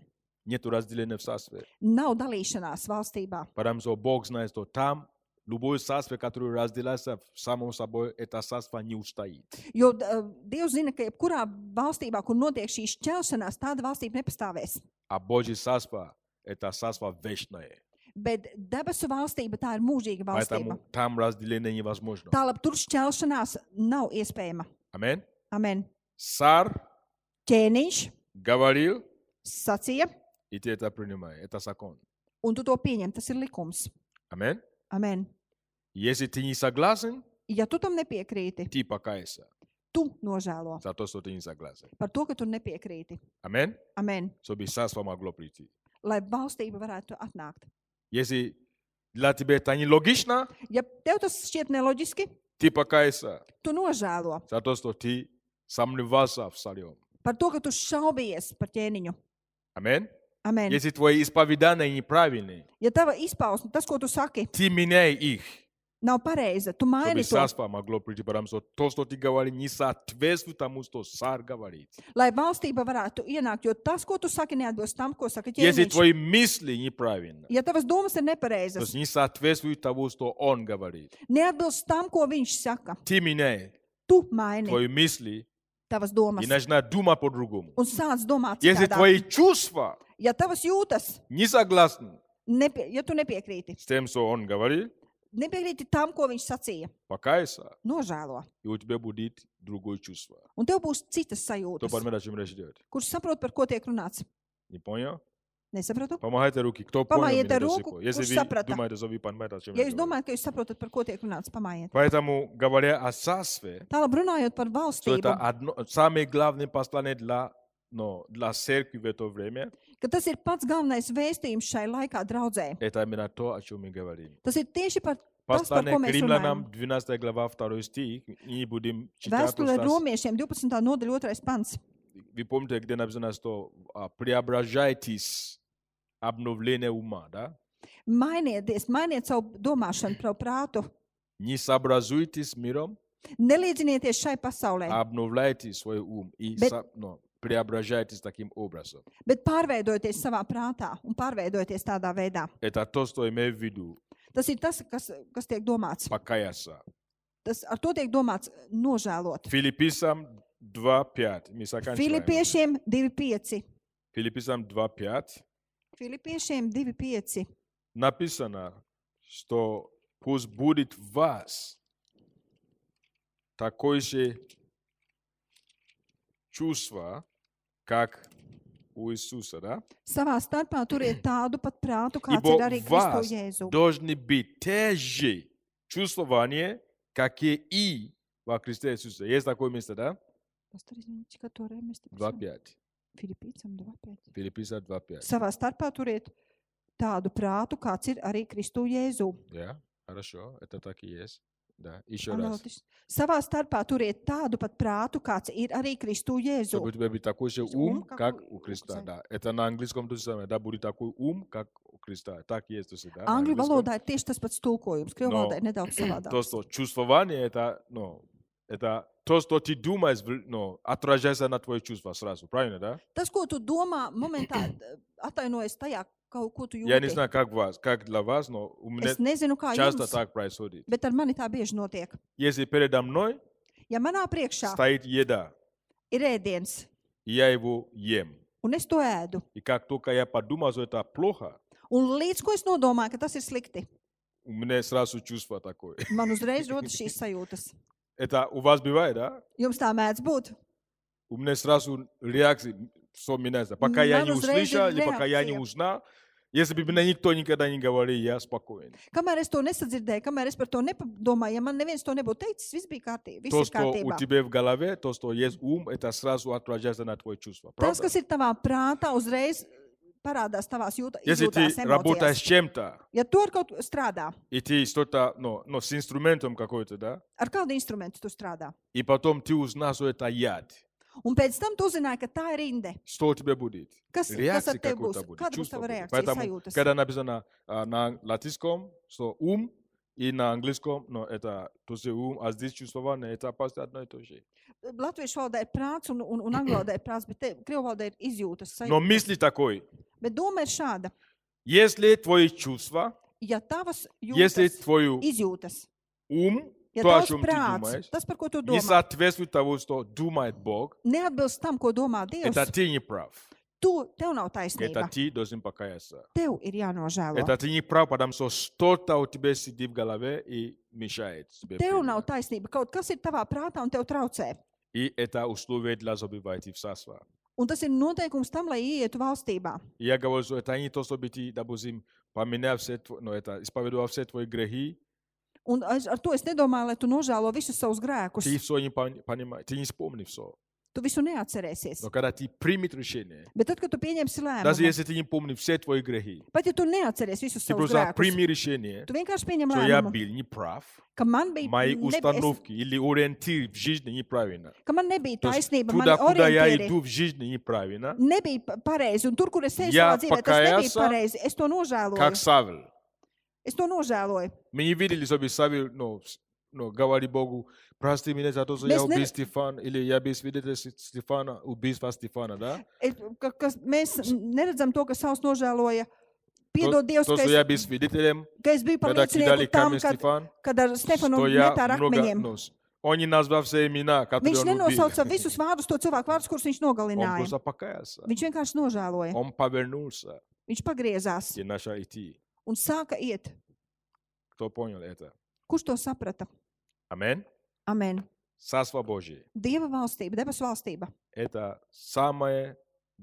A: Нету разделения в Царстве.
B: Nav dalīšanās valstībā,
A: Потому что Бог знает, что там любое Царство, которое разделяется в- само собой, это Царство не устоит.
B: jo uh, Dievs zina, ka jebkurā valstībā, kur notiek šī šķelšanās, tāda valstība nepastāvēs.
A: А Божье Царство – это Царство вечное.
B: Bet debesu valstība tā ir mūžīga valstība.
A: Поэтому там разделение невозможно.
B: Tālāk tur šķelšanās nav iespējama.
A: Аминь.
B: Amen.
A: Царь
B: Ķēniņš
A: говорил,
B: sacīja,
A: и ты это принимаешь. Это закон.
B: un tu to pieņem. Tas ir likums.
A: Аминь.
B: Amen.
A: Если ты не согласен,
B: Ja tu tam nepiekrīti,
A: ты покайся
B: tu nožēlo
A: за то, что ты не согласен.
B: par to, ka tu nepiekrīti.
A: Аминь.
B: Amen.
A: Чтобы царство могло прийти.
B: Lai valstība varētu atnākt.
A: Если для тебя это не логично,
B: Ja tev tas šķiet neloģiski,
A: ты покайся
B: tu nožēlo
A: за то, что ты сомневался в царем.
B: par to, ka tu šaubies par ķēniņu.
A: Аминь.
B: Amen.
A: Если твои исповедания неправильные,
B: Ja tava izpausme, tas, ko tu saki,
A: ты меняй их,
B: nav pareiza, tu
A: чтобы
B: maini to,
A: царство могло прийти, потому что то, что ты говоришь, не соответствует тому, что царь говорит.
B: lai valstība varētu ienākt, jo tas, ko tu saki, neatbilst tam, ko saka
A: Если
B: ķēniņš.
A: твои мысли неправильные,
B: Ja tavas domas ir
A: то есть
B: nepareizas,
A: не соответствует тому, что он говорит,
B: neatbilst tam, ko viņš saka,
A: ты меняй
B: tu maini
A: твои мысли
B: tavas
A: и
B: domas
A: начинай думать по-другому.
B: un sāc domāt,
A: Если
B: citādāk.
A: твои чувства
B: ja tavas jūtas,
A: не согласны
B: nepie, ja tu nepiekrīti
A: с тем, что он говорит,
B: nepiekrīti tam, ko viņš sacīja.
A: Покайся,
B: Nožēlo.
A: и у тебя будет другое чувство.
B: Un tev būs citas
A: Кто
B: sajūtas,
A: поймет, о чем речь идет?
B: kurš saprot, par ko tiek runāts.
A: Не понял?
B: Nesapratu?
A: Помогайте руки. Кто
B: Помогите
A: понял меня до
B: руку,
A: сих пор? Если
B: уж
A: вы
B: сапрата.
A: думаете, что вы понимаете, о чем
B: Ja
A: я
B: jūs
A: говорю.
B: domājat, ka jūs saprotat, par ko tiek runāts, pamājiet.
A: Поэтому, говоря о царстве,
B: Tālāk runājot par
A: что это
B: valstību,
A: одно, самое главное послание для, но, для церкви в это время,
B: ka tas ir pats galvenais vēstījums šai laikā draudzē.
A: это именно то, о чем мы говорим.
B: Tas ir tieši par Tas, par
A: Послание
B: ko
A: к
B: mēs
A: римлянам,
B: runājam.
A: 12 глава, 2 стих, и будем читать.
B: vēstulē
A: просто с-
B: romiešiem 12. nodaļa 2. pants.
A: Вы помните, где написано, что а, преображайтесь обновление ума, да?
B: Mainieties, mainiet savu domāšanu, savu prātu.
A: Не сообразуйтесь с миром,
B: Nelīdzinieties šai pasaulē,
A: а обновляйте свой ум и
B: Бе-
A: со- но, преображайтесь таким образом.
B: bet pārveidojieties savā prātā un pārveidojieties tādā veidā.
A: Это то, что имею в виду,
B: Tas ir tas, kas, kas tiek domāts.
A: покаяться.
B: Tas, ar to tiek domāts nožēlot.
A: Филиппийцам 2.5. Мы заканчиваем.
B: Filipiešiem 2,5.
A: Филиппийцам 2.5
B: Filipiešiem 2,5.
A: написано, что пусть будет в вас такое же чувство, как у Иисуса, да?
B: Savā starpā turiet tādu pat prātu, kāds
A: Ибо
B: ir arī
A: в
B: Kristu
A: вас
B: Jēzu.
A: должны быть те же чувствования, какие и во Христе Иисусе. Есть такое место, да?
B: Pastor, izņemiet, ka to reizi mēs te esam.
A: 2.5.
B: Filipīcam 2,5.
A: Филиппийцам 2.5.
B: Savā starpā turiet tādu prātu, kāds ir arī Kristu Jēzu.
A: Да? Хорошо, это так и есть. Да, еще раз.
B: Analītis. Savā starpā turiet tādu pat prātu, kāds ir arī Kristu Jēzu.
A: чтобы у тебя был такой же
B: есть
A: ум,
B: ум, как
A: как
B: у-
A: у
B: у
A: Христа.
B: Христа.
A: Да. Это на английском то же самое. Да, будет такой ум, как у Христа. Так есть. То, есть, да, на
B: Angļu
A: английском.
B: valodā ir tieši tas pats tulkojums, krievu
A: No.
B: valodā ir nedaudz savādāk.
A: То, что чувствование, это, ну, это то, что ты думаешь, вл- ну, отражается на твои чувства сразу. Правильно, да?
B: Tas, ko tu domā, momentā [clears throat] atainojas tajā, kaut ko tu
A: Я не
B: jūti.
A: знаю, как, вас, как для вас, но у меня
B: Es nezinu, kā
A: часто
B: jums,
A: так происходит.
B: bet ar mani tā bieži notiek.
A: Если передо мной
B: Ja manā priekšā
A: стоит еда,
B: ir ēdiens,
A: и я его ем,
B: un es to ēdu,
A: и как только я подумал, что это плохо,
B: un līdz ko es nodomāju, ka tas ir slikti,
A: у меня сразу чувство такое. [laughs]
B: man uzreiz rodas šīs sajūtas.
A: Это у вас бывает, да?
B: Jums tā mēdz būt.
A: У меня сразу реакция м, все меняется. Пока я не
B: Надо сразу
A: услышал, или пока я не
B: реакция.
A: узнал, если бы меня никто никогда не говорил, я спокоен.
B: Kamēr es to nesadzirdēju, kamēr es par to nepadomāju, ja man neviens to nebūtu teicis, viss bija kārtībā.
A: То,
B: Viss ir
A: что у
B: kārtībā.
A: тебя в голове, то, что есть ум, это сразу отражается на твои чувства.
B: Tas,
A: Правда?
B: kas ir tavā prātā, uzreiz parādās tavās jūta-
A: Если ты
B: izjūtās,
A: работаешь с
B: emocijās.
A: чем-то,
B: Ja tu ar kaut ko strādā,
A: и ты что-то, ну, ну, с инструментом какой-то, да,
B: ar kādu instrumentu tu strādā,
A: и потом ты узнал, что это яд,
B: un pēc tam tu uzzināji, ka tā ir rinde,
A: что у тебя будет?
B: kas, kas ar
A: Реакция
B: tevi būs,
A: какой-то будет,
B: kāda būs
A: чувство
B: tava
A: будет.
B: reakcija,
A: Поэтому,
B: sajūtas.
A: когда написано а, на латинском, что ум, и на английском, но это тоже ум, а здесь чувствование, это почти одно и то же.
B: Latviešu valodā ir prāts un, un, un angļu valodā ir prāts, bet te krievu valodā ir izjūtas.
A: Но
B: Sajūta.
A: мысли такой.
B: Bet doma ir šāda.
A: Если твои чувства,
B: Ja tavas
A: если
B: jūtas,
A: твой
B: izjūtas,
A: ум,
B: ja
A: то, о
B: tavs
A: чем ты думаешь,
B: prāts, tas, par ko tu
A: не
B: domā,
A: соответствует тому, что думает Бог,
B: neatbilst tam, ko domā Dievs,
A: это ты не прав.
B: tu, tev nav
A: Это
B: taisnība.
A: ты должен покаяться.
B: Tev ir jānožēlo.
A: Это ты не прав, потому что что-то у тебя сидит в голове и мешает. тебе
B: Tev nav
A: принимать.
B: taisnība. Kaut kas ir tavā prātā un tev traucē.
A: И это условие для забывания в царство.
B: Un tas ir noteikums tam, lai ietu valstībā.
A: И Я говорю, что это не то, чтобы ты, допустим, поменял все, тво- ну, это, исповедовал все твои грехи,
B: Un es- ar to es nedomāju, lai tu nožēlo visus savus grēkus.
A: ты все не пон- понимаешь, ты не вспомнишь все.
B: Tu visu neatcerēsies.
A: Но когда ты примешь решение,
B: Bet tad, kad tu pieņemsi
A: Даже
B: lēmumu,
A: если ты не помнишь все твои грехи,
B: pat ja tu neatcerēsies visus
A: ты
B: savus
A: просто
B: grēkus,
A: прими решение,
B: tu vienkārši pieņem
A: что я
B: lēmumu,
A: был неправ,
B: ka man bija
A: мои
B: neb- es-
A: установки или ориентир в жизни неправильно.
B: ka man nebija
A: То есть
B: taisnība, man
A: туда, куда я
B: orientieri
A: иду в жизни неправильно,
B: nebija pa- pareizi. Un tur, kur es eju
A: Jā,
B: savā dzīvē, tas nebija
A: pakājās,
B: pareizi. Es to
A: как
B: nožēloju.
A: Савел.
B: Es to nožēloju.
A: Мы не видели, чтобы Савел, ну, с- ну, говори Богу, прости меня за то, что я
B: Mēs ne-
A: убил Стефана, или я был свидетель С- Стефана, убийства Стефана, да?
B: Es- ka- Kas, mēs neredzam to, ka savs nožēloja.
A: То,
B: Piedod Dievs,
A: то,
B: ka
A: что
B: es
A: я был свидетелем,
B: ka es biju
A: когда кидали
B: pārliecināts tam,
A: камень
B: kad,
A: Стефан,
B: kad ar Stefanu
A: что я
B: metā ar
A: много...
B: akmeņiem.
A: ну, с- Он не назвал все имена, которые
B: Viņš
A: он убил.
B: nenosauca visus vārdus, to cilvēku vārdus, kurus viņš
A: Он
B: nogalināja.
A: просто покаялся.
B: Viņš vienkārši nožēloja.
A: Он повернулся,
B: Viņš pagriezās
A: где наша идти.
B: un sāka iet.
A: Кто понял это?
B: Kurš to saprata?
A: Амен.
B: Amen.
A: Царство Божие.
B: Dieva valstība, debesu valstība.
A: Это самое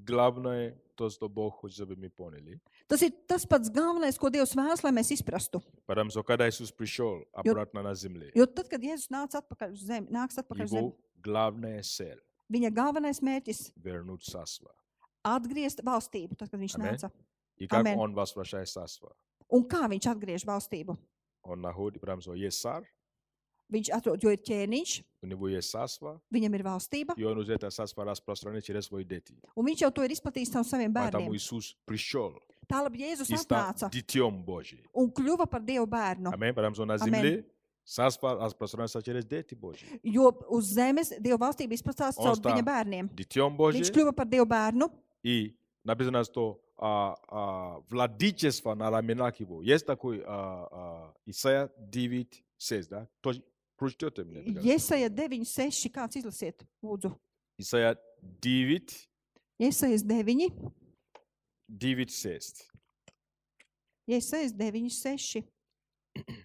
A: главное, то, что Бог хочет, чтобы мы поняли.
B: Tas ir tas pats galvenais, ko Dievs vēlas, lai mēs izprastu.
A: Потому что когда Иисус пришел обратно на земле,
B: Jo tad, kad Jēzus nāca atpakaļ uz zemi, nāks atpakaļ uz zemi,
A: его главная цель
B: viņa galvenais mērķis
A: – вернуть царство.
B: - atgriezt valstību, tad, kad viņš
A: Amen.
B: nāca.
A: И как
B: Amen.
A: он возвращает царство?
B: Un kā viņš atgriež valstību?
A: Он находит, потому что есть царь,
B: Viņš atrod, jo ir ķēniņš,
A: у него есть царство,
B: viņam ir valstība,
A: и он уже это царство распространяет через свои дети.
B: un viņš jau to ir izplatījis no saviem
A: Поэтому
B: bērniem.
A: Иисус пришел
B: Tālāk Jēzus
A: и стал
B: atnāca
A: детем Божьим.
B: un kļuva par Dievu bērnu,
A: Амин. Потому что на
B: Amen.
A: земле царство распространяется через дети Божьи.
B: jo uz zemes Dieva valstība izplatās
A: Un
B: caur
A: stā-
B: viņa bērniem.
A: Детем
B: Viņš
A: Божьим.
B: kļuva par Dievu bērnu,
A: И написано, что а, а, владычество на раменах его. Есть такой а, а, Исайя 9, 6, да? Тоже Прочтете мне, пожалуйста.
B: Iesaja 9, 6, kāds izlasiet, lūdzu.
A: Исайя 9,
B: Iesajas 9,
A: 9, 6.
B: Iesajas 9, 6. [clears throat]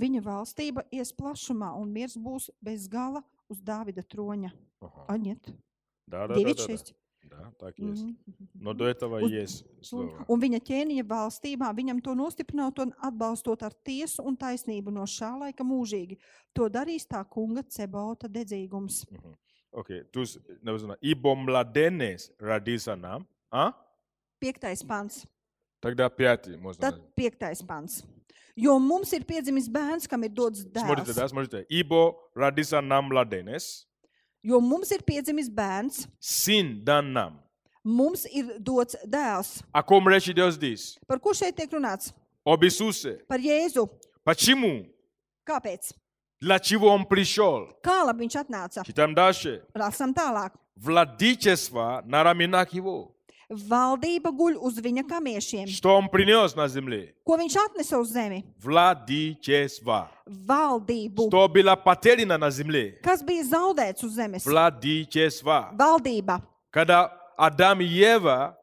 B: Viņa valstība ies plašumā, un miers būs bez gala uz Dāvida troņa.
A: Ага.
B: Aņiet,
A: Да, да, да,
B: 9,
A: да, да.
B: 6.
A: Да, так есть.
B: Mhm.
A: Но до этого
B: Вот
A: есть
B: Un,
A: слово.
B: un viņa ķēniņa valstībā viņam to nostiprinot un atbalstot ar tiesu un taisnību no šā laika mūžīgi. To darīs tā kunga cebota dedzīgums.
A: Мгм. Окей, то есть э, написано, ибо младенец родился нам, а?
B: Piektais pants.
A: Тогда пятый можно.
B: Tad piektais pants. Jo mums ir piedzimis bērns, kam ir dots
A: Смотрите,
B: dēls.
A: да, смотрите. Ибо родился нам младенец,
B: Jo mums ir piedzimis bērns,
A: сын дан нам.
B: mums ir dots dēls.
A: О ком речь идет здесь?
B: Par ko šeit tiek runāts?
A: Об Иисусе.
B: Par Jēzu.
A: Почему?
B: Kāpēc?
A: Для чего Он пришел?
B: Kā labi viņš atnāca?
A: Читаем дальше.
B: Lasām tālāk.
A: Владычество на раменах Его.
B: Valdība guļ uz viņa kamiešiem.
A: Что Он принес на земле?
B: Ko viņš atnesa uz zemi?
A: Владычество.
B: Valdību.
A: Что было потеряно на земле?
B: Kas bija zaudēts uz zemes?
A: Владычество.
B: Valdība.
A: Когда Адам и Ева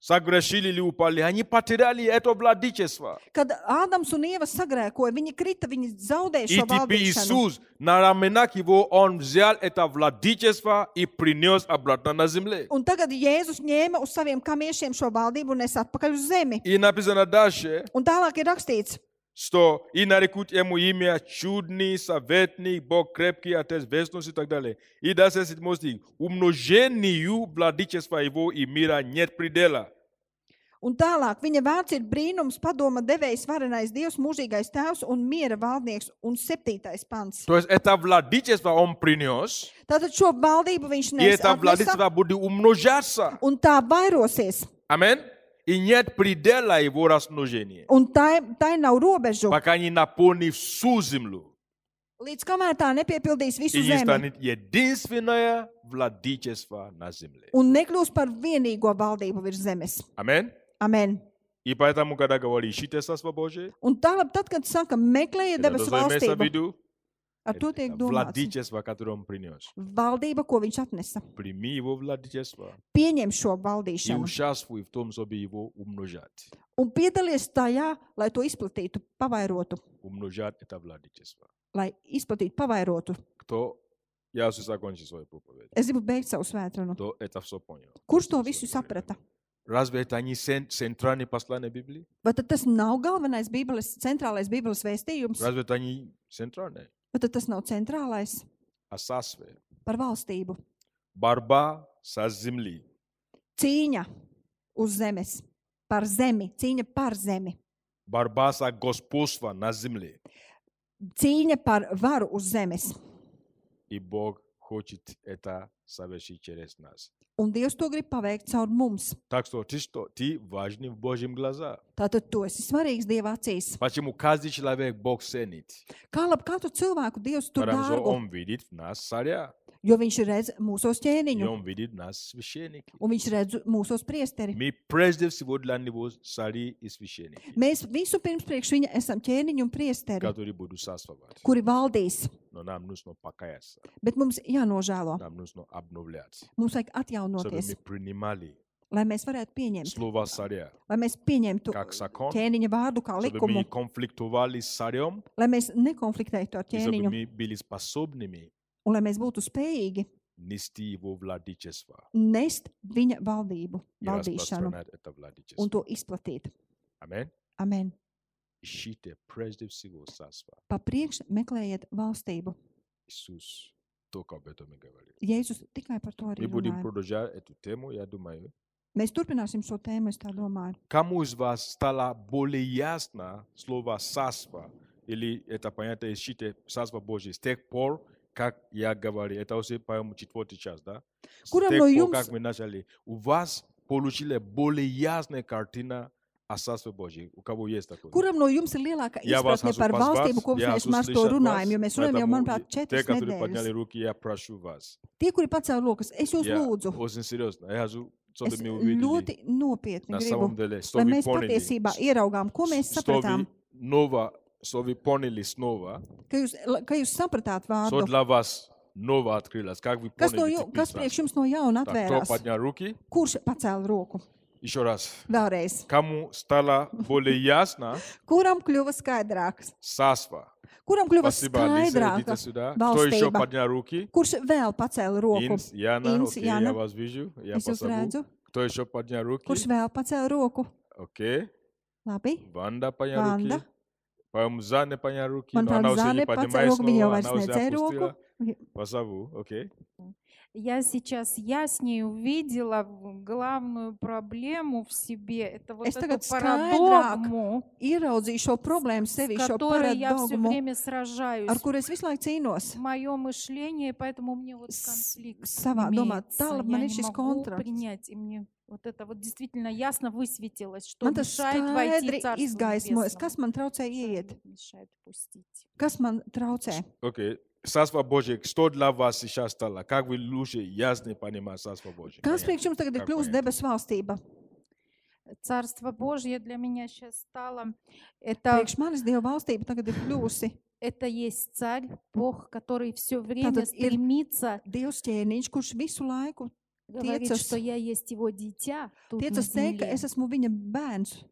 A: согрешили или упали, они потеряли это владычество.
B: Kad Ādams un Ieva sagrēkoja, viņi krita, viņi zaudēja
A: И
B: šo
A: теперь
B: valdību.
A: Иисус на раменах его, он взял это владычество и принес обратно на земле.
B: Un tagad Jēzus ņēma uz saviem kamiešiem šo valdību un nes atpakaļ uz zemi.
A: И написано дальше,
B: Un tālāk ir rakstīts,
A: что и нарекут ему имя чудный, советник, Бог крепкий, отец вечности и так далее. И дальше седьмой стих. Умножению владычества его и мира нет предела.
B: un tālāk viņa vārds ir brīnums, padoma devējs, varenais dievs, mūžīgais tēvs un miera valdnieks un septītais pants.
A: То есть это владычество он принес,
B: Tātad šo valdību viņš
A: и это
B: nes.
A: владычество будет умножаться.
B: Un tā vairosies,
A: Амин. И нет предела его размножения,
B: un tai, tai nav robežu,
A: пока не наполнит всю землю.
B: līdz kamēr tā nepiepildīs visu
A: И не
B: zemi.
A: станет единственное владычество на земле.
B: un nekļūs par vienīgo valdību virs zemes.
A: Амин.
B: Amen.
A: И поэтому, когда говорит, ищите Царство Божие,
B: Un tālāk, tad, kad saka, meklējiet
A: это то,
B: debesu
A: что имеется в
B: valstību,
A: виду,
B: ar to tiek
A: это
B: domāts.
A: владычество, которое он принес.
B: Valdība, ko viņš atnesa,
A: Прими его владычество
B: pieņem šo
A: и
B: valdīšanu
A: участвуй в том, чтобы его умножать.
B: un piedalies tajā, lai to izplatītu, pavairotu,
A: Умножать это владычество.
B: lai izplatītu, pavairotu.
A: Кто, я уже закончил свою проповедь,
B: Es gribu beigt savu svētdienu.
A: кто это все понял.
B: Kurš to visu saprata?
A: Разве это не цен- центральное послание Библии?
B: Vai tad tas nav galvenais bībeles, centrālais Bībeles vēstījums?
A: Разве это не центральное?
B: Vai tad tas nav centrālais
A: А царствие?
B: par valstību?
A: Борьба со земли.
B: Cīņa uz zemes, par zemi, cīņa par zemi.
A: Борьба за господство на земле.
B: cīņa par varu uz zemes.
A: И Бог хочет это совершить через нас.
B: Un Dievs to grib paveikt caur mums.
A: Так что ты, что, ты важный в Божьем глазах.
B: Tātad tu esi svarīgs Dieva acīs.
A: Почему каждый человек Бог ценит?
B: Kā labi katru cilvēku Dievs tur
A: Потому что
B: dārgu,
A: Он видит в нас царя,
B: jo viņš redz mūsos
A: и
B: ķēniņu,
A: Он видит в нас священники.
B: un viņš redz mūsos priesteri.
A: Мы прежде всего для Него цари и священники,
B: Mēs visu pirms priekš viņa esam ķēniņi un priesteri,
A: которые будут царствовать.
B: kuri valdīs,
A: Но нам нужно покаяться,
B: bet mums jānožēlo.
A: нам нужно обновляться,
B: Mums vajag
A: чтобы
B: atjaunoties,
A: мы принимали
B: lai mēs varētu pieņemt,
A: слова царя.
B: lai mēs pieņemtu
A: Как закон,
B: ķēniņa vārdu kā
A: чтобы
B: likumu,
A: мы конфликтовали с царем,
B: lai mēs nekonfliktētu ar
A: и чтобы
B: ķēniņu
A: мы были способными
B: un lai mēs būtu spējīgi
A: нести его владычество
B: nest viņa valdību,
A: и
B: valdīšanu
A: распространять это
B: un
A: владычество.
B: to izplatīt.
A: Аминь.
B: Amen.
A: Ищите прежде всего царство.
B: Papriekš meklējiet valstību.
A: Иисус только об этом и говорил.
B: Jēzus tikai par to arī
A: Мы будем
B: runāja.
A: продолжать эту тему, я думаю.
B: Mēs turpināsim šo tēmu, es tā domāju.
A: Кому из вас стало более ясно слово «сасва» или это понятие «ищите царство Божие» с тех пор, как я говорил. Это уже, по-моему, четвертый час, да? С
B: Куда
A: тех
B: оно
A: пор,
B: юмс-
A: как мы начали. У вас получили более ясная картина о царстве Божьем. У кого есть такое?
B: Kuram no jums ir lielāka
A: Я вас
B: izpratne
A: хочу
B: par valstību,
A: позвать,
B: kopš
A: я
B: mēs maz to
A: услышал вас,
B: runājam? Jo mēs runājam jau,
A: поэтому
B: manuprāt,
A: Те,
B: četras
A: которые подняли
B: nedēļas.
A: руки, я прошу вас.
B: Tie, kuri pacēla rokas, es jūs
A: Я
B: lūdzu,
A: очень серьезно. Я хочу, чтобы
B: es
A: мы увидели
B: ļoti nopietni
A: на
B: gribu,
A: самом деле, что
B: lai
A: вы
B: mēs
A: поняли,
B: patiesībā ieraugām, ko mēs
A: что вы
B: sapratām,
A: ново, что вы поняли снова,
B: ka jūs, la- ka jūs sapratāt
A: что
B: vārdu.
A: для вас ново открылось, как вы
B: Kas, no
A: поняли
B: ju,
A: теперь
B: kas
A: сразу.
B: priekš jums no jauna
A: Так, кто
B: atvērās?
A: поднял руки?
B: Kurš pacēla roku?
A: Еще раз.
B: Vēlreiz.
A: Кому стало более ясно
B: Kuram kļuva skaidrāks?
A: царство?
B: Kuram kļuva
A: Спасибо, Алиса, идите
B: skaidrāka
A: сюда. Кто еще
B: valstība?
A: поднял руки?
B: Kurš vēl pacēla roku?
A: Инс, Яна,
B: Инс,
A: окей,
B: Яна.
A: я вас вижу, я
B: Es jūs
A: позову.
B: redzu.
A: Кто еще поднял руки?
B: Kurš vēl pacēla roku?
A: Окей.
B: Labi.
A: Ванда подняла руки.
B: Ванда.
A: По-моему, Зане подняла руки, но
B: Manuprāt,
A: она уже не
B: Zane pacēla
A: поднимает
B: roku, viņa jau
A: снова,
B: vairs
A: она уже
B: necēla
A: опустила.
B: roku.
A: Позову, окей.
C: Я сейчас яснее увидела в- главную проблему в себе. Это вот
B: Es
C: эту
B: tagad skaidrāk
C: парадогму,
B: ieraudzīju šo problēmu
C: с
B: sevi, šo
C: которой я все
B: paradogmu,
C: время сражаюсь.
B: ar kur es visu laiku cīnos.
C: Мое мышление, поэтому мне вот
B: С-
C: конфликт
B: savā domā,
C: имеется.
B: tālāk
C: Я
B: man
C: не
B: ir šis
C: могу
B: kontrakts.
C: принять, и мне вот это вот действительно ясно высветилось, что
B: Man tas
C: мешает войти
B: skaidri
C: в Царство
B: izgaismojas,
C: Небесное.
B: kas man traucē
C: Что
B: ieiet,
C: мешает пустить.
B: kas man traucē.
A: Окей. Царство Божье, что для вас сейчас стало? Как вы лучше ясно понимаете Царство Божье?
B: Kas
A: Понятно.
B: priekš jums tagad ir
A: Kā
B: kļuvusi
A: paiet?
B: debesu valstība?
C: Царство Божье для меня сейчас стало это
B: Priekš manis Dieva valstība tagad ir kļuvusi
C: это есть царь, Бог, который все время
B: Этот Ир-
C: стремится
B: Dievs ķēniņš, kurš visu laiku
C: говорит,
B: Тецас.
C: что я есть его дитя тут на
B: tiecas teikt, ka
C: земле.
B: es esmu viņa bērns.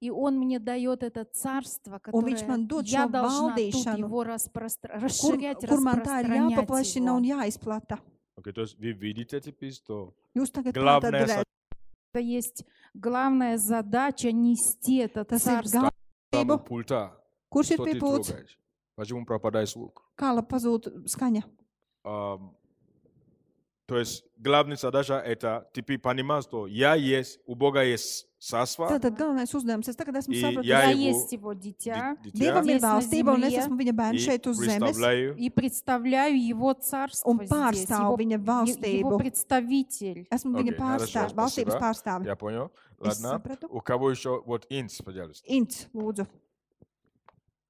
C: И он мне дает это царство, которое
B: viņš man dod
C: я
B: šo
C: должна тут
B: valdīšanu,
C: его распро-
B: Kur,
C: расширять,
B: kur man tā ir
C: распространять
B: jāpaplašina un
C: его.
B: jāizplata?
A: Окей, то есть вы видите теперь, что
B: Jūs tagad tātad
A: главное
B: redzat,
C: Это есть главная задача нести это
B: tas ir
C: царство.
A: самому
B: galvību.
A: пульта,
B: Kurš ir
A: что ты
B: pipūts?
A: трогаешь. Почему пропадает звук?
B: Kā lai pazūd skaņa?
A: Ам, То есть главная задача это теперь понимать, что я есть, у Бога есть царство,
B: Tātad galvenais uzdevums. Es tagad esmu
A: И Я
B: sapratis.
C: Я
A: его-
C: есть его дитя
A: ди- дитя.
B: Dievam ir
C: Здесь на
B: valstība, un es
C: земле
B: esmu viņa bērns
A: и
B: šeit uz zemes.
A: представляю
C: и представляю его царство
B: Un
C: здесь,
B: pārstāvu
C: его,
B: viņa
C: е- его
B: valstību.
C: представитель.
B: Esmu viņa
A: Ok,
B: pārstāv,
A: хорошо,
B: valstības
A: спасибо.
B: pārstāve.
A: Я понял.
B: Es
A: Ладно.
B: sapratu.
A: У кого еще? Вот Инс, пожалуйста.
B: Ints, lūdzu.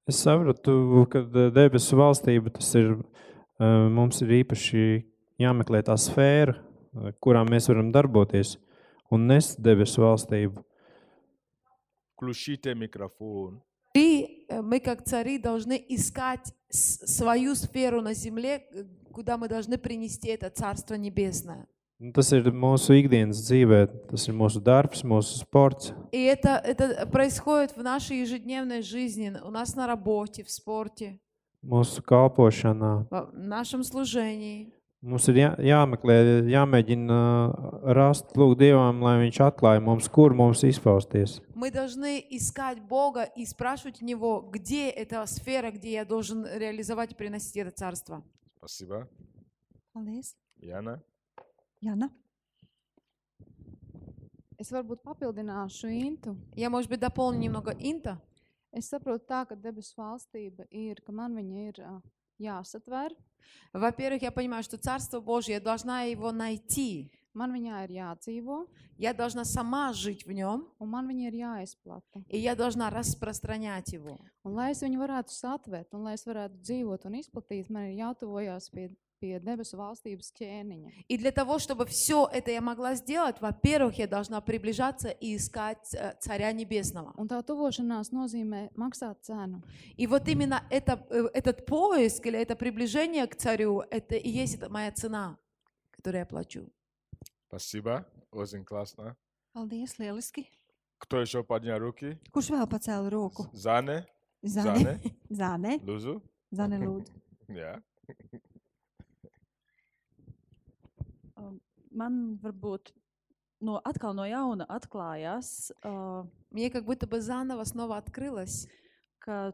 D: Es saprotu, ka ā, debesu valstība tas ir. ā, Mums ir īpaši jāmeklē tā sfēra, ā, kurā mēs varam darboties un nest debesu valstību.
A: Включите микрофон.
E: Ты, э, мы как цари должны искать с- свою сферу на земле, э, куда мы должны принести это Царство Небесное.
D: Un Tas ir mūsu ikdienas dzīvē, tas ir mūsu darbs, mūsu sports.
E: И это, это происходит в нашей ежедневной жизни, н- у нас на работе, в спорте,
D: Mūsu kalpošanā
E: во- в нашем служении.
D: mums ir jā, jāmeklē, jāmēģina ā, rast, lūgt Dievam, lai Viņš atklāja mums, kur mums izpausties.
E: Мы должны искать Бога и спрашивать у Него, где эта сфера, где я должен реализовать и приносить это Царство.
A: Спасибо.
B: Paldies.
A: Яна.
B: Jana.
F: Es varbūt papildināšu Intu.
E: Я, может быть, дополню немного Инта.
F: Es saprotu, tā, ka debesu valstība ir, ka man viņa ir ā, jāsatver,
E: Во-первых, я понимаю, что Царство Божье, я должна его найти.
F: man viņā ir jādzīvo
E: Я должна сама жить в нем.
F: un man viņa ir jāizplata.
E: и я должна распространять его.
F: Un, lai es viņu varētu satvert un lai es varētu dzīvot un izplatīt, man ir jātuvojās pie, pie debesu valstības ķēniņa.
E: И для того, чтобы все это я могла сделать, во-первых, я должна приближаться и искать э, Царя Небесного.
F: Un tā tuvošanās nozīmē maksāt cenu.
E: И вот именно это, э, этот поиск или это приближение к Царю, это и есть это моя цена, которую я плачу.
A: Спасибо. Очень классно.
F: Paldies, lieliski.
A: Кто еще поднял руки?
B: Kurš vēl pacēla roku?
A: Зане?
B: Zane.
A: Зане?
B: [laughs] Zane,
A: Лузу?
B: [laughs] Zane lūdzu.
A: Я.
G: man varbūt no atkal no jauna atklājās, uh,
E: Мне как будто бы заново снова открылось,
G: ka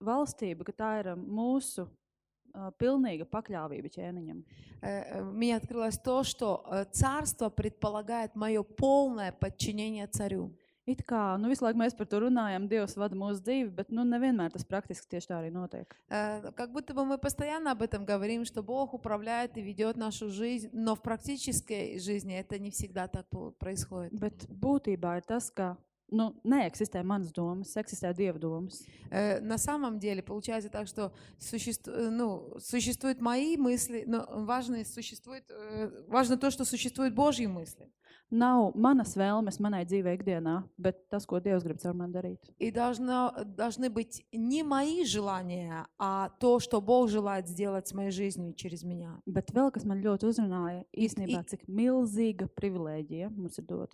G: valstība, ka tā ir uh, mūsu uh, pilnīga pakļāvība ķēniņam.
E: э, э, мне открылось то, что э, царство предполагает мое полное подчинение царю.
G: It kā nu, visu laiku mēs par to runājam, Dievs vada mūsu dzīvi, bet nu, nevienmēr tas praktiski tieši tā arī notiek.
E: Э, Как будто бы мы постоянно об этом говорим, что Бог управляет и ведет нашу жизнь, но в практической жизни это не всегда так пол- происходит.
G: Bet būtībā ir tas, ka nu, neeksistē manas domas, eksistē Dieva domas.
E: Э, На самом деле получается так, что существ- э, ну, существуют мои мысли, но важно, существует, э, важно то, что существуют Божьи мысли.
G: Nav manas vēlmes manai dzīvē ikdienā, bet tas, ko Dievs grib caur mani darīt.
E: И должно, э, должны быть не мои желания, а то, что Бог желает сделать с моей жизнью через меня.
G: Bet vēl kas man ļoti uzrunāja, īstenībā
E: i-
G: cik milzīga privilēģija mums ir dot.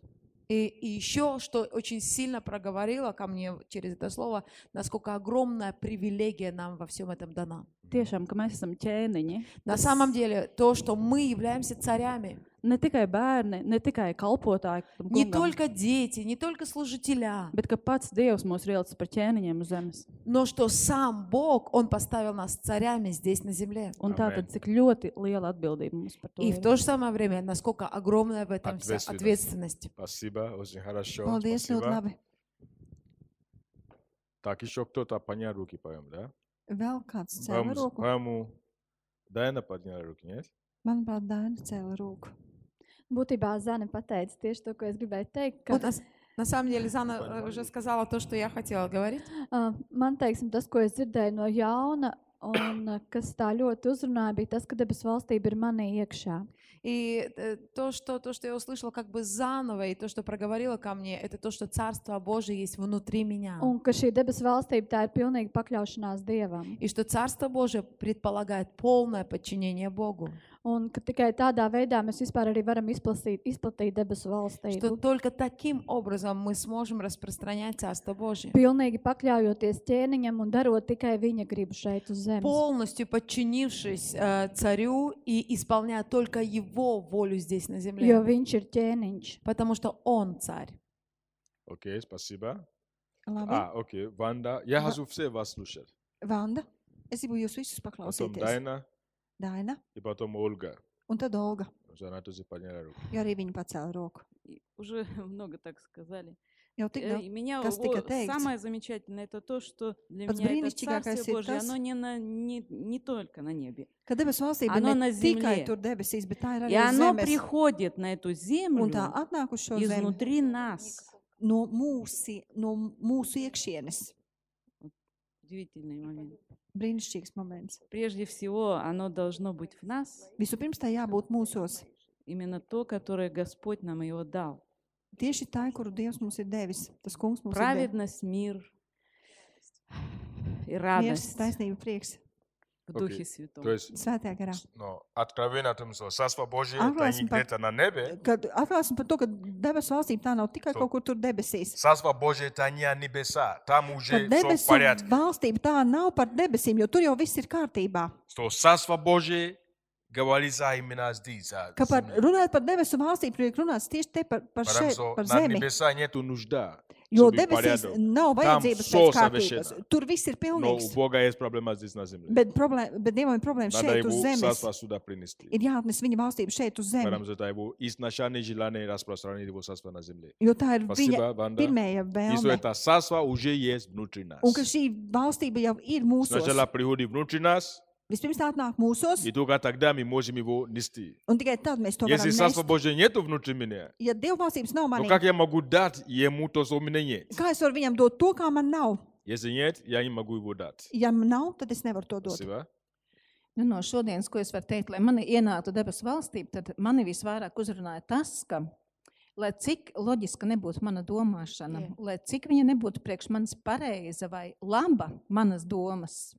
E: И, еще, что очень сильно проговорило ко мне через это слово, насколько огромная привилегия нам во всем этом дана.
G: Tiešām, ka mēs esam ķēniņi.
E: На
G: Tas-
E: самом деле, то, что мы являемся царями,
G: Ne tikai bērni, ne tikai kalpotāji, tam
E: не
G: kungam,
E: только дети, не только служителя,
G: bet ka pats Dievs mūs ielicis par ķēniņiem uz zemes.
E: но что сам Бог, Он поставил нас царями здесь на земле.
G: Un tā
A: Amen.
G: tad cik ļoti liela atbildība mums par to
E: И в
G: ir.
E: то же самое время, насколько огромная в этом вся
A: Ответственность.
E: ответственность.
A: Спасибо, очень хорошо.
B: Paldies, ļoti
A: Спасибо.
B: labi.
A: Так, еще кто-то поднял руки, по-моему, да?
B: Vēl kāds cēla
A: По-моему,
B: roku.
A: по-моему, Дайна подняла руки, нет?
B: Manuprāt, Daina cēla roku.
H: Būtībā Zana pateica tieši to, ko es gribēju teikt. Ka,
E: Вот на, с- на самом деле, Зана э, уже сказала то, что я хотела говорить.
H: uh, man teiksim, tas, ko es dzirdēju no jauna, un uh, kas tā ļoti uzrunāja, bija tas, ka debesu valstība ir manī iekšā.
E: И э, то что, то, что я услышала как бы заново, и то, что проговорила ко мне, это то, что Царство Божие есть внутри меня.
H: Un ka šī debesu valstība tā ir pilnīga pakļaušanās Dievam.
E: И что Царство Божие предполагает полное подчинение Богу.
H: Un ka tikai tādā veidā mēs vispār arī varam izplasīt, izplatīt debesu valstību.
E: Что только таким образом мы сможем распространять Царство Божие.
H: Pilnīgi pakļaujoties ķēniņam un darot tikai viņa gribu šeit uz zemes.
E: Полностью подчинившись э, Царю и исполняя только Его волю здесь на
H: Jo
E: земле.
H: viņš ir ķēniņš.
E: Потому что Он Царь.
A: Окей, спасибо.
B: Labi,
A: А, окей, Ванда. Я хочу все вас слушать.
B: Vanda, es gribu jūs visus
A: Потом
B: paklausīties.
A: Дайна
B: Daina
A: и потом Ольга.
B: un tad Olga,
A: Потому что Она тоже подняла руки.
B: jo arī viņa pacēla roku.
I: И Уже [laughs] много так сказали.
B: Jau tik
I: Э,
B: daudz.
I: и Меня
B: Kas tika
I: о-
B: teikts?
I: самое замечательное это то, что для
B: Pats
I: меня это
B: brīnišķīgākais
I: Царствие
B: ir
I: Божье,
B: tas-
I: оно не, на, не, не только на небе.
B: Ka debesu valstība
I: Ano
B: ne
I: na
B: tikai
I: zemlje.
B: tur debesīs, bet tā ir
I: И
B: arī uz
I: оно
B: zemes.
I: приходит на эту землю
B: Un tā atnāk uz šo zemi
I: изнутри нас.
B: no mūsu, no mūsu iekšienes.
I: Удивительный момент.
B: Brīnišķīgs moments.
I: Прежде всего, оно должно быть в нас,
B: Vispirms tā jābūt mūsos.
I: именно то, которое Господь нам его дал.
B: Tieši tā, kuru Dievs mums ir devis. Tas kungs mums ir
I: Праведность, мир и
B: devis.
I: радость
B: Taisnība, prieks,
I: в
A: Окей.
I: Духе
A: То
I: Святом.
A: есть,
B: svētajā garā.
A: ну, откровение о том, что Царство Божие
B: А,
A: это не
B: классно, пап.
A: где-то на небе.
B: Kad atklāsim par to, ka debesu valstība tā nav tikai
A: Tu-
B: kaut kur tur debesīs.
A: Царство Божие это не небеса. Там
B: Par
A: уже все в
B: debesu
A: порядке.
B: valstību tā nav par debesīm, jo tur jau viss ir kārtībā.
A: Что Царство Божие говорится именно здесь. за
B: Ka par,
A: землей.
B: runājot par debesu valstību, tiek runāts tieši te par, par,
A: Потому
B: šeit,
A: что
B: par
A: на
B: zemi.
A: небеса нету нужда.
B: Jo
A: Šobrīd
B: debesīs
A: parādu.
B: nav vajadzības
A: so
B: pēc kārtības.
A: saviešana.
B: Tur viss ir
A: Но у
B: pilnīgs.
A: Бога есть проблема здесь на земле.
B: Bet, problēma, bet Dievam ir problēma
A: Надо
B: šeit uz
A: его
B: zemes.
A: Царство сюда принести.
B: Ir jāatnes viņa valstība šeit uz
A: Потому
B: zemes,
A: что это его изначальное желание распространить его царство на земле.
B: jo tā ir viņa
A: Спасибо, Ванда. И
B: pirmēja
A: что
B: vēlme.
A: это царство уже есть внутри нас.
B: Un ka šī valstība jau ir mūsu.
A: Сначала приходит внутри нас,
B: Vispirms tā atnāk mūsos,
A: и только тогда мы можем его нести.
B: un tikai tad mēs to
A: Если царство
B: varam. nest.
A: Божие нету внутри меня,
B: Ja Dieva valstības
A: то
B: nav manī,
A: как я могу дать ему то, что у меня нет?
B: kā es varu viņam dot to, kā man nav?
A: Если нет, я не могу его дать.
B: Ja man nav, tad es nevaru to dot.
A: Спасибо.
J: Nu, no šodienas, ko es varu teikt, lai mani ienāktu debesu valstība, tad mani visvairāk uzrunāja tas, ka, lai cik loģiska nebūtu mana domāšana,
E: Jā.
J: lai cik viņa nebūtu priekš manis pareiza vai laba manas domas,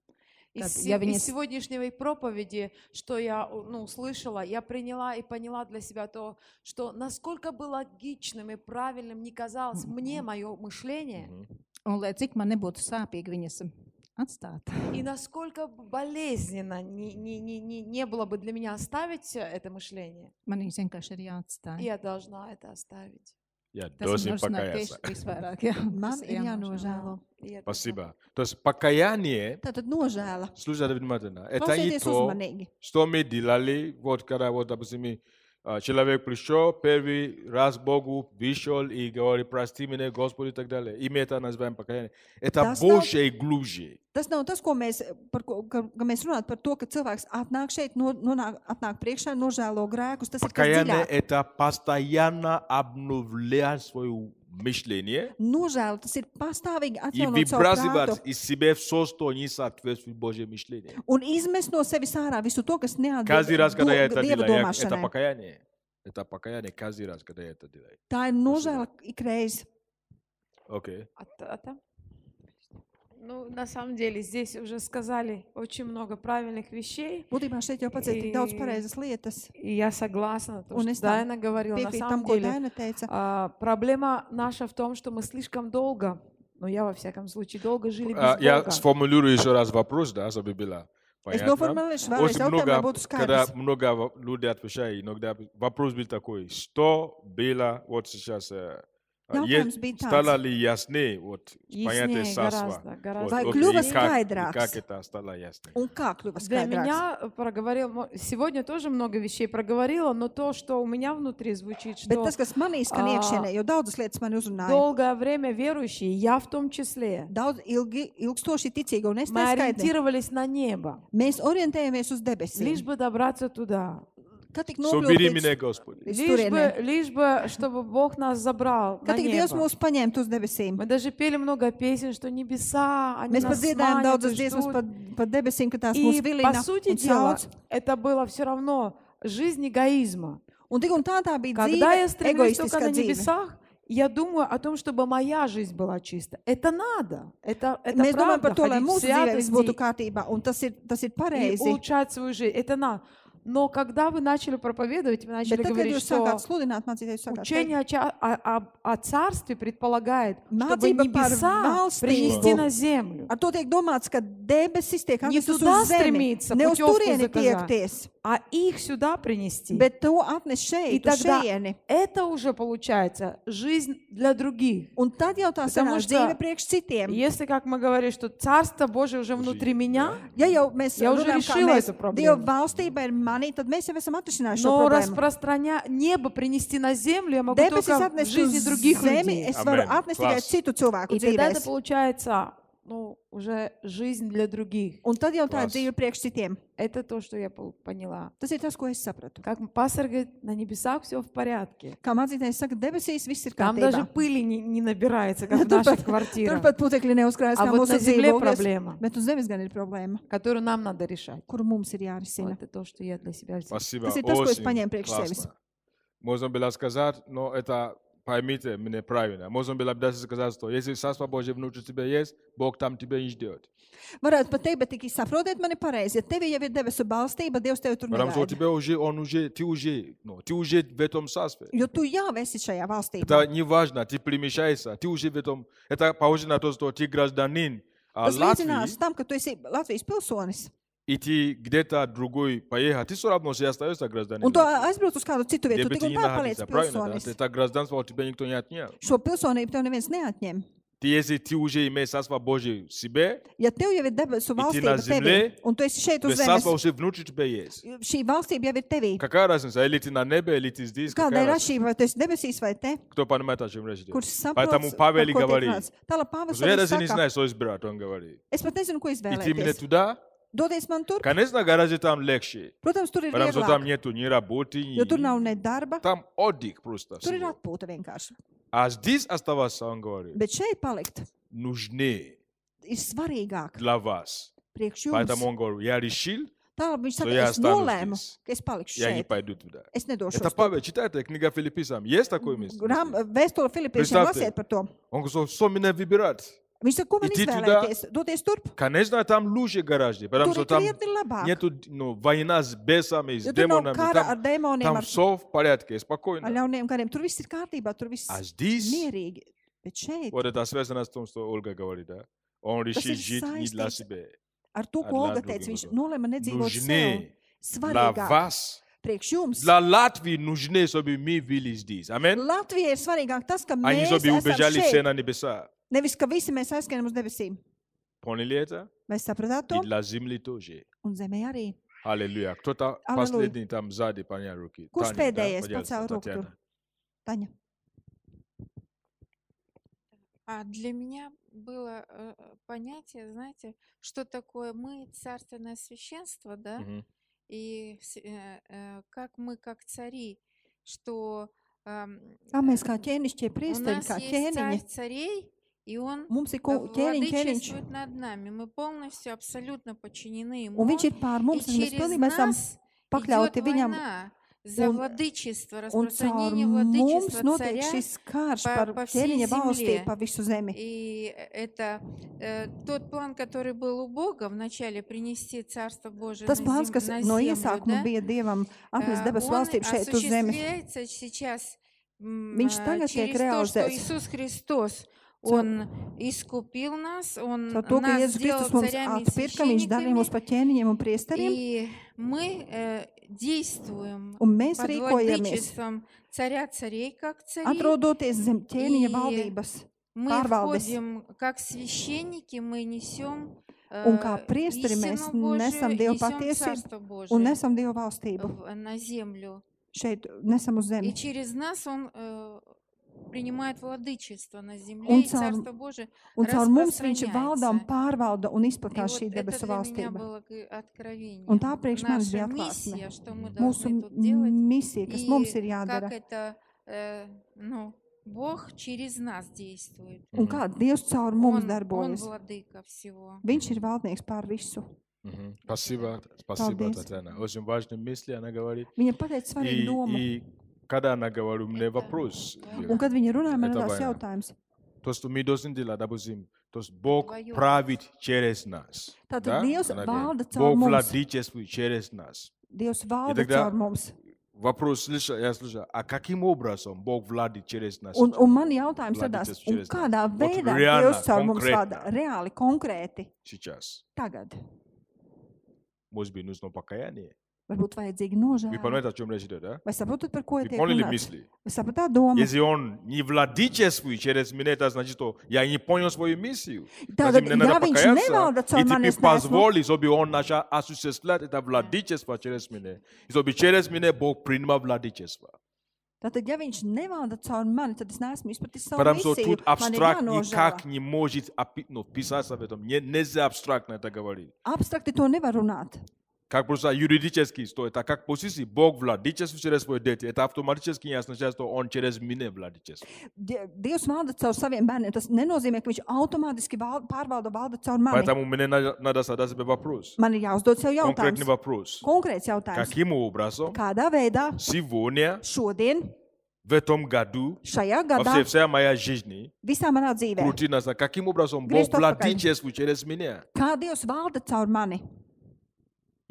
E: Из,
F: Tad,
E: се-
F: ja
E: из
F: viņas,
E: сегодняшней проповеди, что я ну, услышала, я приняла и поняла для себя то, что насколько бы логичным и правильным не казалось мне мое мышление,
A: Mhm.
J: Un lai cik man nebūtu sāpīgi viņas atstāt.
E: и насколько б- болезненно не, не, не, не, не было бы для меня оставить э, это мышление,
J: Man viņas vienkārši ir jāatstāj.
E: я должна это оставить.
A: Я
J: Tas man
A: должен
J: nožēlo
A: покаяться.
J: tieši visvairāk. Jā,
B: Man
J: Tas
B: ir
J: jānožēlo.
B: jānožēlo.
E: И это-
A: Спасибо. То есть покаяние,
B: Tā tad nožēla.
A: слушайте внимательно, это не
B: Klausieties
A: то,
B: uzmanīgi.
A: что мы делали, вот когда, вот, допустим, э, человек пришел, первый раз к Богу пришел и говорит, прости меня, Господи, и так далее. И мы это называем покаяние. Это
B: Да, стоп.
A: больше и глубже.
B: Tas nav tas, ko mēs, par ko ka, ka mēs runājam par to, ka cilvēks atnāk šeit, no, nonāk, atnāk priekšā, nožēlo grēkus. Tas ir
A: Покаяние –
B: tikai
A: это постоянно обновлять свое мышление
B: nožēla. Tas ir pastāvīgi
A: и
B: atjaunot savu
A: выбрасывать
B: prātu
A: из себя все, что не соответствует Божьему мышлению.
B: un izmest no sevis ārā visu to, kas
A: Каждый раз,
B: neatbilst
A: когда я
B: do-
A: это
B: dieva
A: делаю, я- это
B: domāšanai.
A: покаяние. Это покаяние каждый раз, когда я это делаю.
B: Tā ir nožēla ikreiz.
A: Окей.
E: А та- а та? Ну, на самом деле, здесь уже сказали очень много правильных вещей.
B: Būtībā šeit jau pats ir tik daudz pareizas lietas.
E: И я согласна, то,
B: Un
E: что
B: es tam
E: Дайна говорила. На
B: piekrītu tam,
E: самом
B: ko
E: деле,
B: Dēna teica.
E: а, проблема наша в том, что мы слишком долго, ну, я во всяком случае, долго жили без
A: А, Я
E: Бога.
A: сформулирую еще раз вопрос, да, чтобы было
B: Es
A: понятно.
B: noformulēšu vēlreiz
A: Очень
B: jautājumu, lai
A: много,
B: būtu
A: когда
B: skaidrs.
A: много во- людей отвечают, иногда вопрос был такой, что было вот сейчас, э, а, е-
B: Jautājums bija tāds.
A: стало ли яснее вот понятие
E: Яснее
A: сасва?
E: гораздо,
A: Вот,
E: гораздо.
B: Vai
A: окей,
B: kļuva
A: и как- и
B: skaidrāks?
A: Как это стало яснее?
B: Un kā kļuva
E: Для
B: skaidrāks?
E: меня э, проговорил, мо- сегодня тоже много вещей проговорила, но то, что у меня внутри звучит,
B: Bet
E: что
B: tas, kas manī skan
E: ā,
B: iekšienē, jo daudzas lietas man uzrunāja.
E: долгое время верующие, я в том числе,
B: Daudz ilgi, ilgstoši ticīgi, un es
E: мы
B: neskaidroju.
E: ориентировались на небо,
B: Mēs orientējamies uz
E: лишь
B: debesīm.
E: бы добраться туда,
B: Kad tik
A: Собери
B: noplūcis,
A: меня, Господи.
B: Из
E: лишь бы,
B: Турена.
E: лишь бы, чтобы Бог нас забрал на
B: kad tik Dievs
E: небо.
B: mūs paņēma uz debesīm.
E: Мы даже пели много песен, что небеса, они
B: Mēs pat
E: нас
B: dziedājām
E: манят и
B: daudzas dziesmas
E: ждут.
B: par, par debesīm, ka tās mūs
E: И по
B: vilina
E: сути
B: un
E: дела,
B: sauc.
E: это было все равно жизнь эгоизма.
B: Un tik un tā tā bija
E: Когда я
B: dzīve,
E: стремлюсь только
B: egoistiskā
E: на
B: dzīve.
E: небесах, я думаю о том, чтобы моя жизнь была чиста. Это надо. Это, это
B: Mēs domājam
E: правда,
B: par to, lai
E: ходить в
B: mūsu dzīvē viss būtu
E: святости
B: kārtībā, un tas ir, tas ir
E: и
B: pareizi.
E: улучшать свою жизнь. Это надо. Но когда вы начали проповедовать, вы
B: Bet
E: начали
B: tad, kad
E: говорить,
B: jūs
E: что
B: sākāt sludināt, mācīties, sākāt teikt,
E: учение о, ча- о- об- о царстве предполагает, чтобы
B: Mācība par
E: небеса
B: valstību.
E: принести на землю.
B: ar to tiek domāts, ka debesis tiek
E: Не
B: atnestas
E: туда
B: uz zemi,
E: stремиться,
B: ne uz
E: puķovku
B: turieni
E: zakazāt.
B: tiekties,
E: а их сюда принести.
B: bet to atnes šeit, uz
E: тогда-
B: šeieni.
E: Это уже получается жизнь для других.
B: Un tad jau tā
E: Потому
B: sanāk
E: что-
B: dzīve priekš citiem.
E: Если, как мы говорим, что Царство Божие уже внутри меня,
B: Ja jau mēs
E: Я уже
B: runājam, kā
E: решила
B: mēs,
E: эту проблему.
B: Dieva valstība ir manī, tad mēs jau esam atrisinājuši šo
E: но
B: problēmu.
E: распространя... небо принести на землю, я могу
B: Debesis
E: только в
B: atnes
E: жизни
B: uz
E: других
B: zemi,
E: людей.
B: es varu
A: Amen.
B: atnest tikai
A: Klass.
B: citu cilvēku
E: И тогда это
B: dzīvēs.
E: получается ну, уже жизнь для других.
B: Un tad jau tā ir
A: Klass.
B: dzīve priekš citiem.
E: Это то, что я пол- поняла.
B: Tas ir tas, ko es sapratu.
E: Как пастор говорит, на небесах все в порядке.
B: Kā mācītājs saka, debesīs viss ir
E: Там даже
B: kārtībā.
E: пыли не, не набирается, как в
B: Тут
E: наших
B: пот-
E: квартирах.
B: Turpat putekļi neuzkrājas
E: А
B: kā
E: вот на
B: mūsu
E: земле
B: dzīvoklis.
E: проблема,
B: Bet uz zemes gan ir problēma,
E: которую нам надо решать.
B: kuru mums ir
E: Вот
B: jārisina.
E: это то, что я для себя взяла.
A: Спасибо.
B: Kasi tas, ko es
A: очень
B: paņēmu priekš
A: классно.
B: sevis.
A: Можно было сказать, но это поймите меня правильно. Можно было бы даже сказать, что если Царство Божье внутри тебя есть, Бог там тебя не ждет.
B: Varētu pat teikt, bet tikai saprotiet mani pareizi. Ja tev jau ir debesu balstība, Dievs tevi tur
A: Потому что у
B: negaida.
A: тебя уже, он уже, ты уже, ну, ты уже в этом царстве.
B: Jo tu jau esi šajā valstī.
A: Это не важно, ты перемещаешься, ты уже в этом. Это похоже на то, что ты гражданин а,
B: Tas līdzinās
A: Латвии,
B: tam, ka tu esi Latvijas pilsonis.
A: и ты где-то другой поехал, ты все равно все остаешься гражданином.
B: Un tu
A: Латвии.
B: aizbrauc uz kādu citu
A: Где
B: vietu,
A: бы
B: tu
A: ты
B: tik
A: ни
B: un tā
A: находился,
B: paliec
A: правильно, да?
B: pilsonis.
A: Это гражданство у тебя никто не отнял.
B: Šo pilsonību tev neviens neatņem.
A: Ты, если ты уже имеешь Царство Божие в себе,
B: Ja tev jau ir debesu
A: Ir tie
B: valstība
A: na
B: tevī,
A: zemlē,
B: un tu esi šeit
A: то
B: uz
A: есть Царство
B: zemes,
A: уже внутри тебя есть.
B: šī valstība jau ir tevī.
A: Какая разница, или ты на небе, или ты здесь,
B: Kāda
A: какая
B: ir
A: разница?
B: atšķirība, vai tu esi debesīs vai te,
A: Кто понимает, о чем речь идет?
B: kurš saprot,
A: Поэтому Павел и говорит.
B: Tālāk
A: Потому
B: Pāvils
A: что Я
B: arī
A: даже не
B: saka,
A: знаю, что избирать, он говорит.
B: es pat nezinu, ko
A: Идти мне
B: izvēlēties.
A: туда,
B: Doties man tur,
A: конечно, гараже там легче.
B: protams, tur ir
A: Потому что там
B: vieglāk,
A: нету ни работы,
B: jo tur nav
A: ни...
B: ne darba,
A: Там отдых просто.
B: tur ir
A: всего.
B: atpūta vienkārši.
A: А здесь оставаться, он говорит,
B: Bet šeit palikt
A: нужнее
B: ir svarīgāk
A: для вас.
B: priekš
A: Поэтому
B: jums.
A: он говорит, я решил,
B: Tālāk viņš
A: So,
B: saka,
A: jā,
B: es
A: stānos
B: nolēmu,
A: viss.
B: ka es palikšu
A: я не
B: šeit.
A: пойду туда.
B: Es nedošu.
A: Это Павел, читайте книга Филиппийцам. Есть такое место?
B: э, Grāmatā vēstule Filipiešiem
A: Представьте.
B: lasiet par to.
A: Он говорит, что что меня выбирать?
B: Viņš saka, ko man
A: Идти туда.
B: izvēlēties? Доties turp,
A: Конечно, там лучше гораздо, потому
B: tur
A: что
B: ir
A: там
B: krietni labāk.
A: нету ну, война с бесами, с
B: Jo tur nav
A: демонами.
B: kara ar
A: Там,
B: demoniem,
A: там
B: ar,
A: все в порядке,
B: ar
A: спокойно.
B: ļauniem kariem. Tur viss ir kārtībā, tur viss
A: А
B: ir
A: здесь,
B: mierīgi. Bet šeit
A: вот это связано с тем, что Ольга говорит, да? Он решил
B: есть
A: жить не для
B: сайстейс-
A: себя.
B: ar to, ko
A: Ar
B: Olga
A: Latviju
B: teica, viņš
A: gribu.
B: nolēma
A: Nu,
B: nedzīvot sev.
A: Нужны для
B: Svarīgāk
A: вас.
B: priekš jums.
A: Для Латвии нужны, чтобы мы были здесь. Аминь.
B: Latvijai ir svarīgāk tas, ka
A: Они,
B: mēs
A: чтобы
B: esam
A: убежали все
B: šeit.
A: на небеса.
B: Nevis, ka visi mēs aizskrējam uz debesīm.
A: Поняли это?
B: Vai sapratāt to?
A: И для земли тоже.
B: Un zemē arī.
A: Аллилуйя. Кто-то
B: Аллилуйя.
A: последний там сзади поднял руки.
B: Курс
A: Таня, да,
B: PDS,
A: пожалуйста,
B: пацан, руку
A: Татьяна.
B: тур. Таня.
C: А для меня было э, понятие, знаете, что такое мы царственное священство, да,
A: Мгм.
C: и с- э, э, как мы как цари, что эм,
B: Kā mēs kā
C: э,
B: ķēnišķie
C: у
B: priesteri,
C: нас
B: kā
C: есть царь
B: ķēniņi.
C: царей, и он
B: Mums ir
C: э,
B: ko- ķēniņ, ķēniņš.
C: владычествует над нами. Мы полностью, абсолютно подчинены ему.
B: Un viņš ir pār
C: и
B: mums, un mēs
C: через
B: pilnībā esam
C: нас
B: pakļauti
C: идет
B: viņam.
C: война за
B: un-
C: владычество,
B: Un caur
C: распространение
B: mums
C: владычества
B: notiek
C: царя.
B: šis karš
C: pa-
B: par
C: pa всей
B: ķēniņa valstī,
C: земlē.
B: pa visu zemi.
C: И э, это э, тот план, который был у Бога вначале принести Царство Божие
B: Tas
C: на,
B: plāns,
C: зем-
B: kas
C: на
B: no
C: землю,
B: iesākuma
C: да,
B: bija Dievam atnest
C: э,
B: debesu
C: он
B: valstību šeit uz zemi.
C: осуществляется сейчас м,
B: Viņš
C: э,
B: tagad tiek
C: через то, что
B: realizēts.
C: Иисус Христос,
B: Caur-
C: Он искупил нас, Он
B: Caur to, ka
C: нас
B: Jēzus
C: сделал
B: Kristus mums
C: царями и
B: atpirka, viņš darīja
C: священниками,
B: mūs par ķēniņiem un priesteriem,
C: и мы э, действуем
B: un mēs
C: под
B: rīkojamies,
C: владычеством Царя Царей, как цари,
B: atrodoties zem ķēniņa
C: I-
B: valdības.
C: мы
B: pārvaldes.
C: входим, как священники, мы несем
B: Un kā
C: э,
B: priesteri mēs
C: истину Божию,
B: nesam Dieva
C: несем
B: patiesību
C: Царство
B: un
C: Божие
B: nesam Dieva valstību.
C: в- на землю.
B: Šeit nesam uz
C: И
B: zemi.
C: через нас Он э, принимает владычество на земле,
B: Un
C: и
B: caur-
C: Царство Божие
B: Un caur mums viņš valda un
C: распространяется.
B: pārvalda un
C: И
B: izplatās
C: вот
B: šī
C: это
B: debesu
C: для меня
B: valstība.
C: было к- откровением.
B: Un tā priekš manis bija
C: Наша
B: atklāsme.
C: миссия, что мы
B: Mūsu
C: должны тут делать,
B: misija, kas mums ir
C: и как
B: jādara,
C: это, э, ну, Бог через нас действует.
B: un kā Dievs caur mums
C: Он- он
B: darbojas.
C: владыка всего.
B: Viņš ir valdnieks pār visu.
A: Мгм. Спасибо, спасибо,
B: Paldies.
A: Татьяна. Очень важные мысли она говорит.
B: Viņa pateica svarīgu
A: И,
B: domu.
A: и когда она говорит, у меня вопрос.
B: Un
A: Вера.
B: kad viņa runāja, man
A: Это
B: radās
A: война.
B: jautājums.
A: То, что мы должны делать, допустим, то есть Бог
C: Твоё.
A: правит через нас.
B: Tātad Dievs
A: Она
B: valda
A: говорит,
B: caur
A: Бог
B: mums.
A: владычествует через нас.
B: Dievs valda
A: тогда-
B: caur mums.
A: Вопрос, слыша, я слышал, а каким образом Бог владит через нас?
B: Un, un man jautājums
A: Vladīties
B: radās, un
A: šķiras nāc.
B: kādā
A: Ot
B: veidā
A: reālā,
B: Dievs caur mums
A: konkrētā.
B: valda reāli, konkrēti
A: Сейчас.
B: tagad?
A: Может быть, нужно покаяние.
B: Varbūt vajadzīgi
A: Вы
B: nožēlot.
A: понимаете, о чем речь идет, да?
B: Vai saprotat, par ko ir
A: Вы
B: tiek
A: поняли
B: runāts?
A: мысли?
B: Vai sapratāt domu?
A: Если он не владычествует через меня, это значит, что я не понял свою миссию.
B: Tātad,
A: Значит, мне
B: ja
A: надо
B: viņš nevalda
A: покаяться,
B: caur
A: и
B: mani,
A: теперь
B: es neesmu-
A: позволи, чтобы он начал осуществлять это владычество через меня. И чтобы через меня Бог принимал владычество.
B: Tātad, ja viņš nevalda caur mani, tad es neesmu izpratis savu
A: Потому что
B: misiju.
A: тут
B: Man ir
A: абстракт никак
B: jānožēlo.
A: не может опи- ну, писаться об этом. Не- нельзя абстрактно это говорить.
B: Abstrakti to nevar runāt.
A: Как просто юридически, что это как позиции Бог владычествует через свое дети. Это автоматически не означает, что он через меня владычествует.
B: Die- Dievs valda caur saviem bērniem. Tas nenozīmē, ka viņš automātiski valda, pārvalda valda caur mani.
A: Поэтому мне надо, надо задать себе вопрос.
B: Man ir jāuzdod sev
A: Конкретный
B: jautājums.
A: вопрос.
B: Konkrēts jautājums.
A: Каким образом
B: Kādā veidā
A: сегодня,
B: šodien,
A: в этом году,
B: šajā gadā,
A: во вся моя жизнь,
B: visā manā dzīvē,
A: крутина, каким образом Бог
B: Гристо покажи.
A: владычествует через меня?
B: kā Dievs valda caur mani?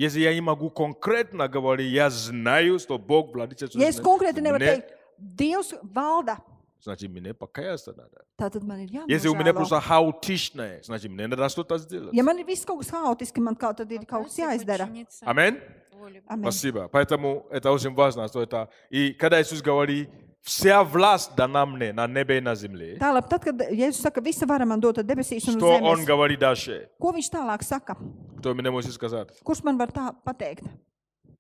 A: Если я не могу конкретно говорить, я знаю, что Бог владычествует
B: Ja es konkrēti nevaru
A: мне,
B: teikt, Dievs valda,
A: значит, мне покаяться надо.
B: tad man ir
A: Если у меня
B: jānožēlo.
A: просто хаотичное, значит, мне надо что-то сделать.
B: Ja man ir viss kaut kas haotiski, man kaut tad ir kaut kas
C: Вопросы
B: jāizdara.
C: подчиниться
A: Аминь.
C: воле Божьей.
B: Amen.
A: Спасибо. Поэтому это очень важно, что это... И когда Иисус говорит, вся власть дана мне на небе и на земле,
B: Tālāk, tad, kad Jēzus saka, visa vara man dota debesīs un uz
A: что Он
B: zemes,
A: говорит дальше?
B: ko viņš tālāk saka?
A: Кто мне может сказать?
B: Kurš man var tā pateikt?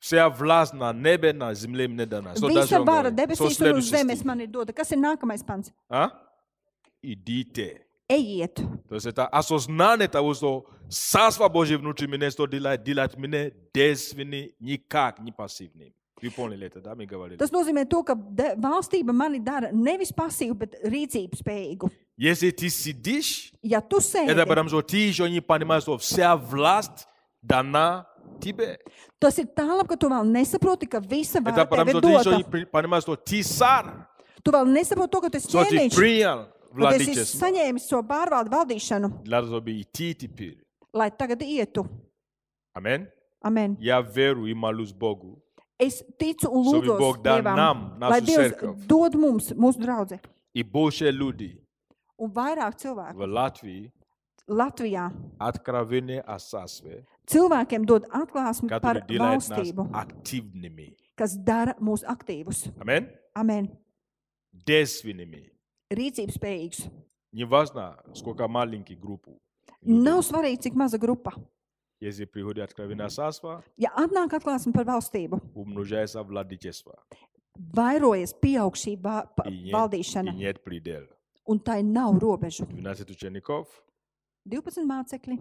A: Вся власть на небе, на земле мне дана. Что дальше
B: Visa
A: он
B: vara
A: говорит? Что
B: debesīs un uz
A: следующий
B: zemes
A: стих?
B: man ir dota. Kas ir nākamais pants?
A: А? Идите.
B: Ejiet!
A: То есть это осознание того, что царство Божье внутри меня, что делает, делает меня действенным, никак не пассивным. Вы поняли это, да, мы говорили?
B: Tas nozīmē, to, ka de- valstība mani dara nevis pasīvu, bet rīcības spējīgu.
A: Если ты сидишь,
B: Ja tu sēdi,
A: Это потому что ты еще не понимаешь, что вся власть дана тебе.
B: tas ir tālāk, ka tu vēl nesaproti, ka visa vara
A: Это
B: tev
A: потому
B: ir
A: что ты еще
B: dota.
A: не при- понимаешь, что ты царь,
B: Tu vēl nesaproti to, ka tu esi
A: что ты
B: ķēniņš,
A: принял
B: Kad es esmu
A: владичество.
B: saņēmis šo pārvaldu valdīšanu,
A: Для да би и ти теперь.
B: lai tagad ietu.
A: Амен.
B: Amen.
A: Я верую и молюсь Богу,
B: Es ticu un
A: Šovi
B: lūdzu,
A: Bog da nam, našu
B: lai Dievs
A: cerkev.
B: dod mums, mūsu draugi,
A: и больше люди
B: un vairāk cilvēku
A: в Латвии
B: Latvijā.
A: откровение о царстве,
B: Cilvēkiem dod atklāsmi par
A: которое делает нас
B: valstību,
A: активными.
B: kas dara mūs aktīvus.
A: Амен.
B: Amen.
A: Действенными.
B: Rīcības spējīgs.
A: Неважно, сколько маленьких групп.
B: Nav svarīgi, cik maza grupa.
A: Если приходит откровение о царстве,
B: Ja atnāk atklāsme par valstību,
A: умножается владычество.
B: vairojas pieaug šī va- pa-
A: И нет, и
B: valdīšana,
A: нет предела.
B: un tai nav robežu.
A: 12 учеников,
B: 12 mācekļi,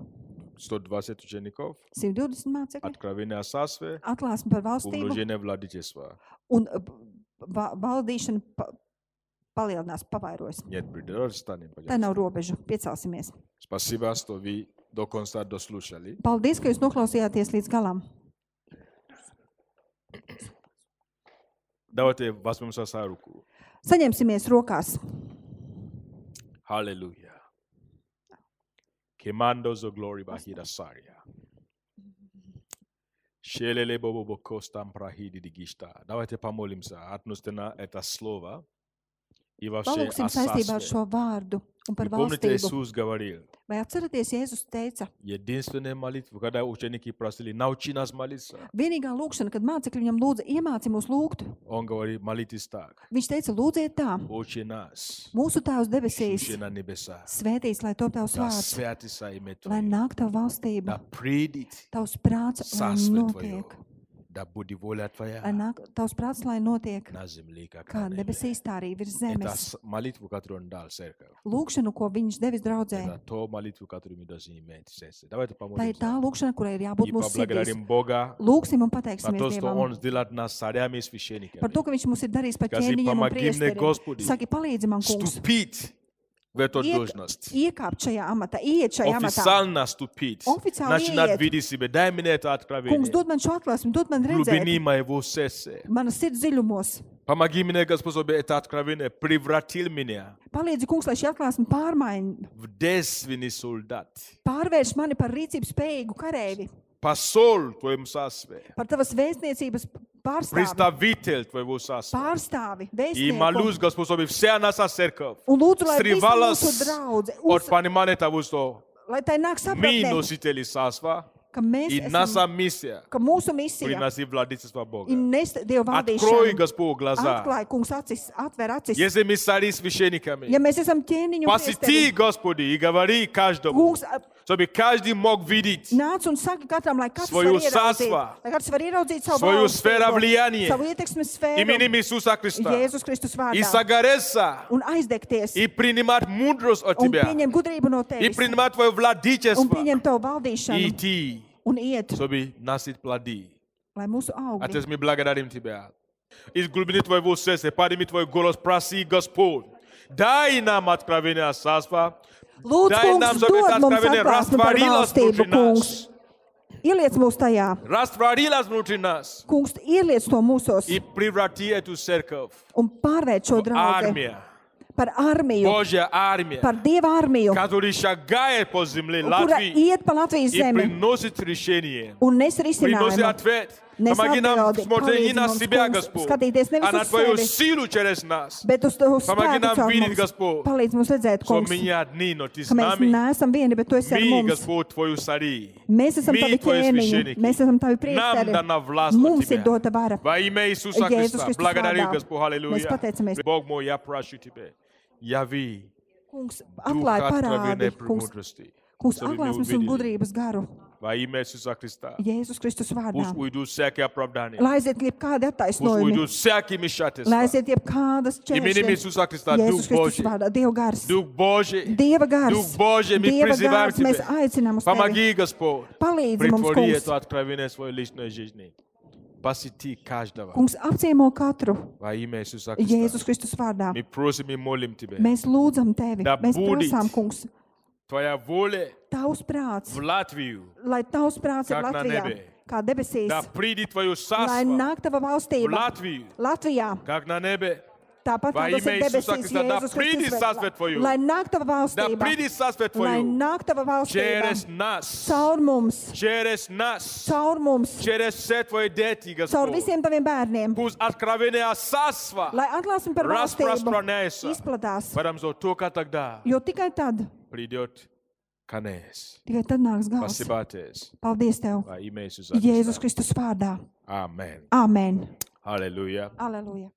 A: 120 учеников,
B: 120 mācekļi,
A: откровение о царстве,
B: atklāsme par valstību,
A: умножение владычества.
B: un uh, va- valdīšana pa- palielinās, pavairojas.
A: Нет предела. Встанем, пожалуйста.
B: Tā nav robežu. Piecelsimies.
A: Спасибо, что вы до конца дослушали.
B: Paldies, ka jūs noklausījāties līdz galam.
A: Давайте возьмемся за руку.
B: Saņemsimies rokās.
A: Hallelujah. Commandos of glory bahida saria. Shelele bobo boko stamprahidi digishta. Давайте помолимся относительно это слово и вообще о
B: Palūksim saistībā ar šo
A: царстве.
B: vārdu un
A: И
B: par
A: Помните,
B: valstību.
A: Иисус говорил,
B: Vai atceraties, Jēzus teica,
A: единственная молитва, когда ученики просили, научи нас молиться.
B: vienīgā lūkšana, kad mācekļi viņam lūdza, iemāci mūs lūgt,
A: Он говорит, молитесь так.
B: viņš teica, lūdziet tā,
A: Отче нас,
B: mūsu Tēvs debesīs,
A: сущий на небесах,
B: svētīts, lai top tavs
A: да
B: vārds,
A: святится имя
B: lai
A: Твое,
B: nāk tava valstība,
A: да придет
B: tavs prāts, lai
A: царство Твое,
B: notiek,
A: да будет воля
B: lai
A: Твоя
B: nāk tavs prāts, lai notiek,
A: на земле, как
B: kā
A: на небе».
B: debesīs, tā arī virs
A: Это
B: zemes.
A: с- молитву, которую он дал церковь.
B: Lūkšanu, ko viņš devis draudzē,
A: Это то молитву, которую мы должны иметь в сердце. Давайте
B: tā ir tā
A: помолимся
B: lūkšana, kurai ir jābūt
A: и
B: mūsu sirdīs.
A: поблагодарим Бога
B: Lūksim un
A: за то,
B: pateiksimies
A: что
B: Dievam
A: Он сделал нас царями и священниками.
B: par to, ka Viņš mums ir darījis par
A: Kas ir
B: ķēniņiem un
A: pamākļiem
B: priesteriem.
A: Gospodi.
B: Saki, palīdzi man, kungs,
A: Ступить в эту
B: Иек-
A: должность.
B: iekāpt šajā amatā, ieiet šajā amatā.
A: Официально ступить.
B: Официально
A: Начинать
B: иет.
A: видеть себя. Дай мне это
B: Kungs,
A: откровение.
B: dod man šo atklāsmi, dod man
A: в Глубине
B: redzēt,
A: моего сердца.
B: manas sirds dziļumos.
A: Помоги мне, Господь, чтобы это откровение превратил меня
B: Palīdzi, kungs, lai šī atklāsme pārmaiņa
A: в действенный солдат.
B: pārvērš mani par rīcības spējīgu kareivi,
A: Посол в Твоем царстве.
B: par tavas vēstniecības pārstāvi,
A: Представитель Твоего царства.
B: pārstāvi
A: И
B: vēstnieku.
A: молюсь, Господь, чтобы вся наша церковь
B: Un lūdzu, lai visa
A: стривалась
B: mūsu draudze,
A: от
B: uz,
A: понимания того, что
B: lai tai nāk
A: мы
B: sapratnē,
A: носители царства,
B: ka mēs
A: и
B: esam,
A: наша миссия
B: ka mūsu misija
A: приносить владычество Бога.
B: ir nest Dievu
A: Открой,
B: valdīšanu.
A: Господь, глаза.
B: Atklāj, kungs, acis, atver acis.
A: Если мы стали
B: Ja
A: священниками,
B: mēs esam ķēniņu
A: посети,
B: priesteri,
A: Господи, и говори каждому,
B: kungs, a-
A: чтобы каждый мог видеть
B: nāc un saka katram, lai katrs
A: Svoju
B: var ieraudzīt,
A: sasvā,
B: lai katrs var ieraudzīt savu
A: svoju
B: valstību,
A: sfērā vlijānie,
B: savu ietekmes
A: именем
B: sfēru,
A: Иисуса Христа
B: Jēzus Kristus
A: и
B: vārdā,
A: согореться,
B: un aizdegties,
A: и принимать мудрость от
B: un
A: Тебя,
B: pieņem gudrību no
A: и
B: tevis,
A: принимать Твое
B: un
A: владычество,
B: pieņem tavu
A: и
B: valdīšanu,
A: идти,
B: un iet,
A: чтобы носить плоды.
B: lai mūsu augļi
A: Отец, мы благодарим Тебя. Из глубины Твоего сердца подними Твой голос, проси, Господь, дай нам откровение Сасва,
B: Lūdzu,
A: дай нам,
B: kungs,
A: чтобы это
B: dod mums
A: откровение
B: atklāsmi par
A: растворилось внутри
B: valstību, kungs.
A: нас,
B: Ieliec mūs tajā,
A: растворилось внутри нас
B: kungs, ieliec to mūsos
A: и преврати эту церковь
B: un pārvērš šo
A: в
B: draugu
A: армию,
B: par armiju,
A: Божья армия,
B: par Dieva armiju,
A: которая шагает по земле
B: kura
A: Латвии
B: iet pa Latvijas
A: и
B: zemi
A: приносит решение,
B: un nes
A: приносит
B: risinājumu.
A: ответ.
B: Nes
A: Помоги нам
B: atbildi,
A: смотреть не на
B: palīdzi mums,
A: себя,
B: kungs,
A: Господь,
B: skatīties nevis
A: а на
B: uz
A: Твою
B: sevi.
A: силу через нас.
B: Bet uz to
A: Pamēģinām
B: spēku caur
A: vīrīt,
B: mums.
A: Gospod.
B: Palīdz mums redzēt,
A: Что
B: kungs,
A: мы не одни, но Ты с
B: ka mēs
A: нами.
B: neesam vieni, bet tu esi ar
A: Мы,
B: mums.
A: Господь, Твою цари.
B: Mēs esam
A: Мы
B: tavi
A: Твои
B: ķēniņi,
A: священники.
B: mēs esam tavi
A: Нам
B: priesteri.
A: дана власть от
B: Mums ir dota
A: Тебя.
B: vara.
A: Во имя Иисуса
B: Jēzus
A: Христа.
B: Kristus
A: Благодарю,
B: vārdā.
A: Господь. Аллилуйя.
B: Mēs pateicamies.
A: Бог мой, я прошу Тебя. Яви
B: Kungs,
A: дух
B: atklāj parādi,
A: откровенной
B: kungs,
A: премудрости.
B: kungs
A: Savi
B: atklāsmes un
A: neuvidi.
B: gudrības garu.
A: Во имя Иисуса Христа.
B: Jēzus Kristus vārdā.
A: Пусть уйдут всякие оправдания.
B: Lai aiziet jebkādi
A: Пусть
B: attaisnojumi,
A: уйдут всякие
B: lai
A: вмешательства.
B: aiziet jebkādas
A: Именем
B: čēršļi.
A: Иисуса Христа. Дух
B: Jēzus Kristus
A: Божий.
B: vārdā, Dieva gars,
A: Дух Божий.
B: Dieva gars,
A: Дух Божий. Мы
B: Dieva
A: призываем
B: gars, mēs
A: Тебя.
B: aicinām uz tevi.
A: Помоги, Господь.
B: Palīdzi mums,
A: Притвори
B: kungs,
A: это откровение в своей личной жизни. Посети каждого.
B: kungs apciemo katru
A: Во имя Иисуса
B: Jēzus
A: Христа.
B: Kristus vārdā.
A: Мы просим и молим Тебя.
B: Mēs lūdzam tevi,
A: Da
B: mēs
A: būdīt.
B: prasām, kungs,
A: Твоя воля
B: tavs prāts,
A: в Латвию.
B: lai tavs prāts ir
A: Как на
B: Latvijā,
A: nebē.
B: kā debesīs,
A: Да придет Твое
B: lai
A: царство
B: nāk tava
A: в
B: valstība
A: Латвию,
B: Latvijā,
A: как на небе,
B: Tāpat kā
A: Vai
B: tas ir
A: imē Jēzus
B: debesīs,
A: Kristus, da
B: Jēzus
A: prīdīs
B: Kristus
A: sasvērt for you.
B: Lai nāk tava
A: Да
B: valstība.
A: приди сасвет
B: Lai
A: твою.
B: nāk tava valstība.
A: Через нас.
B: Caur mums.
A: Через нас.
B: Caur mums.
A: Через все твои дети,
B: Caur
A: Господь.
B: visiem taviem bērniem.
A: Пусть откровение царства
B: Lai atklāsim par valstību.
A: распространяется.
B: Izplatās.
A: Потому что только тогда
B: Jo tikai tad,
A: придет конец.
B: tikai tad nāks gals.
A: Спасибо, Отец.
B: Paldies Tev.
A: Во имя Иисуса
B: Jēzus
A: Христа.
B: Kristus vārdā.
A: Amen.
B: Āmen.
A: Аллилуйя.
B: Aleluja.